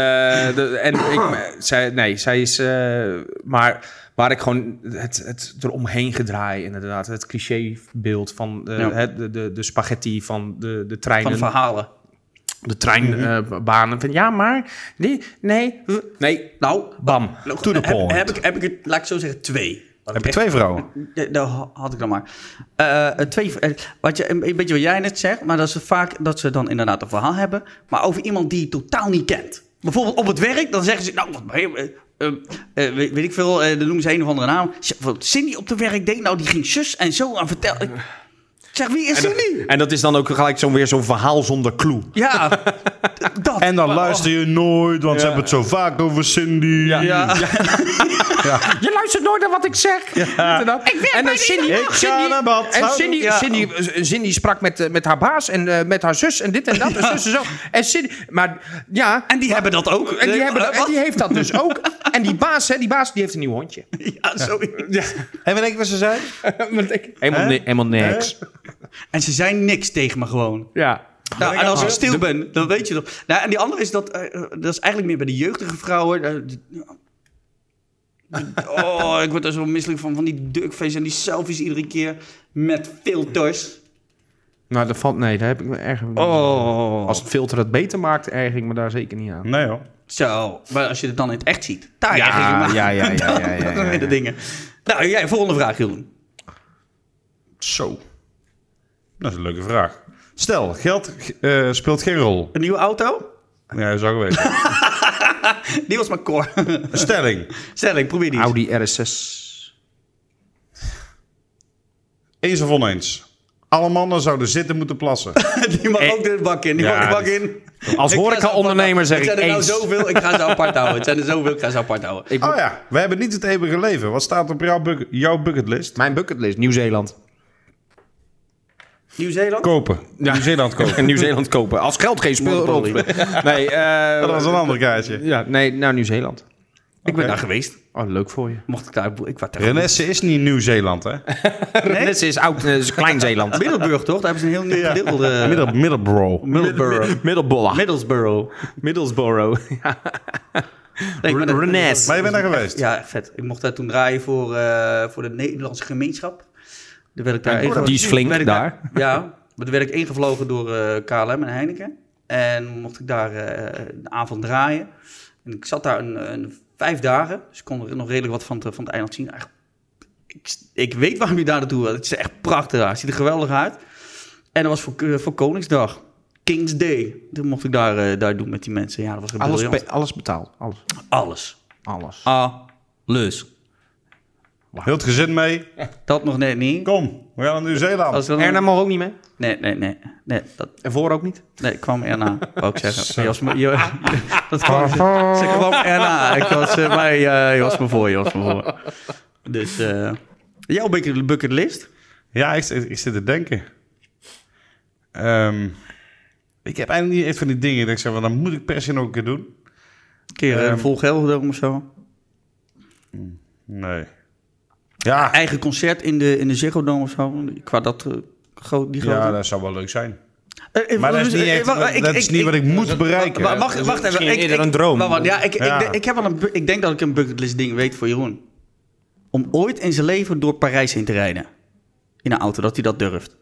de- en ik, zij, nee, zij is, eh, maar waar ik gewoon het, het eromheen gedraai, inderdaad. Het clichébeeld van eh,
Ja.
hè, de, de, de spaghetti van de, de treinen.
Van verhalen.
de treinbanen. van ja, maar, die, nee, w- nee,
Nou,
bam.
To the
heb,
point.
heb, ik, heb ik het, laat ik zo zeggen, twee. Dat
Heb
ik
je
echt-
twee vrouwen?
Ja, Dat had ik dan maar. Eh, eh, twee, eh, wat je, een een beetje wat jij net zegt, maar dat ze vaak dat ze dan inderdaad een verhaal hebben, maar over iemand die je totaal niet kent. Bijvoorbeeld op het werk, dan zeggen ze, nou, wat, eh, eh, eh, eh, weet, weet ik veel, eh, dan noemen ze een of andere naam. Z- wat Cindy op de werk deed, nou, die ging zus en zo aan vertellen. Ik Zeg, wie is Cindy?
En dat is dan ook gelijk zo'n weer zo'n verhaal zonder clue.
Ja, d- dat.
En dan luister je nooit, want ze hebben het zo vaak over Cindy.
Ja.
Ah, Je luistert nooit naar wat ik zeg. Inderdaad. en dan Cindy,
ga naar bad.
en Cindy,
Ja.
Cindy, Cindy sprak met, eh, met haar baas en eh, met haar zus en dit en dat en zus en zo. En Cindy, maar ja,
En die hebben dat ook.
en die,
Eh,
hebben, dat-
eh,
en
wat?
die heeft dat dus ook. En die baas, hè, die baas, die heeft een nieuw hondje.
<laughs> Ja, sorry.
En weet ik wat ze zei?
Helemaal, helemaal niks.
En ze zijn niks tegen me gewoon.
Ja.
Nou, en als ik stil ben, dan weet je toch. Nou, en die andere is dat, eh, eh, dat is eigenlijk meer bij de jeugdige vrouwen. eh, die- oh, ik word er zo misselijk van, van die duckface en die selfies iedere keer met filters.
Nou, dat valt, nee, daar heb ik me erg...
Oh.
Als het filter het beter maakt, erg ik me daar zeker niet aan.
Nee hoor.
Zo, maar als je het dan in het echt ziet, daar
Ja,
erger je me
ja,
aan. <laughs>
ja, ja,
Dan-
ja, ja,
dan weer de dingen. Nou, jij, volgende vraag, Jeroen.
Zo. Dat is een leuke vraag. Stel, geld eh, speelt geen rol.
Een nieuwe auto?
Ja, dat zou ik weten.
Die was maar core. <laughs>
Een stelling.
Stelling, probeer die eens.
Audi RS6.
Eens of oneens. Alle mannen zouden zitten moeten plassen.
<laughs> Die mag
Eh,
ook de bak in, die
Ja,
mag de bak
dit-
in.
Als
Ik ga ze apart houden.
horeca-ondernemer zeg ik
Het zijn er
eens.
nou zoveel, ik ga ze
<laughs>
apart houden. Het zijn er zoveel, ik ga ze apart houden.
Oh ja, we hebben niet het eeuwige leven. Wat staat op jouw, buck- jouw bucketlist?
Mijn bucketlist, Nieuw-Zeeland.
Nieuw-Zeeland?
Kopen. Nieuw-Zeeland <laughs> kopen.
En Nieuw-Zeeland kopen. Als geld geen speelrol speelt. Nee, eh,
Dat was een ander kaartje.
ja, nee, naar Nieuw-Zeeland.
Ik ben daar geweest.
Oh, leuk voor je.
Mocht ik daar... Ik was daar
Renesse is niet Nieuw-Zeeland, hè?
Net is oud, eh, is Klein-Zeeland.
Middelburg, toch? Daar hebben ze een heel nieuw gedeelte.
<laughs>
eh,
Middel, Middelbro.
Middelburg.
Middelbolla.
Middlesbrough.
Middlesboro.
Nee, ik ben daar-
Rennes.
Maar je bent daar geweest.
Ja, vet. Ik mocht daar toen draaien voor, eh, voor de Nederlandse gemeenschap. Daar werd ik daar ingevlogen-
Die is
werd
flink
ik
daar.
Ja, maar toen werd ik ingevlogen door eh, KLM en Heineken. En mocht ik daar eh een avond draaien. En ik zat daar een, een vijf dagen. Dus ik kon er nog redelijk wat van, het- van het eiland zien. Echt, ik, ik weet waarom je daar naartoe wil. Het is echt prachtig daar. Het ziet er geweldig uit. En dat was voor, eh, voor Koningsdag. King's Day. Toen mocht ik daar, eh, daar doen met die mensen. Ja, dat was
Alles,
briljant.
be- alles betaald. Alles.
Alles.
Alles.
Alles.
Heel het gezin mee.
Dat nog net niet.
Kom, we gaan naar Nieuw-Zeeland.
Als we dan-
Erna mag ook niet mee.
Nee, nee, nee. Nee, dat
En voor ook niet.
nee, kwam erna, wou ik zeggen. Jos, me- Jo- <laughs> dat kwam, ze, ze kwam erna. Ik was, eh, maar eh, je was me voor, je was me voor. Dus, eh jouw bucket- bucketlist?
Ja, ik, zit- ik zit te denken. Ehm, ik heb eigenlijk niet echt van die dingen dat ik zeg, van, dan moet ik per se nog een keer doen.
Een keer eh,
Ehm.
vol Gelderdoom of zo.
Nee. Ja,
Eigen concert in de, in de Ziggo Dome of zo. Qua dat, eh, gro- die grote...
ja, dat zou wel leuk zijn.
Eh, eh,
Maar dat is
dus,
niet,
eh,
echt,
wacht, ik-
dat is
ik-
niet
ik-
wat ik moet bereiken.
Wa- Wacht, wacht even.
misschien eerder een droom.
Wacht, wacht, ja, ik,
Ja.
Ik, denk- ik, heb wel een, bu- ik denk dat ik een bucketlist ding weet voor Jeroen. Om ooit in zijn leven door Parijs heen te rijden. In een auto, dat hij dat durft.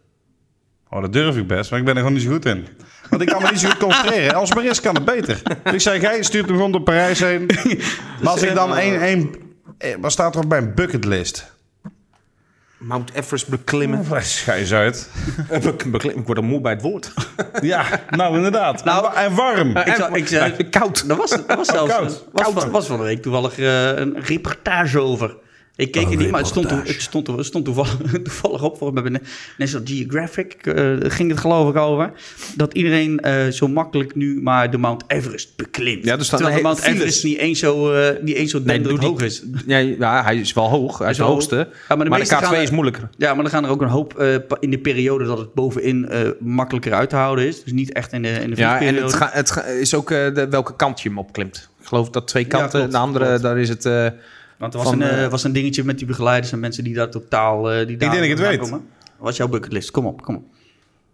Oh, dat durf ik best, maar ik ben er gewoon niet zo goed in. Want ik kan me niet zo goed concentreren. Als Maris kan het beter. Dus ik zei, jij stuurt hem gewoon door Parijs <laughs> heen. Maar als ik dan één... één eh, wat staat er op mijn bucketlist?
Mount Everest beklimmen.
Schijs uit.
beklimmen. Ik word al moe bij het <laughs> woord.
Ja, nou inderdaad.
Nou,
en warm.
eh,
Ik zou- ik zou-
Koud.
Dat was, dat was zelfs.
koud.
was, van- was van de week toevallig eh, een reportage over. Ik keek
Een
het niet, maar het stond, toe-
reportage.
het stond, toe- het stond toevallig, <laughs> toevallig op. Volgens mij bij National Geographic eh, ging het geloof ik over. Dat iedereen eh, zo makkelijk nu maar de Mount Everest beklimt.
Ja, er staan
Terwijl de
hele
Mount
files.
Everest niet eens zo, eh niet eens zo denderend
doe
hoog
die-
is.
Ja, ja, hij is wel hoog. Hij is,
Is
de
wel
hoogste.
hoog. Ja, maar
maar
de
de,
meeste
K2
gaan er-
is moeilijker.
Ja, maar dan gaan er ook een hoop eh, pa- in de periode dat het bovenin eh, makkelijker uit te houden is. Dus niet echt in de, in de
Ja, en
vriesperiode.
het, ga- het ga- is ook eh, de, welke kant je hem opklimt. Ik geloof dat twee kanten.
klopt,
de andere,
klopt.
daar is het... eh,
Want er was,
van,
een, eh,
eh,
was een dingetje met die begeleiders en mensen die daar totaal... eh, die daar
denk dat ik het
vandaan
weet.
komen. Wat is jouw bucketlist? Kom op, kom op.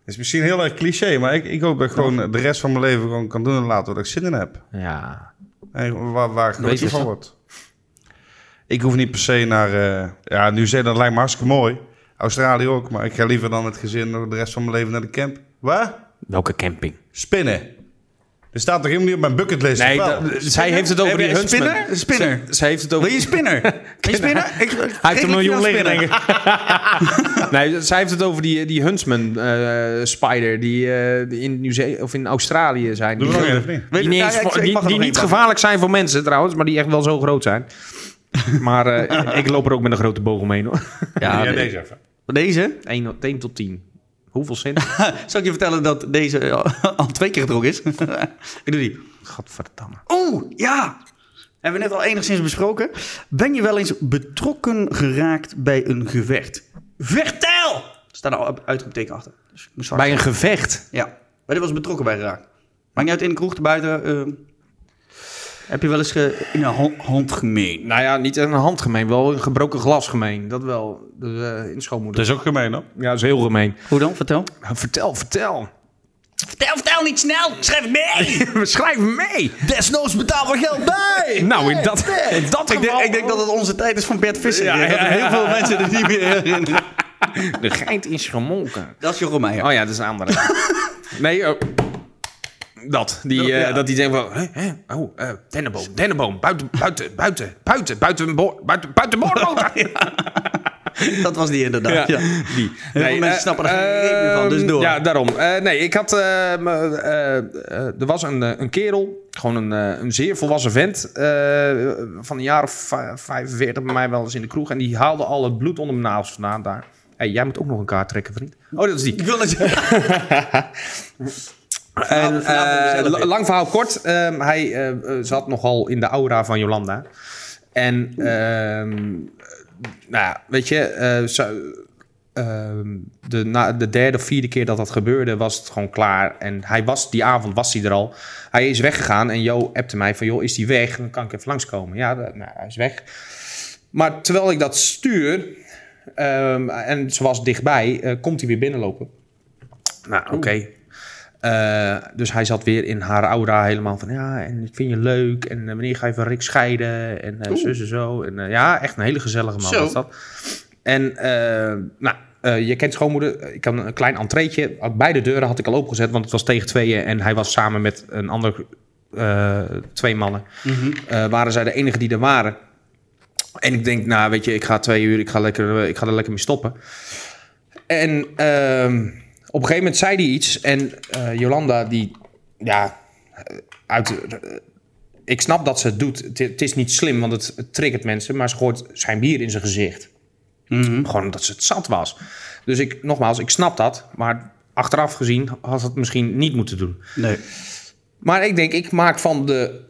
is misschien heel erg cliché, maar ik, ik hoop dat ik gewoon de rest van mijn leven gewoon kan doen en laten wat ik zin in heb.
ja.
En waar, waar ik
Weet je
gelukkig van
het?
word. Ik hoef niet per se naar... eh, ja, Nieuw-Zeeland lijkt me hartstikke mooi. Australië ook, maar ik ga liever dan met gezin nog de rest van mijn leven naar de camp. Waar?
Welke camping?
Spinnen. Er staat toch helemaal niet op mijn bucketlist?
Nee,
of wel?
dat- zij heeft het over
Heb je
die
een
huntsman.
spinner? Een spinner.
Ze, ze heeft het over...
Wil je
<laughs>
spinner? Wil je spinner? Ik, hij
heeft een miljoen liggen, <laughs> Nee, zij heeft het over die, die huntsman eh, spider die, eh, die in, Nieuw of in Australië zijn.
Doe
Die,
we nog één, of niet?
die niet, eens- die- die niet gevaarlijk zijn voor mensen trouwens, maar die echt wel zo groot <laughs> zijn. Maar eh, ik loop er ook met een grote boog omheen hoor.
Ja,
Ja,
nee.
deze even.
Deze?
1, tot 10. Hoeveel zin?
Zal ik je vertellen dat deze eh, al twee keer gedronken is? <laughs> ik doe die.
Godverdamme.
Oeh, ja! Hebben we net al enigszins besproken. Ben je wel eens betrokken geraakt bij een gevecht? Vertel! Er staat al uitroepteken achter. Dus ik moest hard-
Bij een gevecht.
Ja, maar dit was betrokken bij geraakt. Maar niet uit in de kroeg, erbuiten. eh, heb je wel eens ge- in een hand, hand gemeen?
Nou ja, niet een hand gemeen, wel een gebroken glas gemeen. Dat wel. Dus, eh, in
Dat
schoonmoeder.
is ook gemeen, hoor.
Ja, dat is heel gemeen.
Hoe dan? Vertel.
Nou, Vertel, vertel.
Vertel, vertel niet snel! Schrijf het mee!
<laughs> Schrijf hem mee.
Desnoods betaal er geld bij.
Nou, in dat, in dat
Ik denk, ik denk dat het onze tijd is van Bert Visser. Ik denk dat heel veel mensen het niet meer herinneren.
De geit is gemolken.
Dat is Jeroen Meijer.
Oh ja, dat is een
<laughs>
andere. nee, oh. Dat. Die, eh,
ja.
dat die denkt van, hè, hè, oh, eh dennenboom, dennenboom, buiten, buiten, buiten, buiten, buiten, bo- buiten, buiten,
<laughs>
boorboter.
Dat was die inderdaad. Ja.
Die.
Heel veel mensen snappen er geen reet meer van, dus
eh, ehm,
door.
Ja, daarom. Eh, nee, ik had... eh, m- eh, eh, er was een, eh, een kerel, gewoon een, eh, een zeer volwassen vent... eh, van een jaar of vij- 45 bij mij wel eens in de kroeg... en die haalde al het bloed onder mijn nagels vandaan daar. hey, jij moet ook nog een kaart trekken, vriend. Oh, dat is die.
Ik wil het
En,
Vanavond- vanavond
eh,
mezelf
la-
in.
lang verhaal kort. ehm, hij eh, eh, zat nogal in de aura van Jolanda. En, ehm, nou ja, weet je, eh, zo- ehm, de, na, de derde of vierde keer dat dat gebeurde, was het gewoon klaar. En hij was, die avond was hij er al. Hij is weggegaan en Jo appte mij van, joh, is die weg? Dan kan ik even langskomen. Ja, dat- nou, hij is weg. Maar terwijl ik dat stuur, ehm, en ze was dichtbij, eh, komt hij weer binnenlopen. Nou, oké. Eh, dus hij zat weer in haar aura helemaal van... ja, en ik vind je leuk. En eh, wanneer ga je van Rick scheiden? En eh zus en zo. En eh, ja, echt een hele gezellige man
Zo.
was dat. En eh, nou, eh, je kent schoonmoeder. Ik had een klein entreetje. Beide deuren had ik al opengezet, want het was tegen tweeën. En hij was samen met een ander... eh, twee mannen. Eh, waren zij de enige die er waren. En ik denk, nou weet je, ik ga twee uur, ik ga, lekker, eh, ik ga er lekker mee stoppen. En ehm, op een gegeven moment zei hij iets. En eh, Jolanda, die, ja, eh, uit, eh, ik snap dat ze het doet. Het, het is niet slim, want het, het triggert mensen. Maar ze gooit zijn bier in zijn gezicht. Gewoon omdat ze het zat was. Dus ik, nogmaals, ik snap dat. Maar achteraf gezien had ze het misschien niet moeten doen.
Nee.
Maar ik denk, ik maak van de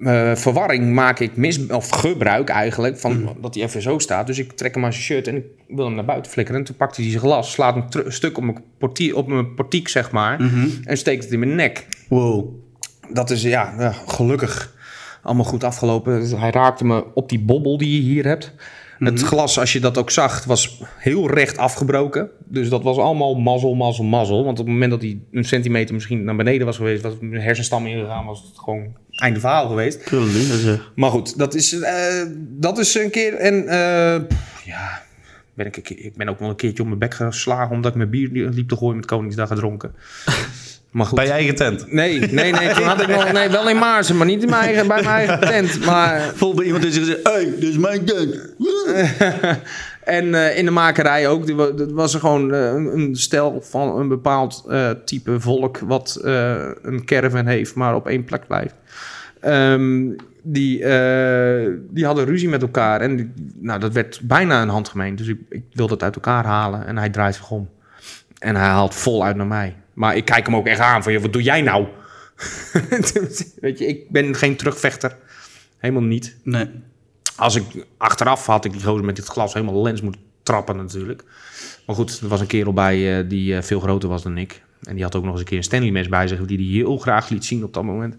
eh, verwarring maak ik mis, of gebruik eigenlijk, van dat hij even zo staat. Dus ik trek hem aan zijn shirt en ik wil hem naar buiten flikkeren. En toen pakt hij zijn glas, slaat hem teru- een stuk op mijn, portier, op mijn portiek, zeg maar, en steekt het in mijn nek.
Wow.
Dat is, ja, ja, gelukkig allemaal goed afgelopen. Dus Hij raakte me op die bobbel die je hier hebt. Het glas, als je dat ook zag, was heel recht afgebroken. Dus dat was allemaal mazzel, mazzel, mazzel. Want op het moment dat hij een centimeter misschien naar beneden was geweest... was mijn hersenstam ingegaan, was het gewoon einde verhaal geweest. Maar goed, dat is, eh, dat is een keer. En eh, pff, ja, ben ik, een keer- ik ben ook wel een keertje op mijn bek geslagen omdat ik mijn bier liep te gooien met Koningsdag gedronken. Maar goed.
Bij je eigen tent.
Nee, nee, nee. Toen had ik nog, nee, wel in Maarsen, maar niet in mijn eigen, bij mijn eigen tent. Maar,
Voelde iemand in zich gezegd, hey, dit is mijn tent.
en eh, in de makerij ook. Die wa- Dat was er gewoon eh, een, een stel van een bepaald eh, type volk wat eh, een caravan heeft, maar op één plek blijft. Ehm, die, eh, die hadden ruzie met elkaar. En die- nou, dat werd bijna een handgemeen. Dus ik, ik wil dat uit elkaar halen. En hij draait zich om. En hij haalt voluit naar mij. Maar ik kijk hem ook echt aan van, joh, wat doe jij nou? <laughs> Weet je, ik ben geen terugvechter. Helemaal niet.
Nee.
Als ik achteraf had ik die gozer met dit glas helemaal lens moeten trappen natuurlijk. Maar goed, er was een kerel bij eh, die eh, veel groter was dan ik. En die had ook nog eens een keer een Stanley mes bij zich, die hij heel graag liet zien op dat moment.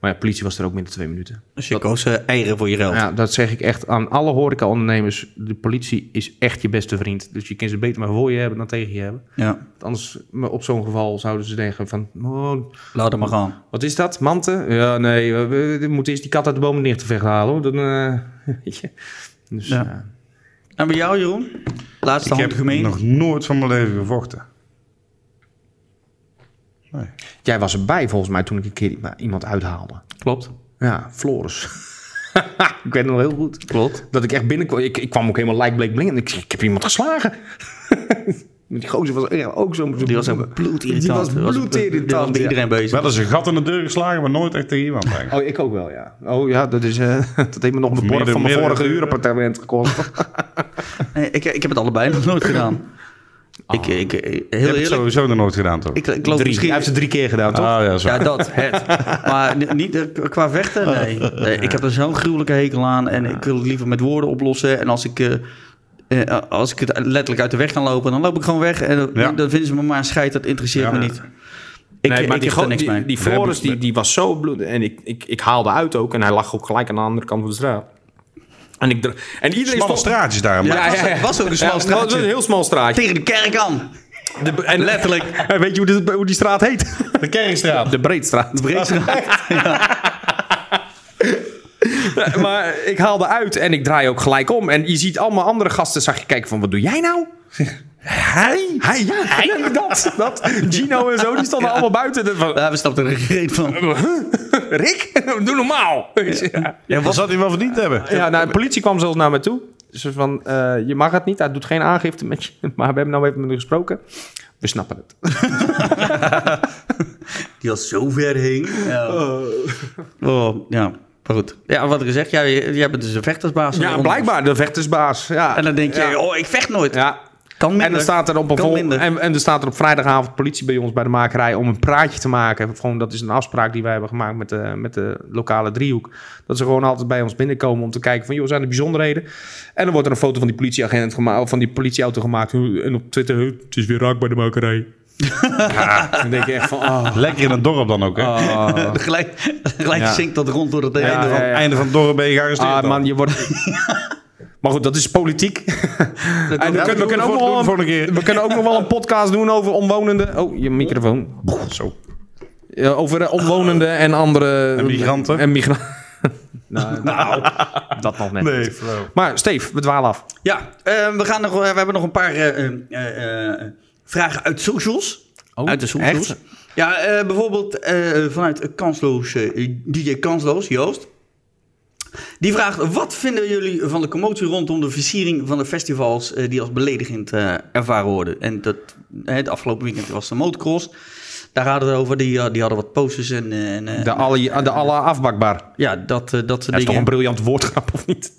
Maar ja, politie was er ook binnen twee minuten.
Dus je koos eh, eieren voor je geld.
Ja, dat zeg ik echt aan alle horecaondernemers. De politie is echt je beste vriend. Dus je kan ze beter maar voor je hebben dan tegen je hebben.
Ja,
Want anders, maar op zo'n geval zouden ze denken van... oh,
laat hem maar gaan.
wat is dat? Manten? Ja, nee, we, we- we moeten eerst die kat uit de boom neer te vechten halen. Hoor. Dan, eh, <laughs> weet je. Dus,
Ja.
ja.
En bij jou, Jeroen? Laatste
Ik
hand
heb
gemeen.
nog nooit van mijn leven gevochten.
Jij was erbij volgens mij toen ik een keer i- iemand uithaalde.
Klopt.
Ja, Floris. <laughs> ik weet het nog heel goed. Klopt. Dat ik echt binnenkwam. Ik, ik kwam ook helemaal lijkbleek blink en ik zeg, ik heb iemand geslagen. <laughs> Die gozer was echt ook zo...
Die was ook bloedirritant.
Die was
Dat
bloedirritant,
dat was bij
ja.
iedereen bezig.
Wel eens een gat in de deur geslagen, maar nooit echt tegen
<laughs>
iemand. eigenlijk.
Oh, ik ook wel, ja. Oh ja, dat, is, eh, <laughs> dat heeft me nog beborgen
meerdere-
van mijn
meerdere
vorige
uren.
huurappartement
<laughs>
gekost.
Nee, ik, ik heb het allebei nog nooit gedaan. Ik, ik,
Je
heel
hebt het
eerlijk.
sowieso nog nooit gedaan, toch?
Ik, ik loop
Drie. Hij
misschien...
heeft ze drie keer gedaan, toch?
Ah ja, zo.
Ja, dat, het. Maar ni- niet eh, qua vechten, nee. Nee, Ik heb er zo'n gruwelijke hekel aan en ik wil het liever met woorden oplossen. En als ik, eh, eh, als ik het letterlijk uit de weg kan lopen, dan loop ik gewoon weg. En dan-
Ja.
dan vinden ze me maar een scheid, dat interesseert
Ja.
me niet. Ik,
nee, maar
ik
die,
heb er
go-
niks
die,
mee.
die Floris die, die was zo bloed. En ik, ik, ik haalde uit ook. En hij lag ook gelijk aan de andere kant van de straat. En, ik dro- en iedereen
Smalle straatjes daar. maar-
Ja, ja, ja.
Het was ook een smal
Ja, het was
straatje.
een heel smal straatje.
Tegen de kerk aan.
De- en,
Letterlijk.
<laughs>
En <laughs> weet je hoe, dit- hoe die straat heet? De Kerkstraat. De Breedstraat. <laughs> maar ik haalde uit en ik draai ook gelijk om. En je ziet allemaal andere gasten, zag je kijken van, wat doe jij nou? Hij? Hij, ja, hij, dat, dat. Gino en zo, die stonden allemaal buiten. de- Van,
Daar we snapten er geen reet van.
<laughs> Rick, <laughs> doe normaal. Ja,
Ja, dat zou hij wel verdiend hebben.
Ja, nou, de politie kwam zelfs naar me toe. Ze van, eh, je mag het niet, hij doet geen aangifte met je. Maar we hebben nou even met hem gesproken. We snappen het.
Die al zo ver hing. Ja. Oh, ja, maar goed. Ja, wat ik zeg, jij, jij bent dus een vechtersbaas. van de ronde.
blijkbaar, de vechtersbaas. Ja.
En dan denk je,
Ja.
oh, ik vecht nooit.
Ja,
Kan minder.
en dan staat er op, een
Kan
vol-
minder.
en, en er staat er op vrijdagavond politie bij ons bij de makerij om een praatje te maken. Gewoon, dat is een afspraak die wij hebben gemaakt met de, met de lokale driehoek. Dat ze gewoon altijd bij ons binnenkomen om te kijken van, joh, zijn er bijzonderheden? En dan wordt er een foto van die politieagent gemaakt, of van die politieauto gemaakt. En op Twitter, "Huh, het is weer raak bij de makerij. ja, dan denk je echt van, ah.
Lekker in <laughs> het dorp dan ook, hè?
Gelijk, gelijk
Ja.
zinkt dat rond door het heen.
Ja, ja, ja.
Einde van het dorp ben je gearresteerd.
Ah,
dan.
man, je
<laughs>
wordt... maar goed, dat is politiek. <laughs> En
dat
we, kunnen, we,
doen
kunnen
we
ook
voor-
nog wel
doen we
een,
volgende keer.
we kunnen ook nog wel een podcast doen over omwonenden. Oh, je microfoon.
Zo.
Ja, over eh, omwonenden en andere... eh,
En migranten.
En migranten. <laughs> nou, dat nog net
Nee,
niet.
Flo.
Maar Steve, we dwalen af.
Ja, eh, we, gaan nog, we hebben nog een paar eh, eh, eh, eh, vragen uit socials. uit de socials.
Oh, echt?
Ja, eh, bijvoorbeeld eh, vanuit Kansloos, eh, DJ Kansloos, Joost. Die vraagt, wat vinden jullie van de commotie rondom de versiering van de festivals eh, die als beledigend eh, ervaren worden? En dat, eh, het afgelopen weekend was de motocross. Daar hadden we het over, die, eh, die hadden wat posters en... eh, en eh,
De alle, de alle afbakbar. Dat
ja, dat, eh, dat soort
is toch een
dingen.
briljant woordgrap, of niet?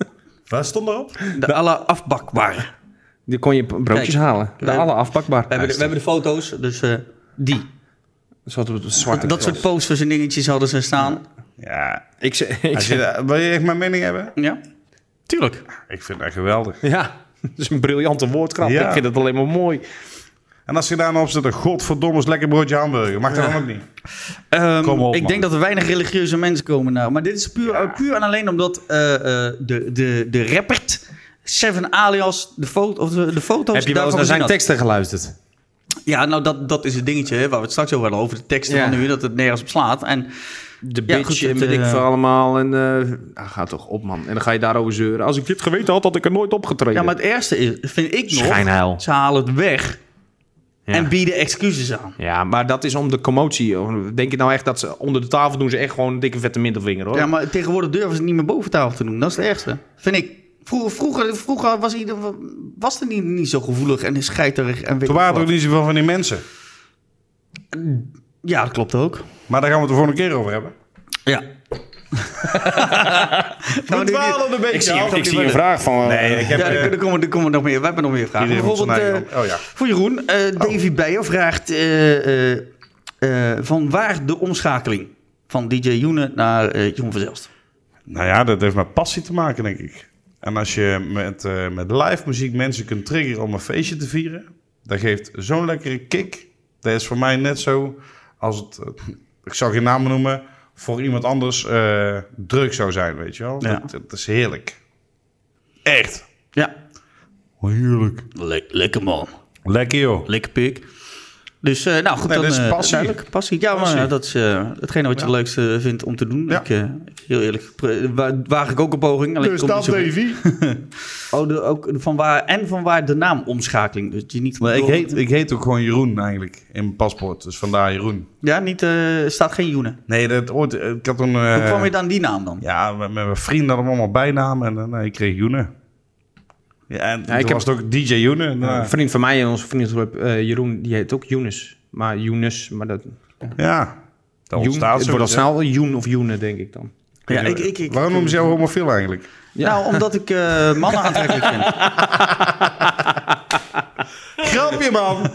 Waar stond erop?
De alle afbakbare.
Die kon je broodjes
Kijk,
halen. De
we-
alle afbakbar.
We hebben, de, we hebben de foto's, dus eh, die.
Zo op het zwarte
Dat soort posters en dingetjes hadden ze staan.
Ja.
Ik, ze- ik,
Als je, daar- wil je echt mijn mening hebben?
Ja.
Tuurlijk.
Ik vind het echt geweldig.
ja, dat is een briljante woordgrap.
Ja.
Ik vind het alleen maar mooi.
En als je daar nou op zit, een godverdomme is lekker broodje hamburger. Mag dat dan ook niet?
Ehm,
Kom op,
ik
man.
denk dat er weinig religieuze mensen komen nou. Maar dit is puur, puur en alleen omdat eh, eh, de, de, de rapper Seven Alias de, foto, of de, de foto's
Heb je wel
daarvan
eens naar zijn
gezien
teksten geluisterd?
had. Ja, nou dat, dat is het dingetje hè, waar we het straks over hadden. Over de teksten
Ja.
van nu, dat het nergens op slaat. En
De
Ja,
bitch
goed,
en
het,
weet ik
eh,
veel allemaal. En, eh, ah, ga toch op, man. En dan ga je daarover zeuren. Als ik dit geweten had, had ik er nooit opgetreden.
Ja, maar het ergste is, vind ik nog,
Schijnheil.
ze halen het weg
Ja.
en bieden excuses aan.
Ja, maar dat is om de commotie. hoor. Denk je nou echt dat ze onder de tafel doen ze echt gewoon een dikke vette middelvinger, hoor?
Ja, maar tegenwoordig durven ze het niet meer boven tafel te doen. Dat is het ergste. Vind ik. Vroeger, vroeger, vroeger was, ieder, was het niet, niet zo gevoelig en scheiterig. En weet
Toen
ik
waren
wat.
er ook niet zoveel van die mensen.
Ja, dat klopt ook. <laughs>
Maar daar gaan we het de volgende keer over hebben.
Ja. we dwalen een beetje
Ik zie,
af.
een- ik zie een
Ja,
vraag van... eh,
Nee, ik heb...
daar
eh,
komen- daar komen, er komen nog meer. We hebben nog meer vragen.
iedereen heeft
Bijvoorbeeld
zijn
eh,
eigen- oh ja.
voor Jeroen. eh Davy Beijer vraagt eh, eh, eh, van waar de omschakeling van DJ Joenen naar eh, Jeroen van Zelst?
Nou ja, dat heeft met passie te maken, denk ik. En als je met, eh, met live muziek mensen kunt triggeren om een feestje te vieren, dat geeft zo'n lekkere kick. Dat is voor mij net zo als het, eh, ik zal geen namen noemen, voor iemand anders eh, druk zou zijn, weet je wel.
Ja.
Dat, dat is heerlijk. Echt.
Ja,
Heerlijk.
Le- lekker man.
Lekker joh.
Lekker pik. Dus eh, nou goed,
Nee,
dan
dat is
eh,
passie.
duidelijk. Passie. Ja, maar
Passie.
eh, dat is eh, hetgene wat je het leukste vindt om te doen.
Ja.
Ik, eh, ik- heel eerlijk, pre- wa- waag ik ook een poging. alleen ik
Dus
kom niet zo goed. Oh, de, ook van waar, en van waar de naam omschakeling. Dus die niet
Maar ik
door-
heet, ik heet ook gewoon Jeroen eigenlijk in mijn paspoort. Dus vandaar Jeroen.
Ja, niet, eh, staat geen Joenen.
Nee, dat ooit. Ik had een. eh,
Hoe kwam je dan die naam dan?
Ja, met, met mijn vrienden hadden we allemaal bijnamen en dan eh, ik kreeg Joene. Ja, en
ik
ik
heb-
was het ook DJ Joene. En,
Een
eh,
vriend van mij in onze vriendenclub, eh, Jeroen, die heet ook Younes. Maar Younes, maar dat...
ja, dat
Joen,
ontstaat
het wordt al
zoiets, hè.
snel wel Joen of Joene, denk ik dan.
Ja, ik, ik, ik,
Waarom noemen ze jou homofiel <laughs> eigenlijk?
Nou, omdat ik eh,
<laughs>
mannen aantrekkelijk vind.
Grapje man!
<laughs>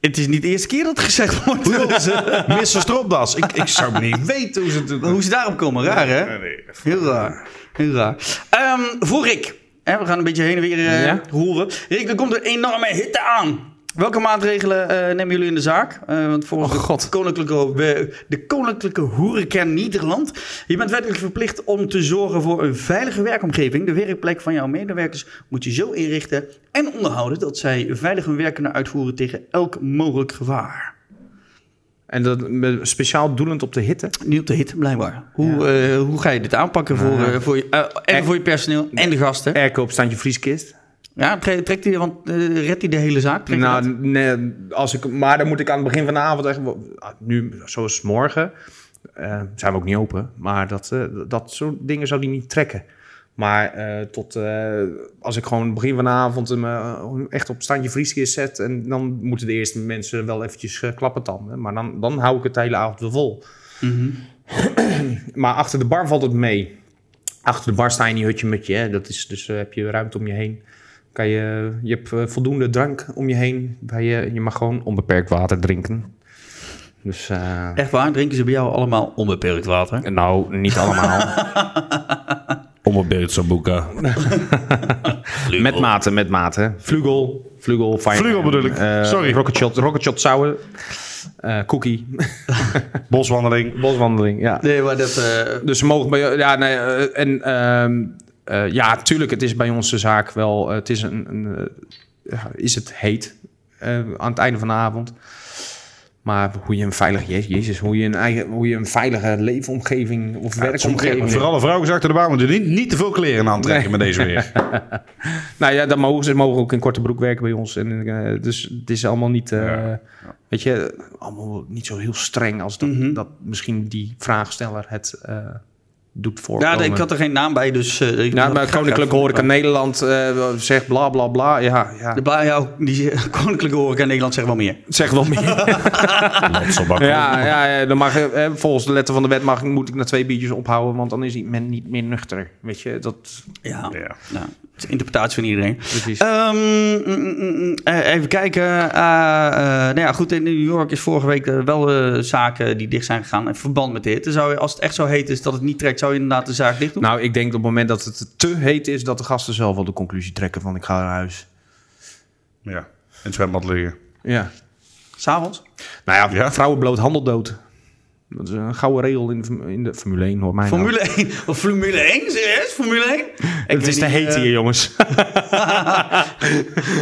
Het is niet de eerste keer dat het gezegd wordt.
Mr. Stropdas. Ik, ik zou niet weten hoe ze het doen.
Hoe ze daarop komen, raar hè?
Nee, nee.
Heel raar. Heel raar. Ehm, voor Rick. Hè, we gaan een beetje heen en weer eh
Ja.
roeren. Rick, er komt een enorme hitte aan. Welke maatregelen eh, nemen jullie in de zaak? Eh, want volgens de, koninklijke, we- de Koninklijke Horecan Nederland... je bent wettelijk verplicht om te zorgen voor een veilige werkomgeving. De werkplek van jouw medewerkers moet je zo inrichten en onderhouden... dat zij veilig hun werk kunnen uitvoeren tegen elk mogelijk gevaar.
En dat met- speciaal doelend op de hitte.
Nu op de hitte, blijkbaar. Hoe, eh, hoe ga je dit aanpakken voor, eh, voor je, eh, en voor je personeel en de gasten?
Airco op standje vrieskist.
Ja, tre- trekt hij, want eh, redt hij de hele zaak? Trekt hij
Nou,
dat?
nee, als ik, maar dan moet ik aan het begin van de avond echt... wel- ah, Nu, zoals morgen, eh, zijn we ook niet open. Maar dat, eh, dat soort dingen zou die niet trekken. Maar eh, tot, eh, als ik gewoon begin van de avond hem eh, echt op standje vrieskist zet... en dan moeten de eerste mensen wel eventjes eh, klappen tanden. Maar dan, dan hou ik het de hele avond weer vol. maar achter de bar valt het mee. Achter de bar sta je in je hutje mutje. Hè? Dat is, dus eh, heb je ruimte om je heen. Kan je, je hebt eh, voldoende drank om je heen. Bij je, je mag gewoon onbeperkt water drinken. Dus eh,
Echt waar, drinken ze bij jou allemaal onbeperkt water?
nou, niet allemaal.
Onbebeeld Sambuca.
met mate, met mate. Vlugel, vlugel, Eh, fire.
Vlugel bedoel ik. Sorry.
Rocket shot, rocket shot sour. Eh, cookie,
Boswandeling.
boswandeling, <laughs> ja.
Nee, maar dat... eh,
Dus ze mogen bij ja, nee, eh, en ehm, eh, ja, tuurlijk, het is bij onze zaak wel, eh, het is een, een eh, ja, is het heet eh, aan het einde van de avond. Maar hoe je een veilig, je- jezus, hoe je een eigen, hoe je een veilige leefomgeving of werkomgeving.
Vooral de vrouwen achter de baan moeten niet, niet te veel kleren aantrekken met deze
<laughs>
weer.
Nou ja, dan mogen ze mogen ook in korte broek werken bij ons. En, eh, dus het is allemaal niet, eh, weet je, allemaal niet zo heel streng als dat,
Mhm.
dat misschien die vraagsteller het eh, doet voorkomen.
ja, nee, ik had er geen naam bij, dus... eh, ik
Nou,
wil
maar
graag
Koninklijke
even-
Horeca Nederland eh, zegt bla bla bla. Ja, ja.
De bla- ja, die <laughs> Koninklijke Horeca in Nederland zegt wel meer.
Zeg wel meer.
Lotselbakken.
ja, ja, ja, dan mag, je, eh, volgens de letter van de wet mag, moet ik na twee biertjes ophouden, want dan is i- men niet meer nuchter. Weet je, dat
Ja,
Ja.
nou, het is interpretatie van iedereen.
precies.
Ehm, mm, mm, mm, eh, even kijken. Eh, eh, nou ja, goed, in New York is vorige week eh, wel eh, zaken die dicht zijn gegaan in verband met dit. Zou je, als het echt zo heet is dat het niet trekt, zou je inderdaad de zaak dicht doen?
nou, ik denk op het moment dat het te heet is, dat de gasten zelf wel de conclusie trekken van ik ga naar huis.
Ja, in het zwembad liggen.
Ja.
S'avonds?
Nou ja,
Ja.
vrouwen bloot handel dood. Dat is een gouden regel in de, form- in de Formule 1, hoor mij nou.
Formule 1. Of Formule 1, serieus? Formule 1?
het is te heet
eh,
hier, jongens.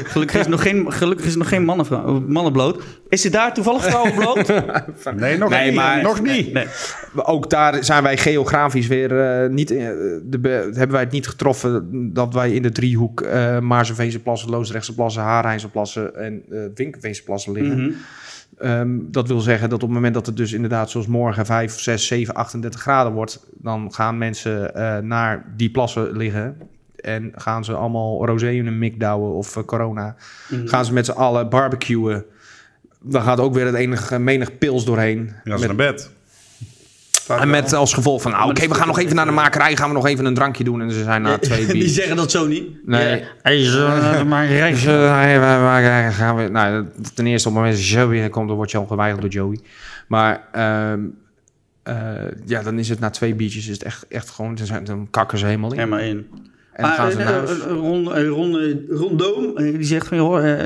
Gelukkig is, er nog geen, gelukkig is er nog geen mannen, mannenbloot. Is er daar toevallig vrouwen bloot?
Nee, nog
Nee,
niet.
maar-
nog niet.
Nee.
Ook daar zijn wij geografisch weer eh, niet. eh, de be- hebben wij het niet getroffen dat wij in de driehoek eh Maarseveense plassen, Loosdrechtse plassen, Haarrijnse plassen en eh Winkelveense plassen liggen.
Mhm.
Ehm, dat wil zeggen dat op het moment dat het dus inderdaad zoals morgen 5, 6, 7, 38 graden wordt, dan gaan mensen eh, naar die plassen liggen. En gaan ze allemaal rosé in een mik douwen of eh, corona. Gaan ze met z'n allen barbecuen. Dan gaat ook weer het enige menig pils doorheen.
Ja, ze
Met-
naar bed.
Vaak
En met
wel.
als gevolg van, nou, oké, we gaan nog even naar de makerij, gaan we nog even een drankje doen. En ze zijn na twee
Die
bier.
zeggen dat zo niet.
Nee,
maar
Dus, eh, hey, waar- waar- waar gaan we? Nou, ten eerste op het moment dat Joey binnenkomt, dan word je al geweigerd door Joey. Maar ehm, eh, ja, dan is het na twee biertjes is het echt, echt gewoon, dan, zijn, dan kakken ze helemaal in.
Helemaal in.
En dan gaan ze
eh,
naar
eh,
huis.
eh, Ron, eh, Ron, eh, Ron Doom, eh, die zegt van, joh, eh,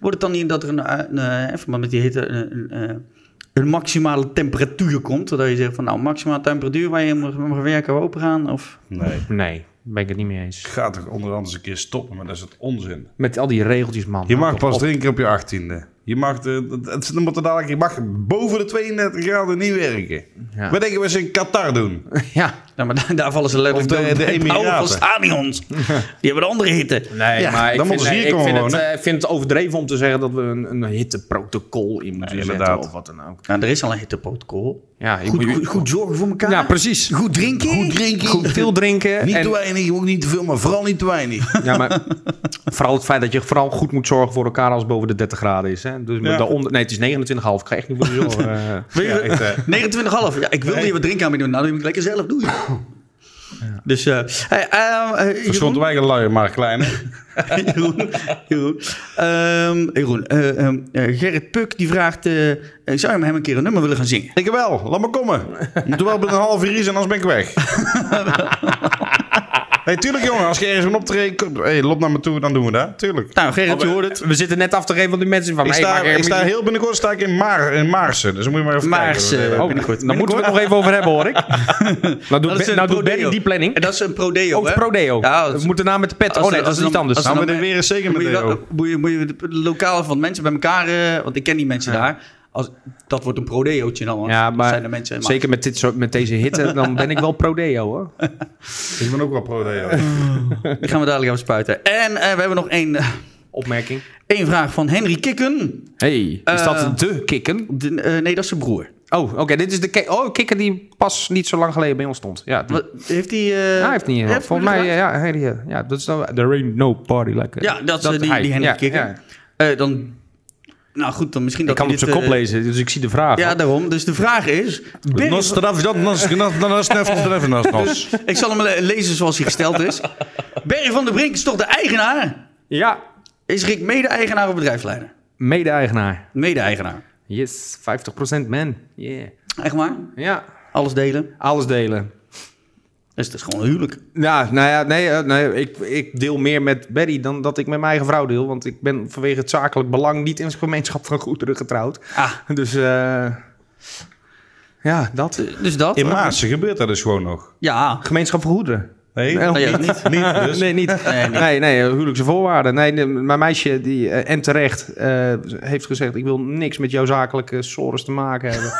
wordt het dan niet dat er een, eh, een, eh, in verband met die hitte, een, een, eh, een maximale temperatuur komt? Dat je zegt van, nou, maximale temperatuur waar je mag, mag werken, we open gaan? Of,
Nee,
Nee, ben ik het niet mee eens.
ga toch onder andere eens een keer stoppen, maar dat is het onzin.
Met al die regeltjes, man.
Je
Hou
mag
toch
pas
op.
drinken op je achttiende. Je mag, de, dat- het, dan moet er dadelijk, je mag boven de 32 graden niet werken.
Ja.
Wat denken we ze in Qatar <laughs> doen?
<laughs> Ja,
nou, maar <laughs> daar, daar vallen ze letterlijk
Of de-
dood
de
bij.
Emiraten.
Bouwen van stadions.
<laughs>
Die hebben een andere hitte.
nee, maar ik
dan
vind,
moeten ze
nee,
hier
ik
komen
vind, het,
wonen.
eh, ik vind het overdreven om te zeggen dat we een, een hitteprotocol in moeten zetten
inderdaad.
of wat dan ook.
Nou, er is al een hitteprotocol.
Ja, je
Goed,
moet-
goed, goed zorgen voor elkaar.
ja precies.
Goed drinken. Goed drinken.
Goed veel drinken.
Niet
en-
te weinig, ook niet te veel, maar vooral niet te <laughs> weinig.
<laughs> Ja, maar vooral het feit dat je vooral goed moet zorgen voor elkaar als het boven de 30 graden is. Hè? Dus
Ja.
met daaronder, nee, het is 29,5. Ik ga echt niet voor je
<laughs>
zorgen. Eh,
Wil je- 29,5. Ja, ik wilde je wat drinken aan me doen. Nou, dan moet ik lekker zelf doen. Dus, eh hey, eh, eh, Jeroen?
Verstond wij een luier, maar <laughs> kleine.
<laughs> Jeroen. Jeroen. Ehm, Jeroen, eh, ehm, eh, Gerrit Puk die vraagt: eh, eh, zou je met hem een keer een nummer willen gaan zingen?
Ik wel, laat maar komen. Moet er wel binnen een half uur hier zijn, anders ben ik <laughs> weg. Nee, tuurlijk jongen, als je ergens een optreden komt, hey, loop naar me toe, dan doen we dat. Tuurlijk.
Nou,
Oh,
Gerrit, je hoort het.
we zitten net af te geven van die mensen van...
Ik
hey,
sta,
maar-
ik sta heel binnenkort sta ik in, Mar, in Maarsen, dus dan moet je maar even
Maarsen.
kijken.
Oh,
binnenkort.
daar moeten we het nog even over hebben, hoor ik.
<laughs>
nou doet,
is
Ben-
een
nou doet
prodeo.
Benny die planning.
En dat is een prodeo.
Oh,
hè?
het prodeo.
Ja, dat
we
is-
moeten daarna met de pet.
als
Oh nee,
er-
dat
als
is
er
niet
dan-
anders.
als
Nou,
dan
maar er weer eens zeker met
moet, je wel-
Leo.
moet, je, moet je de lokale van mensen bij elkaar, eh, want ik ken die mensen daar. Als, dat wordt een prodeootje dan. want
Ja,
dat zijn de
maar
mensen,
zeker met, dit soort, met deze hitte, dan ben ik wel pro-deo,
<laughs>
hoor.
Ik ben ook wel <laughs> pro-deo.
Die gaan we dadelijk even spuiten. En eh, we hebben nog één, eh,
Opmerking.
één vraag van Henry Kikken.
hey, is
Eh,
dat de kikken?
De- eh, nee, dat is zijn broer.
Oh, oké, dit is de ki- Oh, kikker die pas niet zo lang geleden bij ons stond. Ja, die-
Wat- heeft hij... eh,
Ja, hij heeft niet.
heeft
volgens mij, eh,
gevraagd?
ja, ja, hij- ja, ja, dat is dan. There ain't no party like.
Ja, dat is eh, die,
hij.
die Henry
Ja,
Kikker.
ja.
Eh, dan, nou goed, dan misschien
Ik
dat
kan
we
het op zijn
dit,
kop
eh,
lezen, dus ik zie de vraag.
Ja, daarom. Dus de vraag is... Berry-
Nos, traf, dat, nos, nos, nos, nef, tref, nos, nos.
ik zal hem le- lezen zoals hij gesteld
<laughs>
is. Berry van der Brink is toch de eigenaar?
ja.
Is Rick mede-eigenaar of bedrijfsleider?
mede-eigenaar.
Mede-eigenaar.
Yes, 50% man. Yeah.
Echt waar?
Ja,
Alles delen.
alles delen.
Dus het is gewoon een huwelijk.
Ja, nou ja, nee, eh, nee ik, ik deel meer met Betty dan dat ik met mijn eigen vrouw deel. Want ik ben vanwege het zakelijk belang niet in het gemeenschap van goederen getrouwd.
Ah,
Dus eh ja, dat.
dus dat.
In Maarsen gebeurt dat dus gewoon nog.
Ja.
Gemeenschap van goederen.
Nee,
Nee,
Nee, dat niet.
<laughs> niet dus.
Nee, niet.
Nee,
Nee,
niet.
nee, huwelijkse voorwaarden. Nee, nee, mijn meisje, die, eh, en terecht, eh, heeft gezegd... ik wil niks met jouw zakelijke sores te maken
<laughs>
hebben.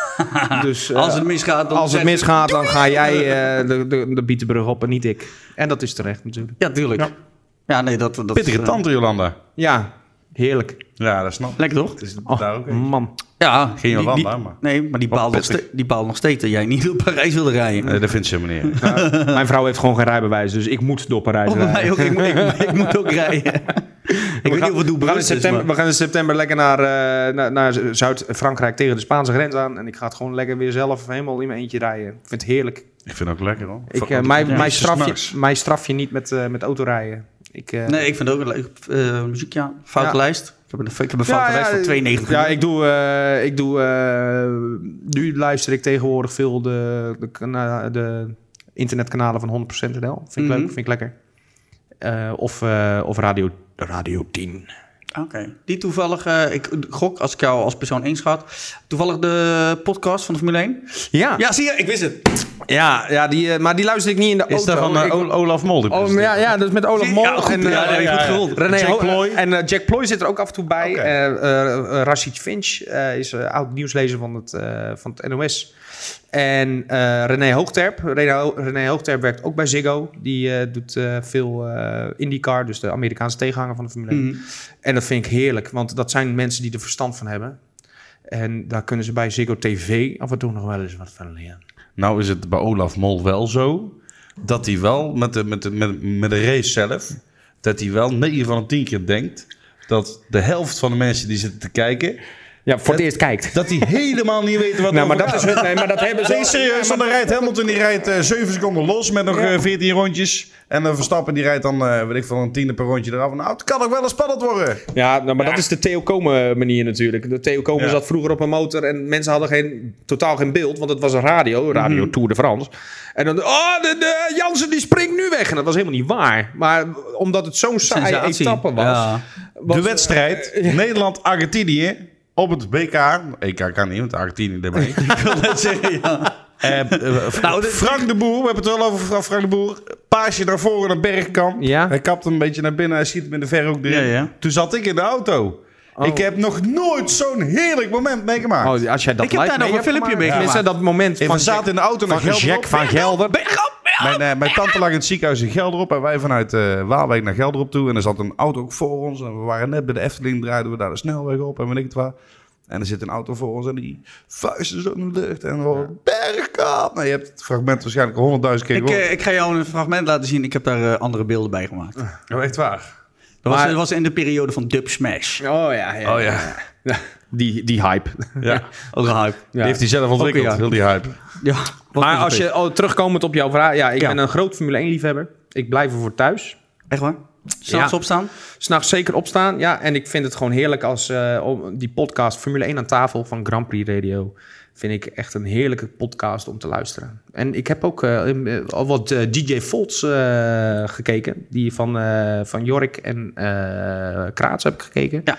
dus eh,
Als het misgaat, dan
als het
zegt-
misgaat, dan ga jij eh, de, de, de bietenbrug op en niet ik. En dat is terecht natuurlijk.
Ja, tuurlijk. Ja, nee, dat... dat
Pittige
eh,
tante, Jolanda.
Ja, heerlijk.
Ja, dat snap ik.
Lekker toch?
Het is
Oh,
Nou,
daar ook een.
man.
Ja.
Geen
die-
Jolanda,
die-
maar...
Nee, maar die baalt, nog
pittig.
ste- die baalt nog steeds dat jij niet door Parijs wilde rijden.
Nee, dat vindt ze helemaal niet.
Mijn vrouw heeft gewoon geen rijbewijs, dus ik moet door Parijs
Oh, bij
rijden.
mij ook. Ik, moet- ik, ik moet ook rijden.
<laughs>
ik weet niet of het doel
we gaan, in
bewust is,
september,
maar-
we gaan in september lekker naar, eh, naar, naar Zuid-Frankrijk tegen de Spaanse grens aan. En ik ga het gewoon lekker weer zelf helemaal in mijn eentje rijden. Ik vind het heerlijk.
Ik vind het ook lekker, hoor.
Ik,
Fuck,
eh,
wat-
mijn,
Ja,
mijn,
is s'nachts.
strafje, mijn strafje niet met, eh met autorijden. Ik, eh,
Nee, ik vind het ook een leuk eh, muziek, ja. Foute
Ja.
lijst. Ik heb een, ik heb een foute lijst van 92
Ja,
ja,
ik doe... eh, ik doe eh, nu luister ik tegenwoordig veel de, de, kana- de internetkanalen van 100% NL. Vind
Mhm.
ik leuk, vind ik lekker. Eh, of, eh, of radio, radio 10.
Oké. Die toevallig, eh, ik gok als ik jou als persoon eens schat, toevallig de podcast van de Formule 1.
Ja, ja.
Ja, zie je, ik wist het.
ja, die, eh, maar die luister ik niet in de
Is
auto.
dat van eh,
Ik-
Ol- Olaf Mol? die
Oh,
presenteert?
ja, ja, dus met Olaf
Ja,
Mol
goed,
en eh,
ja, dat heb je goed gerold.
René
Jack
Ho-
Ploy.
En eh, Jack Ploy zit er ook af en toe bij.
Oké.
Eh, eh, eh, Rashid Finch eh, is eh, oud nieuwslezer van het, eh, van het NOS. En eh, René Hoogterp. René, Ho- René Hoogterp werkt ook bij Ziggo. Die eh, doet eh, veel eh, IndyCar, dus de Amerikaanse tegenhanger van de Formule 1. En dat vind ik heerlijk, want dat zijn mensen die er verstand van hebben. En daar kunnen ze bij Ziggo TV af en toe nog wel eens wat van leren.
Nou is het bij Olaf Mol wel zo dat hij wel met de, met de, met, met de race zelf, dat hij wel 9 van de 10 keer denkt dat de helft van de mensen die zitten te kijken,
Ja, voor het eerst kijkt.
Dat die helemaal niet weten wat
<laughs> Nou,
er
maar dat, is, hun- nee, maar dat hebben ze.
Nee, serieus, want dan rijdt Hamilton die rijdt eh 7 seconden los met nog eh, 14 rondjes. En dan Verstappen die rijdt dan, eh weet ik veel, een tiende per rondje eraf. Nou, het kan ook wel eens spannend worden.
Ja, nou, maar dat is de Theo Komen manier natuurlijk. De Theo Komen
Ja.
zat vroeger op een motor en mensen hadden geen, totaal geen beeld, want het was een radio, radio Tour de France. En dan, oh, de, de Jansen die springt nu weg. En dat was helemaal niet waar. Maar omdat het zo'n saaie
Sensatie.
etappe was.
Ja.
was-
de wedstrijd
<laughs>
Nederland-Argentinië op het WK. EK kan niet, want Argentinië
<laughs>
erbij. Eh, eh, Fra-
Nou, dit-
Frank de Boer, we hebben het wel over Fra- Frank de Boer. Paasje naar voren naar Bergkamp.
Ja.
Hij kapt hem een beetje naar binnen, hij schiet met de verhoek erin.
Ja, ja.
Toen zat ik in de auto. Ik heb nog nooit zo'n heerlijk moment meegemaakt.
Oh, als jij dat
Ik heb
live
daar nog
mee
een
hebt
filmpje mee
gemaakt.
gemaakt.
Tenminste, dat moment
En
van
we zaten in de auto naar
van
Gelderop.
Jack van Gelder.
Mijn, eh, mijn tante lag in het ziekenhuis in Gelderop en wij vanuit eh Waalwijk naar Gelderop toe. En er zat een auto ook voor ons. En we waren net bij de Efteling, draaiden we daar de snelweg op en weet ik het waar. En er zit een auto voor ons en die vuisten zo in de lucht. En we horen, bergkamp. Nou, je hebt het fragment waarschijnlijk honderdduizend keer
Ik,
gehoord.
eh, ik ga jou een fragment laten zien. Ik heb daar eh, andere beelden bij gemaakt. Dat
Oh, echt waar?
was,
Maar-
dat was in de periode van Dub Smash.
Oh ja, ja.
Oh ja.
Die, die hype.
ja.
<laughs> Ook een hype.
Die heeft hij zelf ontwikkeld,
ja.
heel die hype.
Ja, wat
Maar
is
als
het?
je oh, terugkomend op jouw vraag. Ja, ik
Ja.
ben een groot Formule 1 liefhebber. Ik blijf ervoor thuis.
Echt waar? S'nachts
Ja.
opstaan?
S'nachts zeker opstaan. Ja, en ik vind het gewoon heerlijk als eh, om- die podcast Formule 1 aan tafel van Grand Prix Radio. Vind ik echt een heerlijke podcast om te luisteren. En ik heb ook eh, in- eh, al wat eh, DJ Volts eh, gekeken. Die van, eh, van Jorik en eh Kraats heb ik gekeken.
Ja.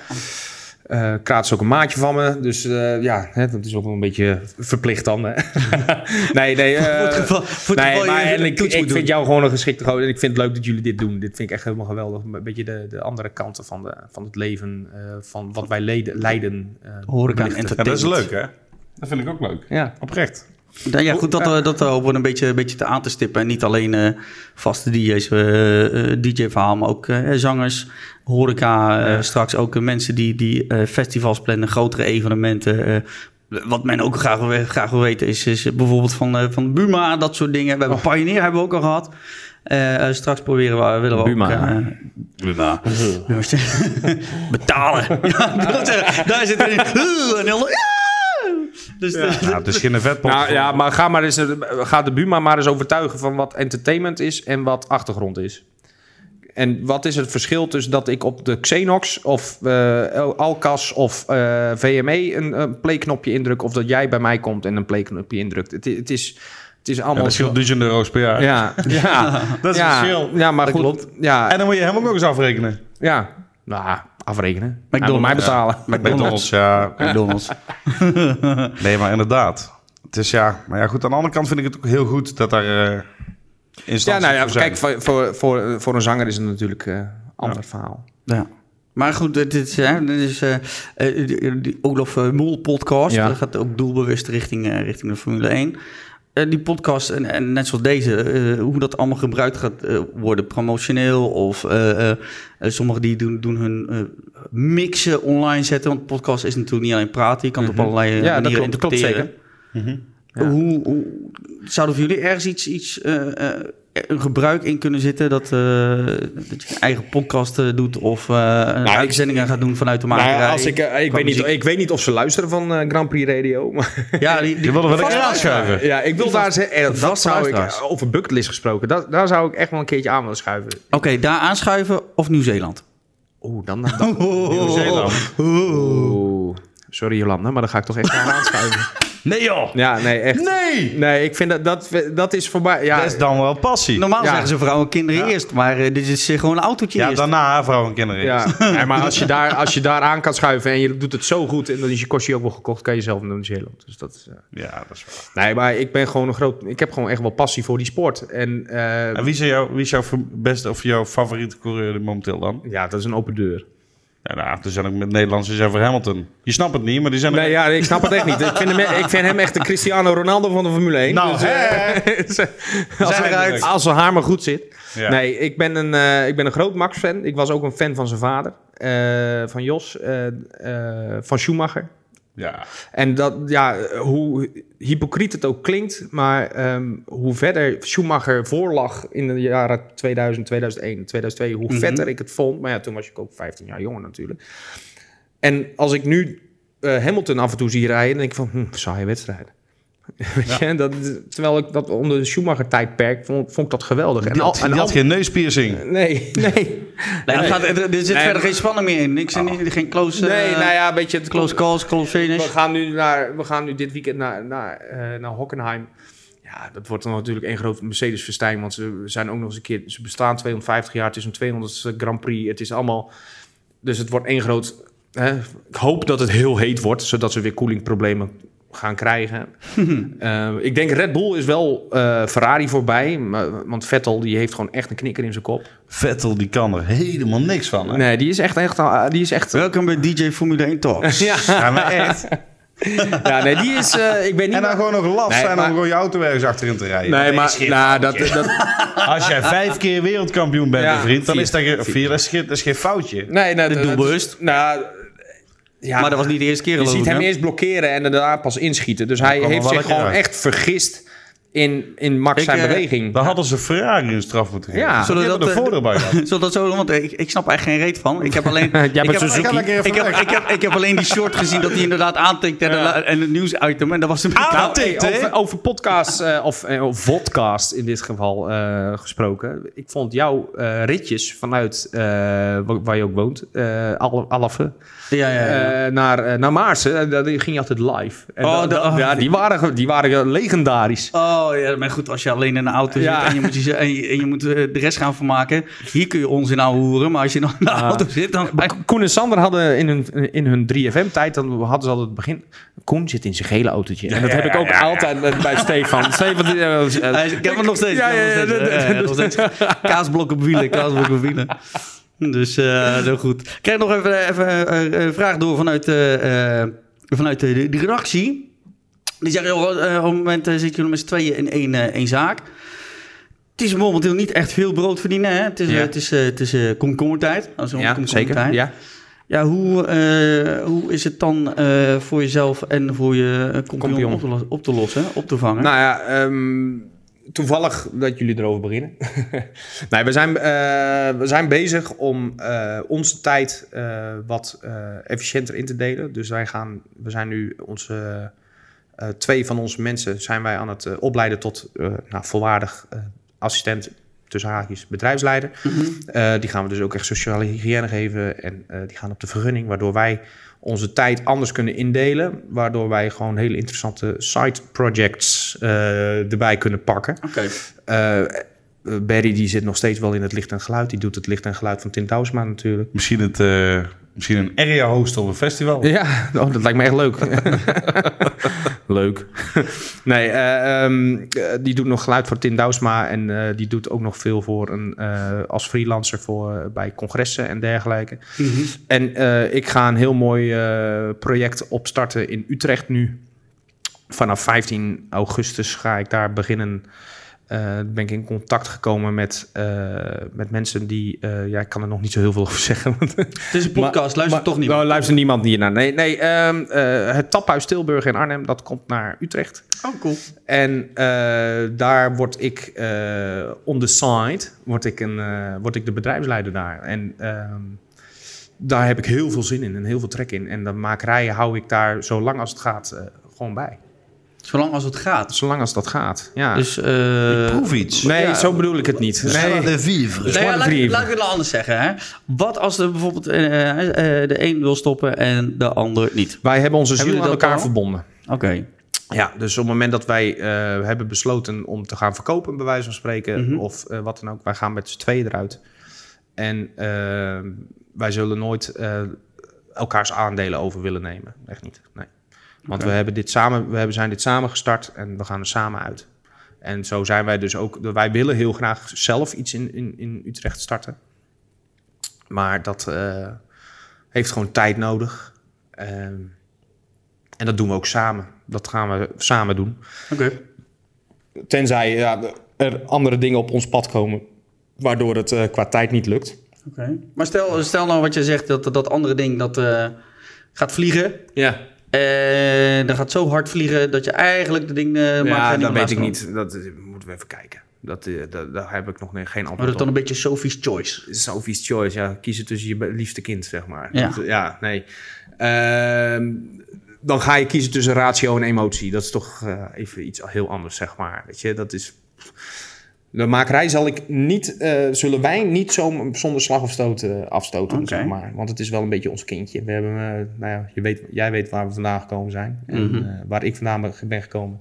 Eh, Kraat is ook een maatje van me, dus eh, ja, hè, dat is ook wel een beetje verplicht dan. Hè? <laughs> nee, nee. eh,
Voor het geval- voor het
nee,
geval je
maar
een
en ik,
toets
ik
moet
vind
doen.
jou gewoon een geschikte gozer en ik vind het leuk dat jullie dit doen. Dit vind ik echt helemaal geweldig. Een beetje de, de andere kanten van, de, van het leven, eh, van wat wij leden, lijden. eh,
Horeca en
belichten.
Ja, dat is
entertainment.
leuk, hè? Dat vind ik ook leuk.
Ja.
Oprecht.
Nou ja, goed, dat, eh, dat eh, hopen we een beetje, een beetje te aan te stippen. En niet alleen eh, vaste DJ's, eh, eh, DJ-verhaal, maar ook eh, zangers, horeca. eh, Straks ook eh, mensen die, die eh, festivals plannen, grotere evenementen. eh. wat men ook graag, wil- graag wil weten is, is bijvoorbeeld van, eh, van Buma, dat soort dingen. We hebben Pioneer hebben we ook al gehad. Eh, eh, straks proberen we, willen we
Buma.
ook... eh, Buma. Jongens, <laughs> Betalen. <laughs> ja, dat, eh, daar zit er in. <laughs> Oeh, en heel- Ja! Dus eh,
Nou, het is geen vetpot.
Nou ja, maar ga, maar eens, eh, ga de Buma maar eens overtuigen van wat entertainment is en wat achtergrond is. En wat is het verschil tussen dat ik op de Xenox of eh, Alcas of eh, VME een, een playknopje indruk... of dat jij bij mij komt en een playknopje indrukt. Het, i- het, is, het is
Ja,
allemaal...
dat
zo-
scheelt duizend euro's per jaar.
ja, ja,
<laughs> Dat is
ja,
verschil.
Ja, maar goed.
En
Ja,
dan moet je hem ook nog eens afrekenen.
ja. Nou, afrekenen. Hij moet
McDonald's.
mij betalen.
McDonald's, ja.
McDonald's.
Nee, maar inderdaad. Het is ja, maar ja, goed. Aan de andere kant vind ik het ook heel goed dat daar eh instanties
Ja, nou ja,
voor zijn.
kijk, voor, voor, voor, voor een zanger is het natuurlijk eh, een ander verhaal.
Ja. Maar goed, dit is, hè, dit is eh, eh, die- die Olaf eh, Mol podcast.
Ja.
Dat gaat ook doelbewust richting, eh, richting de Formule 1. Eh, die podcast, en, en net zoals deze, eh, hoe dat allemaal gebruikt gaat eh, worden, promotioneel. Of eh, eh, eh, sommigen die doen, doen hun eh, mixen online zetten. Want podcast is natuurlijk niet alleen praten. Je kan het op allerlei eh,
Mhm. Ja, dat
manieren
klopt, dat klopt
interpreteren.
zeker. Mhm.
Eh, Hoe, hoe- zouden voor jullie ergens iets, iets eh, eh, een gebruik in kunnen zitten dat, eh, dat je een eigen podcast eh, doet of eh, een
Nou, ik-
uitzendingen gaat doen vanuit de
Nou
makerij?
ja, als ik, eh, ik, weet niet, ik weet niet of ze luisteren van eh, Grand Prix Radio. Maar
ja, die, die,
Je wilde wel een
vast-
keer aanschuiven.
<laughs> ja, ik wil daar ze- eh, dat,
vaste
zou ik
luisteraars.
eh, over bucketlist gesproken. Dat, daar zou ik echt wel een keertje aan willen schuiven.
Oké, daar aanschuiven of Nieuw-Zeeland?
Oeh, dan. dan, dan- Oeh. Sorry Jolanda, maar daar ga ik toch echt aan aanschuiven.
Nee joh!
Ja, nee, echt.
Nee!
Nee, ik vind dat dat, dat is voorbij. Ja,
Dat is dan wel passie.
Normaal
Ja.
zeggen ze vrouwen en kinderen eerst, maar eh, dit is eh, gewoon een autootje
Ja,
eerst.
daarna vrouwen en kinderen.
ja. Nee, maar als je, daar, als je daar aan kan schuiven en je doet het zo goed en dan is je kostje ook wel gekocht, kan je zelf doen in Zeeland. Dus dat is. eh.
Ja, dat is waar.
Nee, maar ik ben gewoon een groot. Ik heb gewoon echt wel passie voor die sport. En eh,
En wie is, jou, wie is jouw ver- beste of jouw favoriete coureur momenteel dan?
ja, dat is een open deur.
Ja, nou, er zijn ook met Nederlanders, er zijn voor Hamilton. Je snapt het niet, maar die zijn er...
Nee, ja, ik snap het echt niet. Ik vind hem, e- ik vind hem echt de Cristiano Ronaldo van de Formule 1.
Nou,
eh, <laughs>
hè?
als,
Zijn
hij,
eruit.
als zijn haar maar goed zit.
Ja.
Nee, ik ben, een, eh, ik ben een groot Max-fan. Ik was ook een fan van zijn vader. eh, van Jos. eh, eh, van Schumacher.
Ja.
En dat, ja, hoe hypocriet het ook klinkt, maar ehm, hoe verder Schumacher voorlag in de jaren 2000, 2001, 2002, hoe
Mhm.
vetter ik het vond. Maar ja, toen was ik ook 15 jaar jonger natuurlijk. En als ik nu eh, eh, Hamilton af en toe zie rijden, dan denk ik van, hm, saaie wedstrijd. <laughs> Weet je, dat, terwijl ik dat onder de Schumacher-tijdperk vond, vond ik dat geweldig.
Die had, die had
al-
geen neuspiercing.
Nee, <laughs> nee. Oh.
Nee, dat gaat, er, er zit
Nee,
verder
maar-
geen spanning meer in. Niks, en niet- geen close,
nee,
eh,
nou ja, weet je, het
close calls, close
We
Dus
finish.
gaan nu, naar, we gaan nu dit weekend naar, naar, eh, naar Hockenheim. Ja, dat wordt dan natuurlijk één groot Mercedes-festijn. Want ze zijn ook nog eens een keer... Ze bestaan 250 jaar. Het is een 200ste Grand Prix. Het is allemaal... Dus het wordt één groot... Hè, ik hoop dat het heel heet wordt. Zodat ze weer koelingproblemen gaan
<laughs>
krijgen. Eh, ik denk Red Bull is wel eh, Ferrari voorbij. Maar, want Vettel die heeft gewoon echt een knikker in zijn kop.
Vettel, die kan er helemaal niks van. Hè?
Nee, die is echt... echt al- die is echt
Welkom bij DJ Formule 1 Talks.
ja.
Ja, maar <laughs> echt.
ja, nee, die is... eh, ik ben niet...
En dan gewoon nog laf
Nee,
zijn
maar-
om gewoon je auto ergens achterin te rijden.
Nee, maar nou, dat, dat,
Als jij vijf keer wereldkampioen bent,
Ja,
mijn vriend, dan
vier.
is dat, ge- vier, dat, is geen, dat is geen foutje.
<laughs>
Nee, nou, dat
doe
dat-
bewust.
Nou, ja,
Maar dat was niet de eerste keer,
je
geloof
ziet
ik,
hem
hè?
eerst blokkeren en daarna pas inschieten. Dus hij
kwam er
heeft
wel
zich
lekker
gewoon
uit.
echt vergist in, in Max
Ik,
zijn
eh,
beweging.
Dan hadden ze Ferrari een straf moeten geven. Dus
Ja.
Ja,
Zullen
Zullen hebben
dat, eh,
er voordeel
<laughs>
bij gehad.
Zullen we dat zo doen? Want eh, ik, ik snap er echt geen reet van. Ik heb <laughs> alleen, ik,
bent
heb,
Suzuki.
ik, heb,
lekker even
ik, heb,
weg.
ik, heb, ik heb alleen die short gezien dat hij inderdaad aantikt en, en het nieuwsitem. En dat was hem.
Nou,
Ah, Aantikt.
hey, over, over podcasts, eh, of, eh, of vodcast in dit geval eh, gesproken. Ik vond jouw eh, ritjes vanuit eh, wa- waar je ook woont, eh Al- Alphen,
Ja, ja, ja.
eh, naar, eh, naar Maarsen, eh, daar ging je altijd live. En
Oh,
dat-
de-
dat- ja, die waren, ge- die waren eh, legendarisch.
Oh ja, maar goed, als je alleen in een auto
Ja.
zit en je moet, je, en je, en je moet eh, de rest gaan vermaken. Hier kun je onzin aan horen, maar als je nog in de auto zit, dan...
Maar Koen en Sander hadden in hun, in hun 3FM-tijd, dan hadden ze altijd het begin. Koen zit in zijn gele autootje. en dat heb ik ook altijd met- bij
<laughs>
Stefan. Stefan die, eh, was, eh,
Hij is- Ik heb hem nog steeds.
Ja, ja,
ik heb hem nog
ja,
steeds.
ja,
Eh,
ja,
nog steeds. Kaasblok op wielen, kaasblok op wielen. Dus eh zo goed. Ik krijg nog even, even eh, een vraag door vanuit, eh, eh, vanuit de, de redactie. Die zeggen, joh, eh, op het moment eh, zitten jullie met z'n tweeën in één, eh, één zaak. Het is momenteel niet echt veel brood verdienen. Hè? Het is, eh,
Ja.
het is, eh, het is eh, komkommertijd. Dat is een
ja,
komkommertijd.
zeker. Ja.
Ja, hoe, eh, hoe is het dan eh, voor jezelf en voor je eh, compagnon,
Compagnon.
Op, te los- op te lossen, op te vangen?
Nou ja, ehm, toevallig dat jullie erover beginnen. <laughs> nee, we zijn, eh, we zijn bezig om eh, onze tijd eh, wat eh, efficiënter in te delen. Dus wij gaan, we zijn nu onze, eh, twee van onze mensen zijn wij aan het eh, opleiden tot eh, nou, volwaardig eh, assistent. Tussen haakjes bedrijfsleider. Eh, die gaan we dus ook echt sociale hygiëne geven. En eh, die gaan op de vergunning. Waardoor wij onze tijd anders kunnen indelen. Waardoor wij gewoon hele interessante side projects eh, erbij kunnen pakken.
Oké.
Eh, eh, Barry die zit nog steeds wel in het licht en geluid. Die doet het licht en geluid van Tim Douwsma natuurlijk.
Misschien, het, eh, misschien een area host op een festival.
Ja, oh, dat lijkt me echt leuk. <laughs> leuk. nee, eh, ehm, eh, die doet nog geluid voor Tim Douwsma. En eh, die doet ook nog veel voor een, eh, als freelancer voor, eh, bij congressen en dergelijke. En eh, ik ga een heel mooi eh, project opstarten in Utrecht nu. Vanaf 15 augustus ga ik daar beginnen. Eh, ben ik in contact gekomen met, eh, met mensen die... eh, ja, ik kan er nog niet zo heel veel over zeggen. Want
Het is een podcast, luister
maar-
toch niet.
Nou, luister niemand hier naar. Nee, nee ehm, eh, het taphuis Tilburg in Arnhem, dat komt naar Utrecht.
Oh, cool.
En eh, daar word ik eh, on the side, word ik, een, eh, word ik de bedrijfsleider daar. En ehm, daar heb ik heel veel zin in en heel veel trek in. En de makerij hou ik daar zo lang als het gaat eh, gewoon bij.
Zolang als het gaat.
Zolang als dat gaat, ja.
Dus, eh
Proef iets.
nee, zo bedoel ik het niet.
Joie
Nee.
de
nou ja,
vivre.
Zwarte
laat, ik-
drie.
laat ik het anders zeggen. Hè? Wat als er bijvoorbeeld eh, eh, de een wil stoppen en de ander niet?
Wij hebben onze
Hebben
ziel aan
jullie dat
elkaar
al?
verbonden.
Oké.
Ja, dus op het moment dat wij eh, hebben besloten om te gaan verkopen, bij wijze van spreken, of eh, wat dan ook, wij gaan met z'n tweeën eruit. En eh, wij zullen nooit eh, elkaars aandelen over willen nemen. Echt niet. Nee. Want we, hebben dit samen, we hebben, zijn dit samen gestart en we gaan er samen uit. En zo zijn wij dus ook. Wij willen heel graag zelf iets in, in, in Utrecht starten. Maar dat eh, heeft gewoon tijd nodig. Ehm, en dat doen we ook samen. Dat gaan we samen doen.
Oké.
Tenzij ja, er andere dingen op ons pad komen, waardoor het eh, qua tijd niet lukt.
Oké. Maar stel, stel nou wat je zegt, dat dat andere ding dat eh, gaat vliegen.
Ja,
En dat gaat zo hard vliegen dat je eigenlijk de ding eh maakt. waar
ja dat
niemand
weet ik
last van.
niet. Dat eh, moeten we even kijken.
Dat, eh, dat, daar heb ik nog ne- geen
Maar
antwoord
dat
op.
is dan een beetje Sophie's Choice.
Sophie's Choice, ja. Kiezen tussen je be- liefste kind, zeg maar.
Ja.
eh,
Dat- ja nee. Ehm, dan ga je kiezen tussen ratio en emotie. Dat is toch eh, even iets heel anders, zeg maar. Weet je, dat is...
De makerij zal ik niet, eh, zullen wij niet zo zonder slag of stoot eh, afstoten,
Oké.
zeg maar. Want het is wel een beetje ons kindje. We hebben, eh, nou ja, je weet, jij weet waar we vandaan gekomen zijn. En,
Mhm.
eh, waar ik vandaan ben- ben gekomen.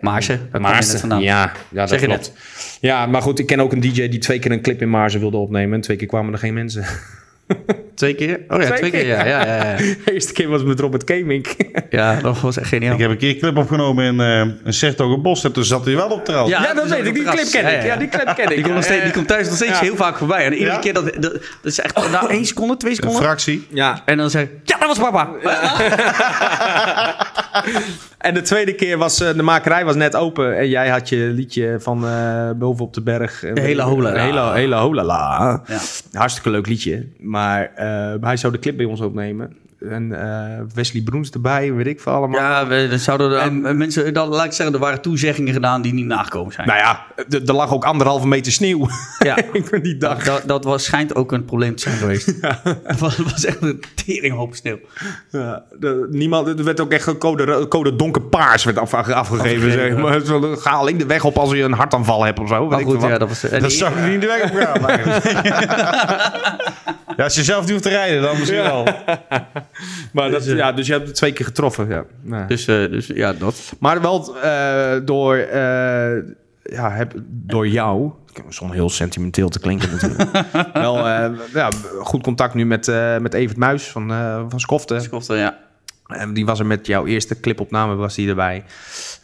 Maarsen, waar kom je net
Maarsen,
vandaan?
ja, ja, dat
Zeg je
klopt. Ja, maar goed, ik ken ook een DJ die twee keer een clip in Maarsen wilde opnemen. En twee keer kwamen er geen mensen. <laughs>
Twee keer? Oh ja, twee,
Twee
keer. Ja, ja, ja,
<laughs>
ja.
De eerste keer was het met Robert Kemink. <laughs>
ja, dat was echt geniaal.
Ik heb een keer een clip opgenomen in eh een Sertogenbos. Toen zat hij wel op trouwens.
Ja, dat weet ik. Die clip ken ik. Ja,
die clip ken ik.
<laughs> Die komt, nog steeds, die komt thuis nog steeds
ja.
heel vaak voorbij. En iedere
Ja?
keer dat, dat, dat is echt na één seconde, twee
Een
seconden.
fractie.
Ja,
en dan zeg ik, ja, dat was papa.
<laughs> En de tweede keer was eh, de makerij was net open en jij had je liedje van eh, boven op de berg. De
hele holala.
Hele, hele holala.
Ja.
Hartstikke leuk liedje. Maar eh, hij zou de clip bij ons opnemen. En eh, Wesley Broens erbij, weet ik veel allemaal.
Ja, we, dan zouden er- eh, mensen, dan, laat ik zeggen, er waren toezeggingen gedaan die niet nagekomen zijn.
Nou ja, d- er lag ook anderhalve meter sneeuw <laughs>
Ja.
die
Dat,
dag.
dat, dat was, schijnt ook een probleem te zijn geweest. <laughs> Het was, was echt een teringhoop sneeuw.
Ja, de- niemand, er werd ook echt code, ro- code donkerpaars werd af- afgegeven. zeg maar. <laughs> Zo, Ga alleen de weg op als je een hartaanval hebt of zo. weet
Maar
ik veel
goed,
wat.
ja, dat was... eh, en
Dat
die-
zou ik niet in de weg op gaan. eigenlijk. ja, als je zelf niet hoeft te rijden, dan misschien wel.
maar dat, ja, dus je hebt het twee keer getroffen. Ja. Ja.
eh, dus, eh, dus ja, dat.
Maar wel eh, door, eh, ja, heb, door jou, zonder heel sentimenteel te klinken
<laughs>
natuurlijk, wel eh, ja, goed contact nu met, eh, met Evert Muis van, eh van Skofte.
Dus ik hoefde, ja.
En die was er met jouw eerste clipopname was die erbij.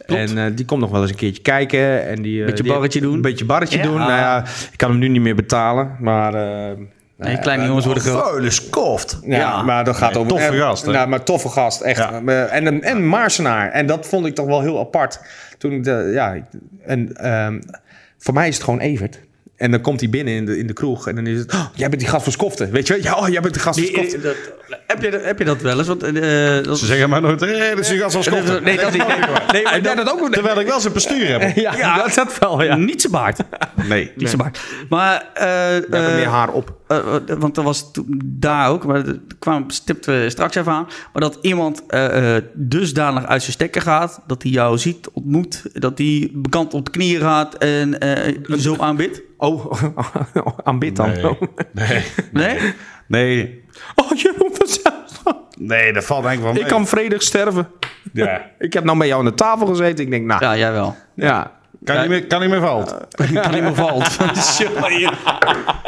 En eh, die komt nog wel eens een keertje kijken. En die, eh,
Beetje
die-
barretje doen.
Een beetje barretje
Ja.
doen. Nou ja, ik kan hem nu niet meer betalen, maar... eh,
Nee, kleine jongens worden groot.
Vuile skoft.
ja,
Ja.
maar dat gaat over...
toffe
eh,
gast, hè?
Nou, maar toffe gast, echt.
Ja.
Eh, En, een- en een Maarsenaar. En dat vond ik toch wel heel apart. Toen ik de, ja, ik- en ehm, voor mij is het gewoon Evert. En dan komt hij binnen in de, in de kroeg en dan is het... "Oh, jij bent die gast van Skofte, weet je wel? Ja, oh, jij bent de gast van
Die-
Skofte.
eh, dat, heb, je, heb je dat wel eens? Want, eh, dat,
Ze zeggen maar nooit, hey, dat is een gast als kopter.
nee, dat niet. Nee, maar dat, dat ook nog
Terwijl ik wel zijn bestuur heb.
Ja, dat, dat wel, ja.
Niet zijn baard.
Nee.
Niet zijn baard. Maar, eh,
Daar heb
eh,
meer haar op.
eh, eh, want er was toen daar ook, maar dat kwam stipt eh, straks even aan. Maar dat iemand eh, eh, dusdanig uit zijn stekker gaat, dat hij jou ziet, ontmoet, dat hij bekant op de knieën gaat en eh, je zo aanbidt.
Oh, <laughs> aanbid dan.
Nee. Nee.
Nee?
nee.
Oh, Jeroen van Zijlstra.
Nee, dat valt eigenlijk wel
Ik
mee.
kan vredig sterven.
Ja.
Ik heb nou bij jou aan de tafel gezeten. Ik denk, nou,
Ja, jij wel.
ja.
Kan, niet meer, kan niet meer valt.
Kan niet meer valt.
Nee.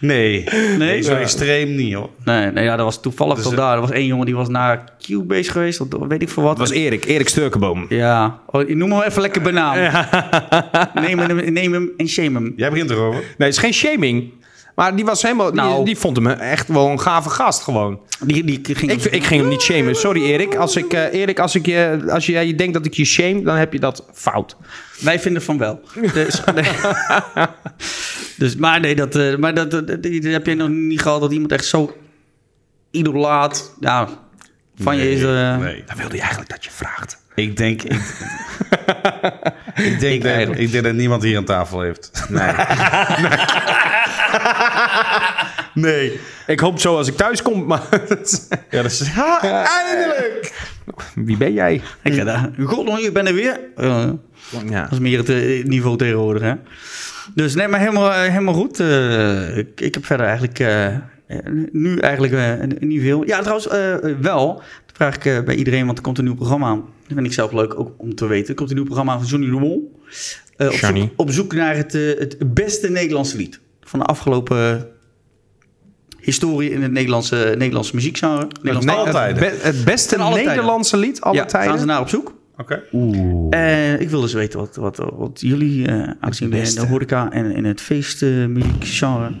<laughs>
Nee?
Nee, zo extreem niet hoor.
Nee, nee ja, dat was toevallig
Dus
tot
het-
daar. Er was één jongen die was naar Cubase geweest, of weet ik veel wat.
Dat was Erik, Erik Sturkenboom.
Ja, oh, ik noem hem even lekker bij naam. Neem, hem, neem hem en shame hem.
Jij begint erover.
Nee, het is geen shaming. Maar die was helemaal...
Nou.
Die, die vond hem echt wel een gave gast gewoon.
Die, die ging
Ik, ik ging hem niet shamen. Sorry Erik. Als, ik, eh, Erik, als, ik je, als jij je denkt dat ik je shame, dan heb je dat fout.
Wij vinden van wel.
<laughs>
Dus, dus maar nee, dat, eh, maar dat, dat, dat- dat heb je nog niet gehad dat iemand echt zo idolaat ja, van je is. eh,
Nee.
Dan wilde je eigenlijk dat je vraagt.
Ik denk... Ik, ik, denk dat, ik denk dat niemand hier aan tafel heeft. Nee. nee.
Ik hoop zo als ik thuis kom, maar...
Ja,
<laughs>
dat is... Ha, eindelijk!
Wie ben jij?
Ik ga daar. God, je bent er weer. Eh,
Ja.
dat is meer het eh, niveau tegenwoordig. Hè? Dus nee, maar helemaal, eh, helemaal goed. Eh, ik, ik heb verder eigenlijk eh, eh, nu eigenlijk eh, niet veel. Ja, trouwens eh, wel. Dat vraag ik eh, bij iedereen, want er komt een nieuw programma aan. Dat vind ik zelf leuk ook om te weten. Er komt een nieuw programma aan van Johnny de Mol. Eh, op,
Johnny.
zoek, op zoek naar het, eh, het beste Nederlandse lied van de afgelopen historie in het Nederlandse, Nederlandse muziekgenre. Nederlandse
Nee,
alle
het,
tijden.
be- het beste
Van alle tijden.
Nederlandse lied alle
ja,
tijden.
gaan ze naar op zoek.
Oké.
Eh, ik wil dus weten wat, wat, wat jullie eh aanzien in de
beste.
horeca en in het eh, feestmuziekgenre.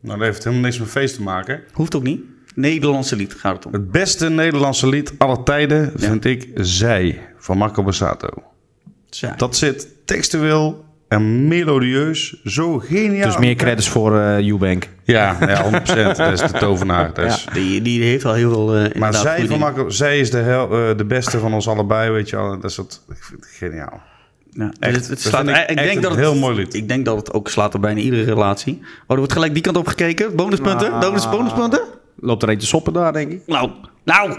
Nou, dat heeft helemaal niks met feest te maken.
Hoeft ook niet. Nederlandse lied gaat het om.
Het beste Nederlandse lied aller tijden vind ik Zij van Marco Bassato.
Zij.
Dat zit textueel en melodieus zo geniaal.
Dus meer credits voor eh Eubank.
Ja, ja 100%. dat is de tovenaar. Dat is.
Die, die heeft al heel veel. eh,
Maar
inderdaad
zij,
goede
van
dingen.
Marco, zij is de, hel- eh, de beste van ons allebei, weet je wel. Dat is het, ik vind het geniaal.
Ja, dus het, het slaat,
vind ik
ik, ik
echt
denk
een
dat het,
heel mooi lied.
Ik denk dat het ook slaat op bijna iedere relatie. Oh, er wordt gelijk die kant op gekeken. Bonuspunten, bonus, bonuspunten.
Loopt er een te soppen daar, denk ik.
Nou, nou, nou.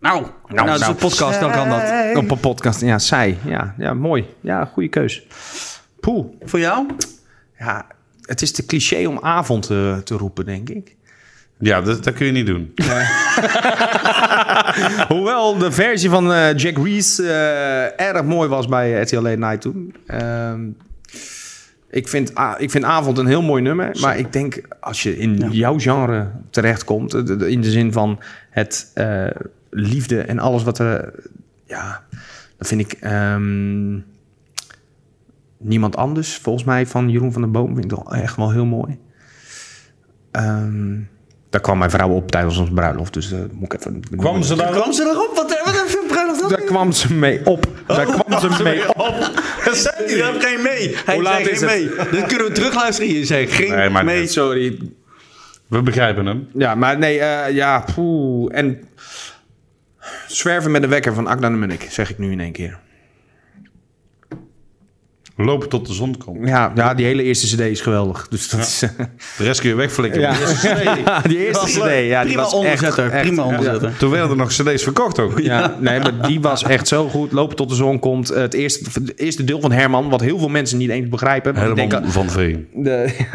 Nou, nou, dat is
nou.
een podcast, dan kan dat.
Op een podcast. Ja, zij. Ja, ja mooi. Ja, goede keus. Poeh.
Voor jou?
Ja, het is te cliché om avond eh, te roepen, denk ik.
Ja, dat, dat kun je niet doen.
Hoewel de versie van eh, Jack Reese eh, erg mooi was bij RTL Late E Night toen. Ehm, ik, vind, A- ik vind Avond een heel mooi nummer. Maar ik denk, als je in jouw genre terechtkomt... eh, de- de- in de zin van het eh, liefde en alles wat er... Ja, dat vind ik... ehm, Niemand anders, volgens mij, van Jeroen van den Boom... vind ik wel echt wel heel mooi. Ehm, daar kwam mijn vrouw op tijdens onze bruiloft. Dus eh, moet ik even...
Kwam ze daar
Kwam ze erop? Wat, wat heeft een bruiloft
Daar kwam ze mee op. Daar kwam <laughs> ze mee op.
Dat zei hij. Daar geen mee. Hij
laat
zei
is
geen mee. Dit kunnen we terugluisteren. Je zei geen
Nee, maar
mee.
niet.
Sorry.
We begrijpen hem.
Ja, maar nee, eh, ja, poeh. En zwerven met de wekker van Akda de Munnik, zeg ik nu in één keer.
Lopen tot de zon komt.
Ja, ja die hele eerste cd is geweldig. Dus dat is... eh,
De rest kun je wegflikken.
<laughs> Ja. die eerste
leuk.
cd, ja, die
prima
was
onderzetter.
echt... echt
prima onderzetter.
Toen werden er nog cd's verkocht ook.
ja, nee, maar die was echt zo goed. Lopen tot de zon komt. Eh, Het eerste, het eerste deel van Herman, wat heel veel mensen niet eens begrijpen. want die denken-
Helemaal van Veen.
De,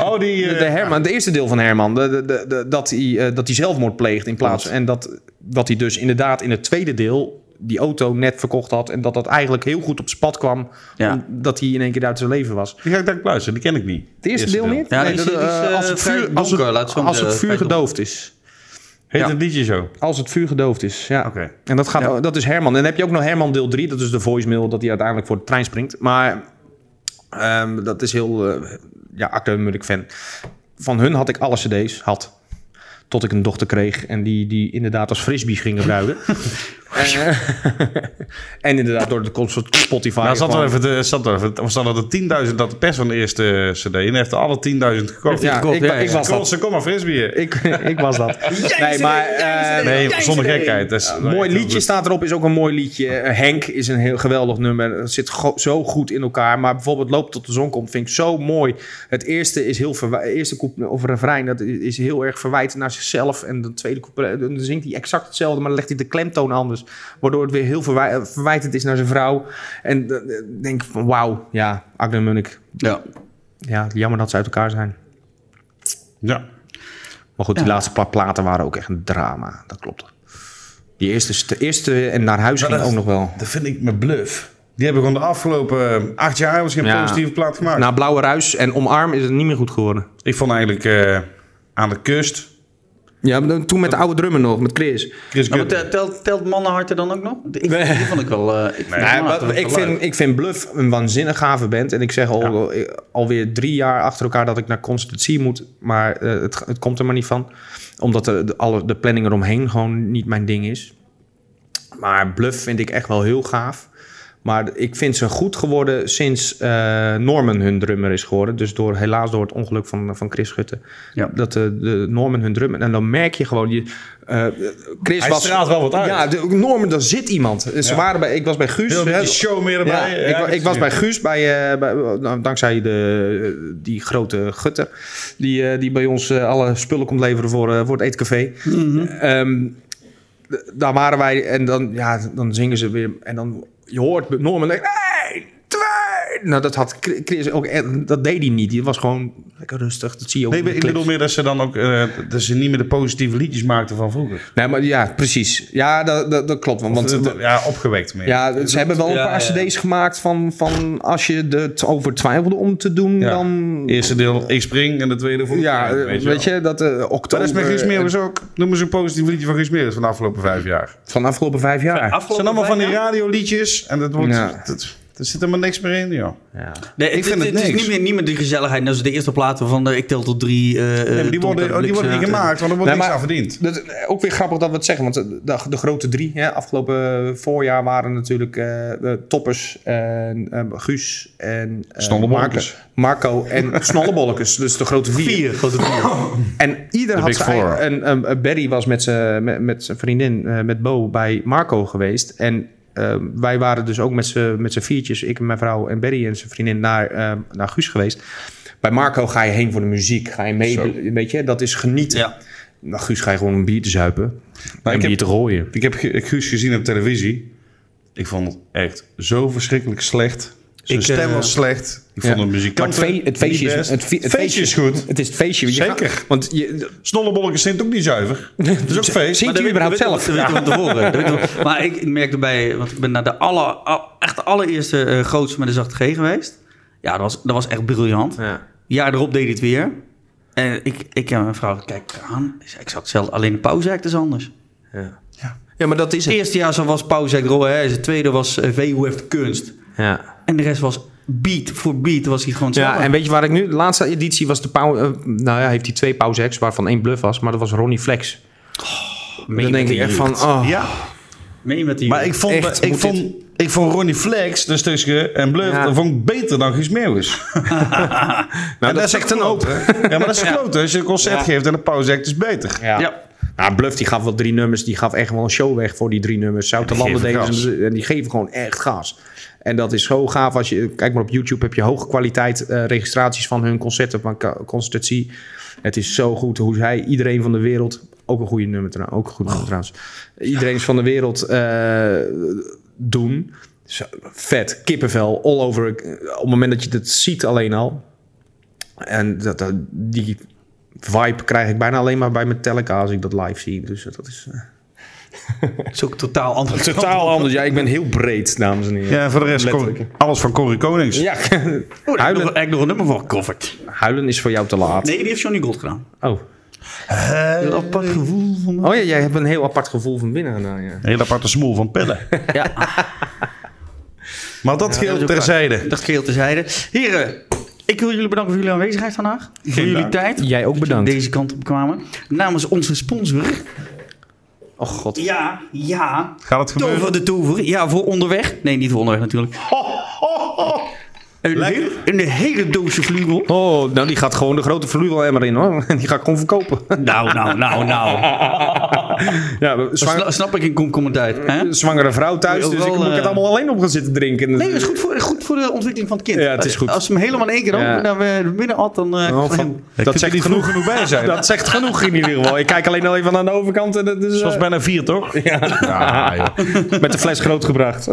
oh, die, de, Herman, het eerste deel van Herman. De, de, de, de- dat, hij, eh, dat hij zelfmoord pleegt in plaats. En dat, dat hij dus inderdaad in het tweede deel die auto net verkocht had. En dat dat eigenlijk heel goed op zijn pad kwam.
Ja.
Omdat hij in één keer uit zijn leven was.
Die ga ik denk luisteren, die ken ik niet.
Het eerste, deel, niet?
Ja, die
de-
is- die is,
eh,
eh,
als het
vrij
vuur, als
donker,
het,
laat het zo maar
als het
zeggen,
vuur
vrij
gedoofd is.
Heet
Ja.
het liedje zo?
Als het vuur gedoofd is, ja.
Oké.
En dat, gaat, dat is Herman. En dan heb je ook nog Herman deel 3. Dat is de voicemail dat hij uiteindelijk voor de trein springt. Maar ehm, dat is heel... eh ja, Akte Munnik fan. Van hun had ik alle cd's. Had. Tot ik een dochter kreeg. En die, die inderdaad als frisbee
<laughs>
ging gebruiken. en, <laughs> en inderdaad door de komst van Spotify.
Nou, zat er
gewoon-
even, de, zat er even, of zat er de 10.000 dat de pers van de eerste eh, cd en heeft er alle 10.000 gekocht.
ja, ik,
ja,
ik
ja.
was dat.
Ze kom maar frisbeer.
Ik, ik was
<laughs>
dat. Nee, maar... ehm,
Nee, zonder gekheid. Dat is-
Mooi
dat-
liedje staat erop, is ook een mooi liedje. Eh, Henk is een heel geweldig nummer. Het zit go- zo goed in elkaar. Maar bijvoorbeeld Loop tot de zon komt vind ik zo mooi. Het eerste is heel verwij- eerste couple of refrein dat i- is heel erg verwijten naar zichzelf. En de tweede couple, dan zingt hij exact hetzelfde, maar dan legt hij de klemtoon anders. Waardoor het weer heel verwij- eh, verwijtend is naar zijn vrouw. En dan eh, denk ik van wauw, ja, Agne Munnik.
Ja.
Ja, jammer dat ze uit elkaar zijn.
Ja.
Maar goed, die laatste paar platen waren ook echt een drama. Dat klopt. Die eerste, de eerste en naar huis ging
dat
ook
is-
nog wel.
Dat vind ik mijn bluff. Die hebben gewoon de afgelopen eh, acht jaar misschien een
Ja. Nou.
positieve plaat gemaakt.
Na Blauwe Ruis en Omarm is het niet meer goed geworden.
Ik vond eigenlijk eh, aan de kust
Ja, maar toen met de oude drummer nog, met Chris.
Nou,
Chris
maar
Gutten.
te- telt, telt mannenharten dan ook nog? Ik, Die vond ik wel... eh, ik vond
Nee,
mannenharten
maar ik,
wel leuk.
vind, ik vind Bluff een waanzinnig gave band. En ik zeg al, eh, alweer drie jaar achter elkaar dat ik naar Constant Sea moet. Maar eh, het, het komt er maar niet van. Omdat de, de, alle, de planning eromheen gewoon niet mijn ding is. Maar Bluff vind ik echt wel heel gaaf. Maar ik vind ze goed geworden sinds eh, Norman hun drummer is geworden. Dus door, helaas door het ongeluk van, van Chris Schutte.
Ja.
Dat de, de Norman hun drummer... En dan merk je gewoon... Je, eh, Chris
Hij
was,
straalt wel wat uit.
Ja, de, Norman, daar zit iemand. Dus Ze waren bij, ik was bij Guus.
Heel
hè,
beetje show meer
ja,
erbij.
ik, wa- ik was bij Guus, bij, eh, bij, nou, dankzij de, eh, die grote gutter. Die, eh, die bij ons eh, alle spullen komt leveren voor, eh, voor het eetcafé.
Mhm.
Ehm, d- daar waren wij en dan, ja, dan zingen ze weer. En dan je hoort Norman. Denk, "Eén, twee." Nou, dat had Chris ook. echt- Dat deed hij niet. Die was gewoon lekker rustig. Dat zie je ook.
Nee,
in de
maar ik
clip.
bedoel meer dat ze dan ook eh, dat ze niet meer de positieve liedjes maakten van vroeger.
Nee, maar ja, precies. Ja, dat, dat, dat klopt. Want,
Want,
want-
ja, dus opgewekt meer.
Ja, ze hebben wel een paar cd's gemaakt van, van als je het over twijfelde om te doen,
Ja.
dan...
Eerste deel, ik spring en de tweede voor.
Ja, eh, weet,
wel.
je, dat eh,
Dat
oktober...
is met Guus Meeuwis ook. Noem eens een positief liedje van Guus Meeuwis van de afgelopen vijf jaar.
Van de afgelopen vijf jaar.
Het zijn allemaal van die radioliedjes en dat wordt,
Ja.
dat, er zit helemaal niks meer in, joh.
Nee, ik
vind
vind
het
het, is
niks.
niet meer, niet meer de gezelligheid. Nou, de eerste platen van de Ik tel tot drie. eh,
Nee, maar
Tom Tat
die worden, oh, die worden niet
Bliksem.
gemaakt, want er wordt
Nee,
niks
maar-
aan verdiend.
Dat is ook weer grappig dat we het zeggen, want de, de- de grote drie hè, afgelopen voorjaar waren natuurlijk eh, de toppers en eh, Guus en eh,
Snollebollekes.
Marco, Marco
<laughs>
en Snollebollekes, dus de grote vier.
Vier, grote vier.
En ieder had
Big
zijn
Four.
eigen... En, ehm, Barry was met zijn met, met zijn vriendin, eh, met Bo, bij Marco geweest. En eh, wij waren dus ook met z'n met z'n viertjes, ik en mijn vrouw en Berry en zijn vriendin, naar, eh, naar Guus geweest. Bij Marco ga je heen voor de muziek, ga je mee, weet je, dat is genieten.
Ja.
Nou, Guus ga je gewoon een bier te zuipen en
ik
bier
heb-
te rooien.
Ik heb Gu- Guus gezien op televisie. Ik vond het echt zo verschrikkelijk slecht. Zijn
Ik,
stem
eh,
was slecht. Ik vond
ja.
de
Maar
muzikant
het, fe- het feestje is, het, fe- het
feestje is goed.
Het is het feestje. want je
Zeker.
gaat- want je,
Snollebolleke Sint ook niet <laughs> zuiver. Dat is ook feest.
zingt u überhaupt zelf?
Dat weten we van tevoren. Dat weten we- <laughs> Maar ik, ik merkte bij, want ik ben naar de alle, al- echt allereerste eh grootste met de zachte G geweest. Ja, dat was, dat was echt briljant.
Ja.
jaar erop deed hij het weer. En ik, ik en mijn vrouw, kijk aan. Ik zei, Ik zat zelf alleen een pauzeact is anders.
ja, maar dat is
Het eerste jaar zo was pauzeact rol, hè. Het tweede was eh, VUF kunst.
Ja.
En de rest was beat voor beat was hij gewoon hetzelfde.
Ja, en weet je waar ik nu... De laatste editie was de pauze... eh, nou ja, heeft hij twee pauze hacks, waarvan één bluff was. Maar dat was Ronnie Flex. dan denk ik echt van... Oh,
Ja,
Mee met die
maar ik vond,
Echt,
ik
moet
vond, ik vond Ronnie Flex, dus tussen en Bluff,
Ja.
dat vond ik beter dan Guus Meeuwis. nou, dat, is echt een hoop. hè? Ja, maar dat is kloot. Als je een concert geeft en een pauze act is beter.
Ja.
Ja.
Nou, Bluff die gaf wel drie nummers. Die gaf echt wel een show weg voor die drie nummers. Zouterlanden
geven
deden ze. En die geven gewoon echt gas. En dat is zo gaaf. Als je, kijk maar op YouTube heb je hoge kwaliteit eh, registraties van hun concerten. Van Ka- Concertatie. Het is zo goed hoe zij iedereen van de wereld... Ook een goede nummer trouwens. Ook een goed nummer trouwens. Iedereen is van de wereld eh, doen. Zo, Vet, kippenvel, all over. Op het moment dat je dat ziet alleen al. En dat, dat- die vibe krijg ik bijna alleen maar bij Metallica als ik dat live zie. Dus dat is eh,
het is ook totaal anders.
totaal
<laughs>
anders. Ja, ik ben heel breed, dames en heren.
Ja, en voor de rest
Letterlijk.
kon- alles van Corrie Konings.
Ja,
Daar heb ik
huilen,
nog, heb ik nog een nummer voor gecoverd.
<laughs> huilen is voor jou te laat.
Nee, die heeft Johnny Gold gedaan. Eh,
Oh.
Heel apart gevoel van
oh ja, jij hebt een heel apart gevoel van binnen gedaan. Ja.
Een hele aparte smoel van pillen. <laughs> Maar dat geldt
dat is ook
terzijde.
Dat geheel terzijde. Heren, ik wil jullie bedanken voor jullie aanwezigheid vandaag. voor jullie
dank.
tijd.
Jij ook bedankt.
Deze kant op kwamen. Namens onze sponsor.
Oh god.
Ja, ja.
Gaat het gebeuren?
Tover de Tover. Ja, voor onderweg. Nee, niet voor onderweg natuurlijk. Een, hele, een hele doosje vlugel.
Oh, nou die gaat gewoon de grote fluwelemmer in hoor. <laughs> Die ga ik gewoon <laughs> verkopen.
Nou, nou, nou, nou.
Ja, zwang-
Sna- snap ik in komkommer tijd.
Eh,
Hè?
zwangere vrouw thuis,
Moet je
dus
ook
ik
wel,
moet
eh,
het allemaal alleen op gaan zitten drinken. Dus-
Nee, dat is goed voor, goed voor de ontwikkeling van het kind.
Ja, het is goed.
Als ze hem helemaal in één keer
Ja.
open- naar eh, binnen at, dan... eh,
Oh, van- dat zegt
niet
genoeg.
genoeg genoeg bij <laughs> zijn.
Dat zegt genoeg in ieder geval. Ik kijk alleen al even aan de overkant. En dat is, eh,
Dat was bijna vier,
<laughs>
toch? Ja. joh.
met de fles grootgebracht. <laughs>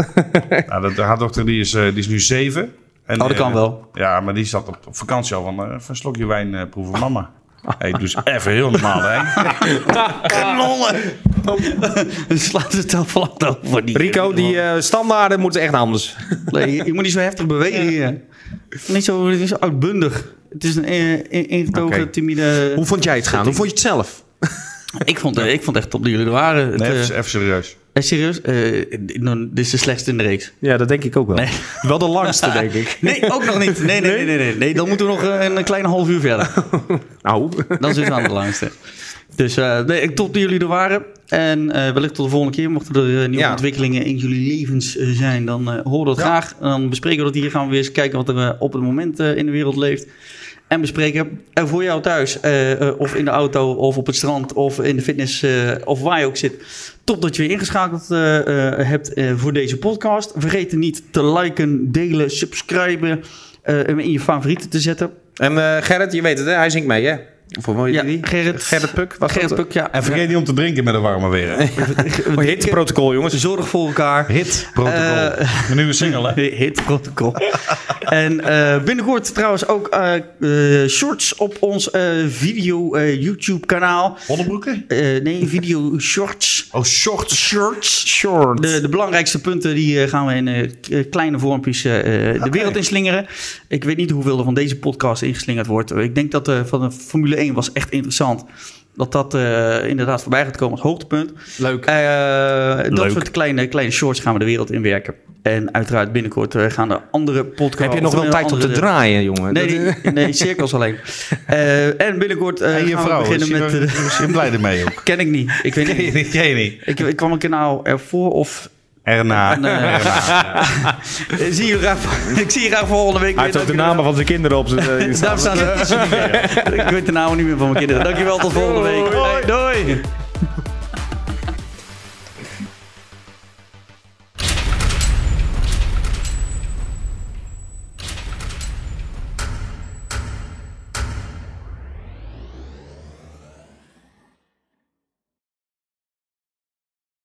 Nou, dat- de haardochter die is, eh, die is nu zeven. En,
Oh, dat kan
eh,
wel.
Ja, maar die zat op, op vakantie al van, eh, van een slokje wijn eh,
<laughs>
proeven mama. Hey, doe eens even heel normaal, hè?
Knollen! <laughs> Dan slaat het al vlak over. Die
Ah. Rico, die eh, standaarden moeten echt anders.
Nee, je, je moet niet zo heftig bewegen hier. Niet zo, niet zo uitbundig. Het is een eh, in- ingetogen,
Oké.
timide...
Hoe vond jij het gaan? Hoe vond je het zelf?
Ik vond, eh, ik vond echt top dat jullie er waren. Het,
Nee,
eh,
even, even serieus.
eh, serieus, eh, d- nou, dit is de slechtste in de reeks.
Ja, dat denk ik ook wel.
Nee.
<laughs> Wel de langste, denk ik.
Nee, ook nog niet. Nee, nee, nee, nee. nee, nee. Dan moeten we nog eh, een kleine half uur verder.
<laughs> Nou,
Dan zitten we aan de langste. <laughs> Dus eh, nee, ik top dat jullie er waren. En eh, wellicht tot de volgende keer. Mochten er eh, nieuwe
Ja.
ontwikkelingen in jullie levens eh, zijn, dan eh horen we dat graag. En dan bespreken we dat hier. Gaan we weer eens kijken wat er eh, op het moment eh, in de wereld leeft. En bespreken. En voor jou thuis, eh, eh, of in de auto, of op het strand, of in de fitness, eh, of waar je ook zit. Top dat je weer ingeschakeld eh, eh, hebt eh, voor deze podcast. Vergeet niet te liken, delen, subscriben. eh, hem in je favorieten te zetten.
en eh, Gerrit, je weet het, hè? hij zingt mee, hè? Of hoe heet
Ja,
die?
Gerrit.
Gerrit Puk. Was
Gerrit
dat?
Puk, ja.
En vergeet niet om te drinken met de
<laughs>
warme weer.
Oh, hitteprotocol, jongens.
Zorg voor elkaar.
Hit, protocol.
Eh,
Een nieuwe single, hè?
Hit protocol. en eh, binnenkort trouwens ook eh, eh, shorts op ons eh, video eh, YouTube kanaal.
Hondenbroeken?
Eh, nee, video shorts.
Oh, short.
Shorts.
Short.
De, de belangrijkste punten die eh, gaan we in eh, k- eh, kleine vormpjes eh, eh, de wereld inslingeren. Ik weet niet hoeveel er van deze podcast ingeslingerd wordt. Ik denk dat eh, van de Formule 1 was echt interessant. Dat dat eh, inderdaad voorbij gaat komen als hoogtepunt.
Leuk.
Eh, dat
Leuk.
soort kleine, kleine shorts gaan we de wereld in werken. En uiteraard binnenkort eh, gaan de andere podcasts...
Heb je nog wel
eh,
tijd om te
andere-
draaien, jongen?
Nee,
Dat-
die- nee, cirkels alleen.
<laughs>
Eh, en binnenkort eh,
En je
gaan
vrouw,
we beginnen met...
is
eh,
je er blij ermee ook?
ken ik niet. Ik weet niet.
Jij niet.
Ik, ik kwam een kanaal ervoor of...
Erna.
Nee. Eh, zie je graag, <laughs> ik zie je graag volgende week
Hij heeft ook de namen van zijn kinderen op zijn... <laughs> eh,
<laughs> Daar staan ze. Ik weet de namen niet meer van mijn kinderen. Dankjewel, tot volgende week. Hey, doei.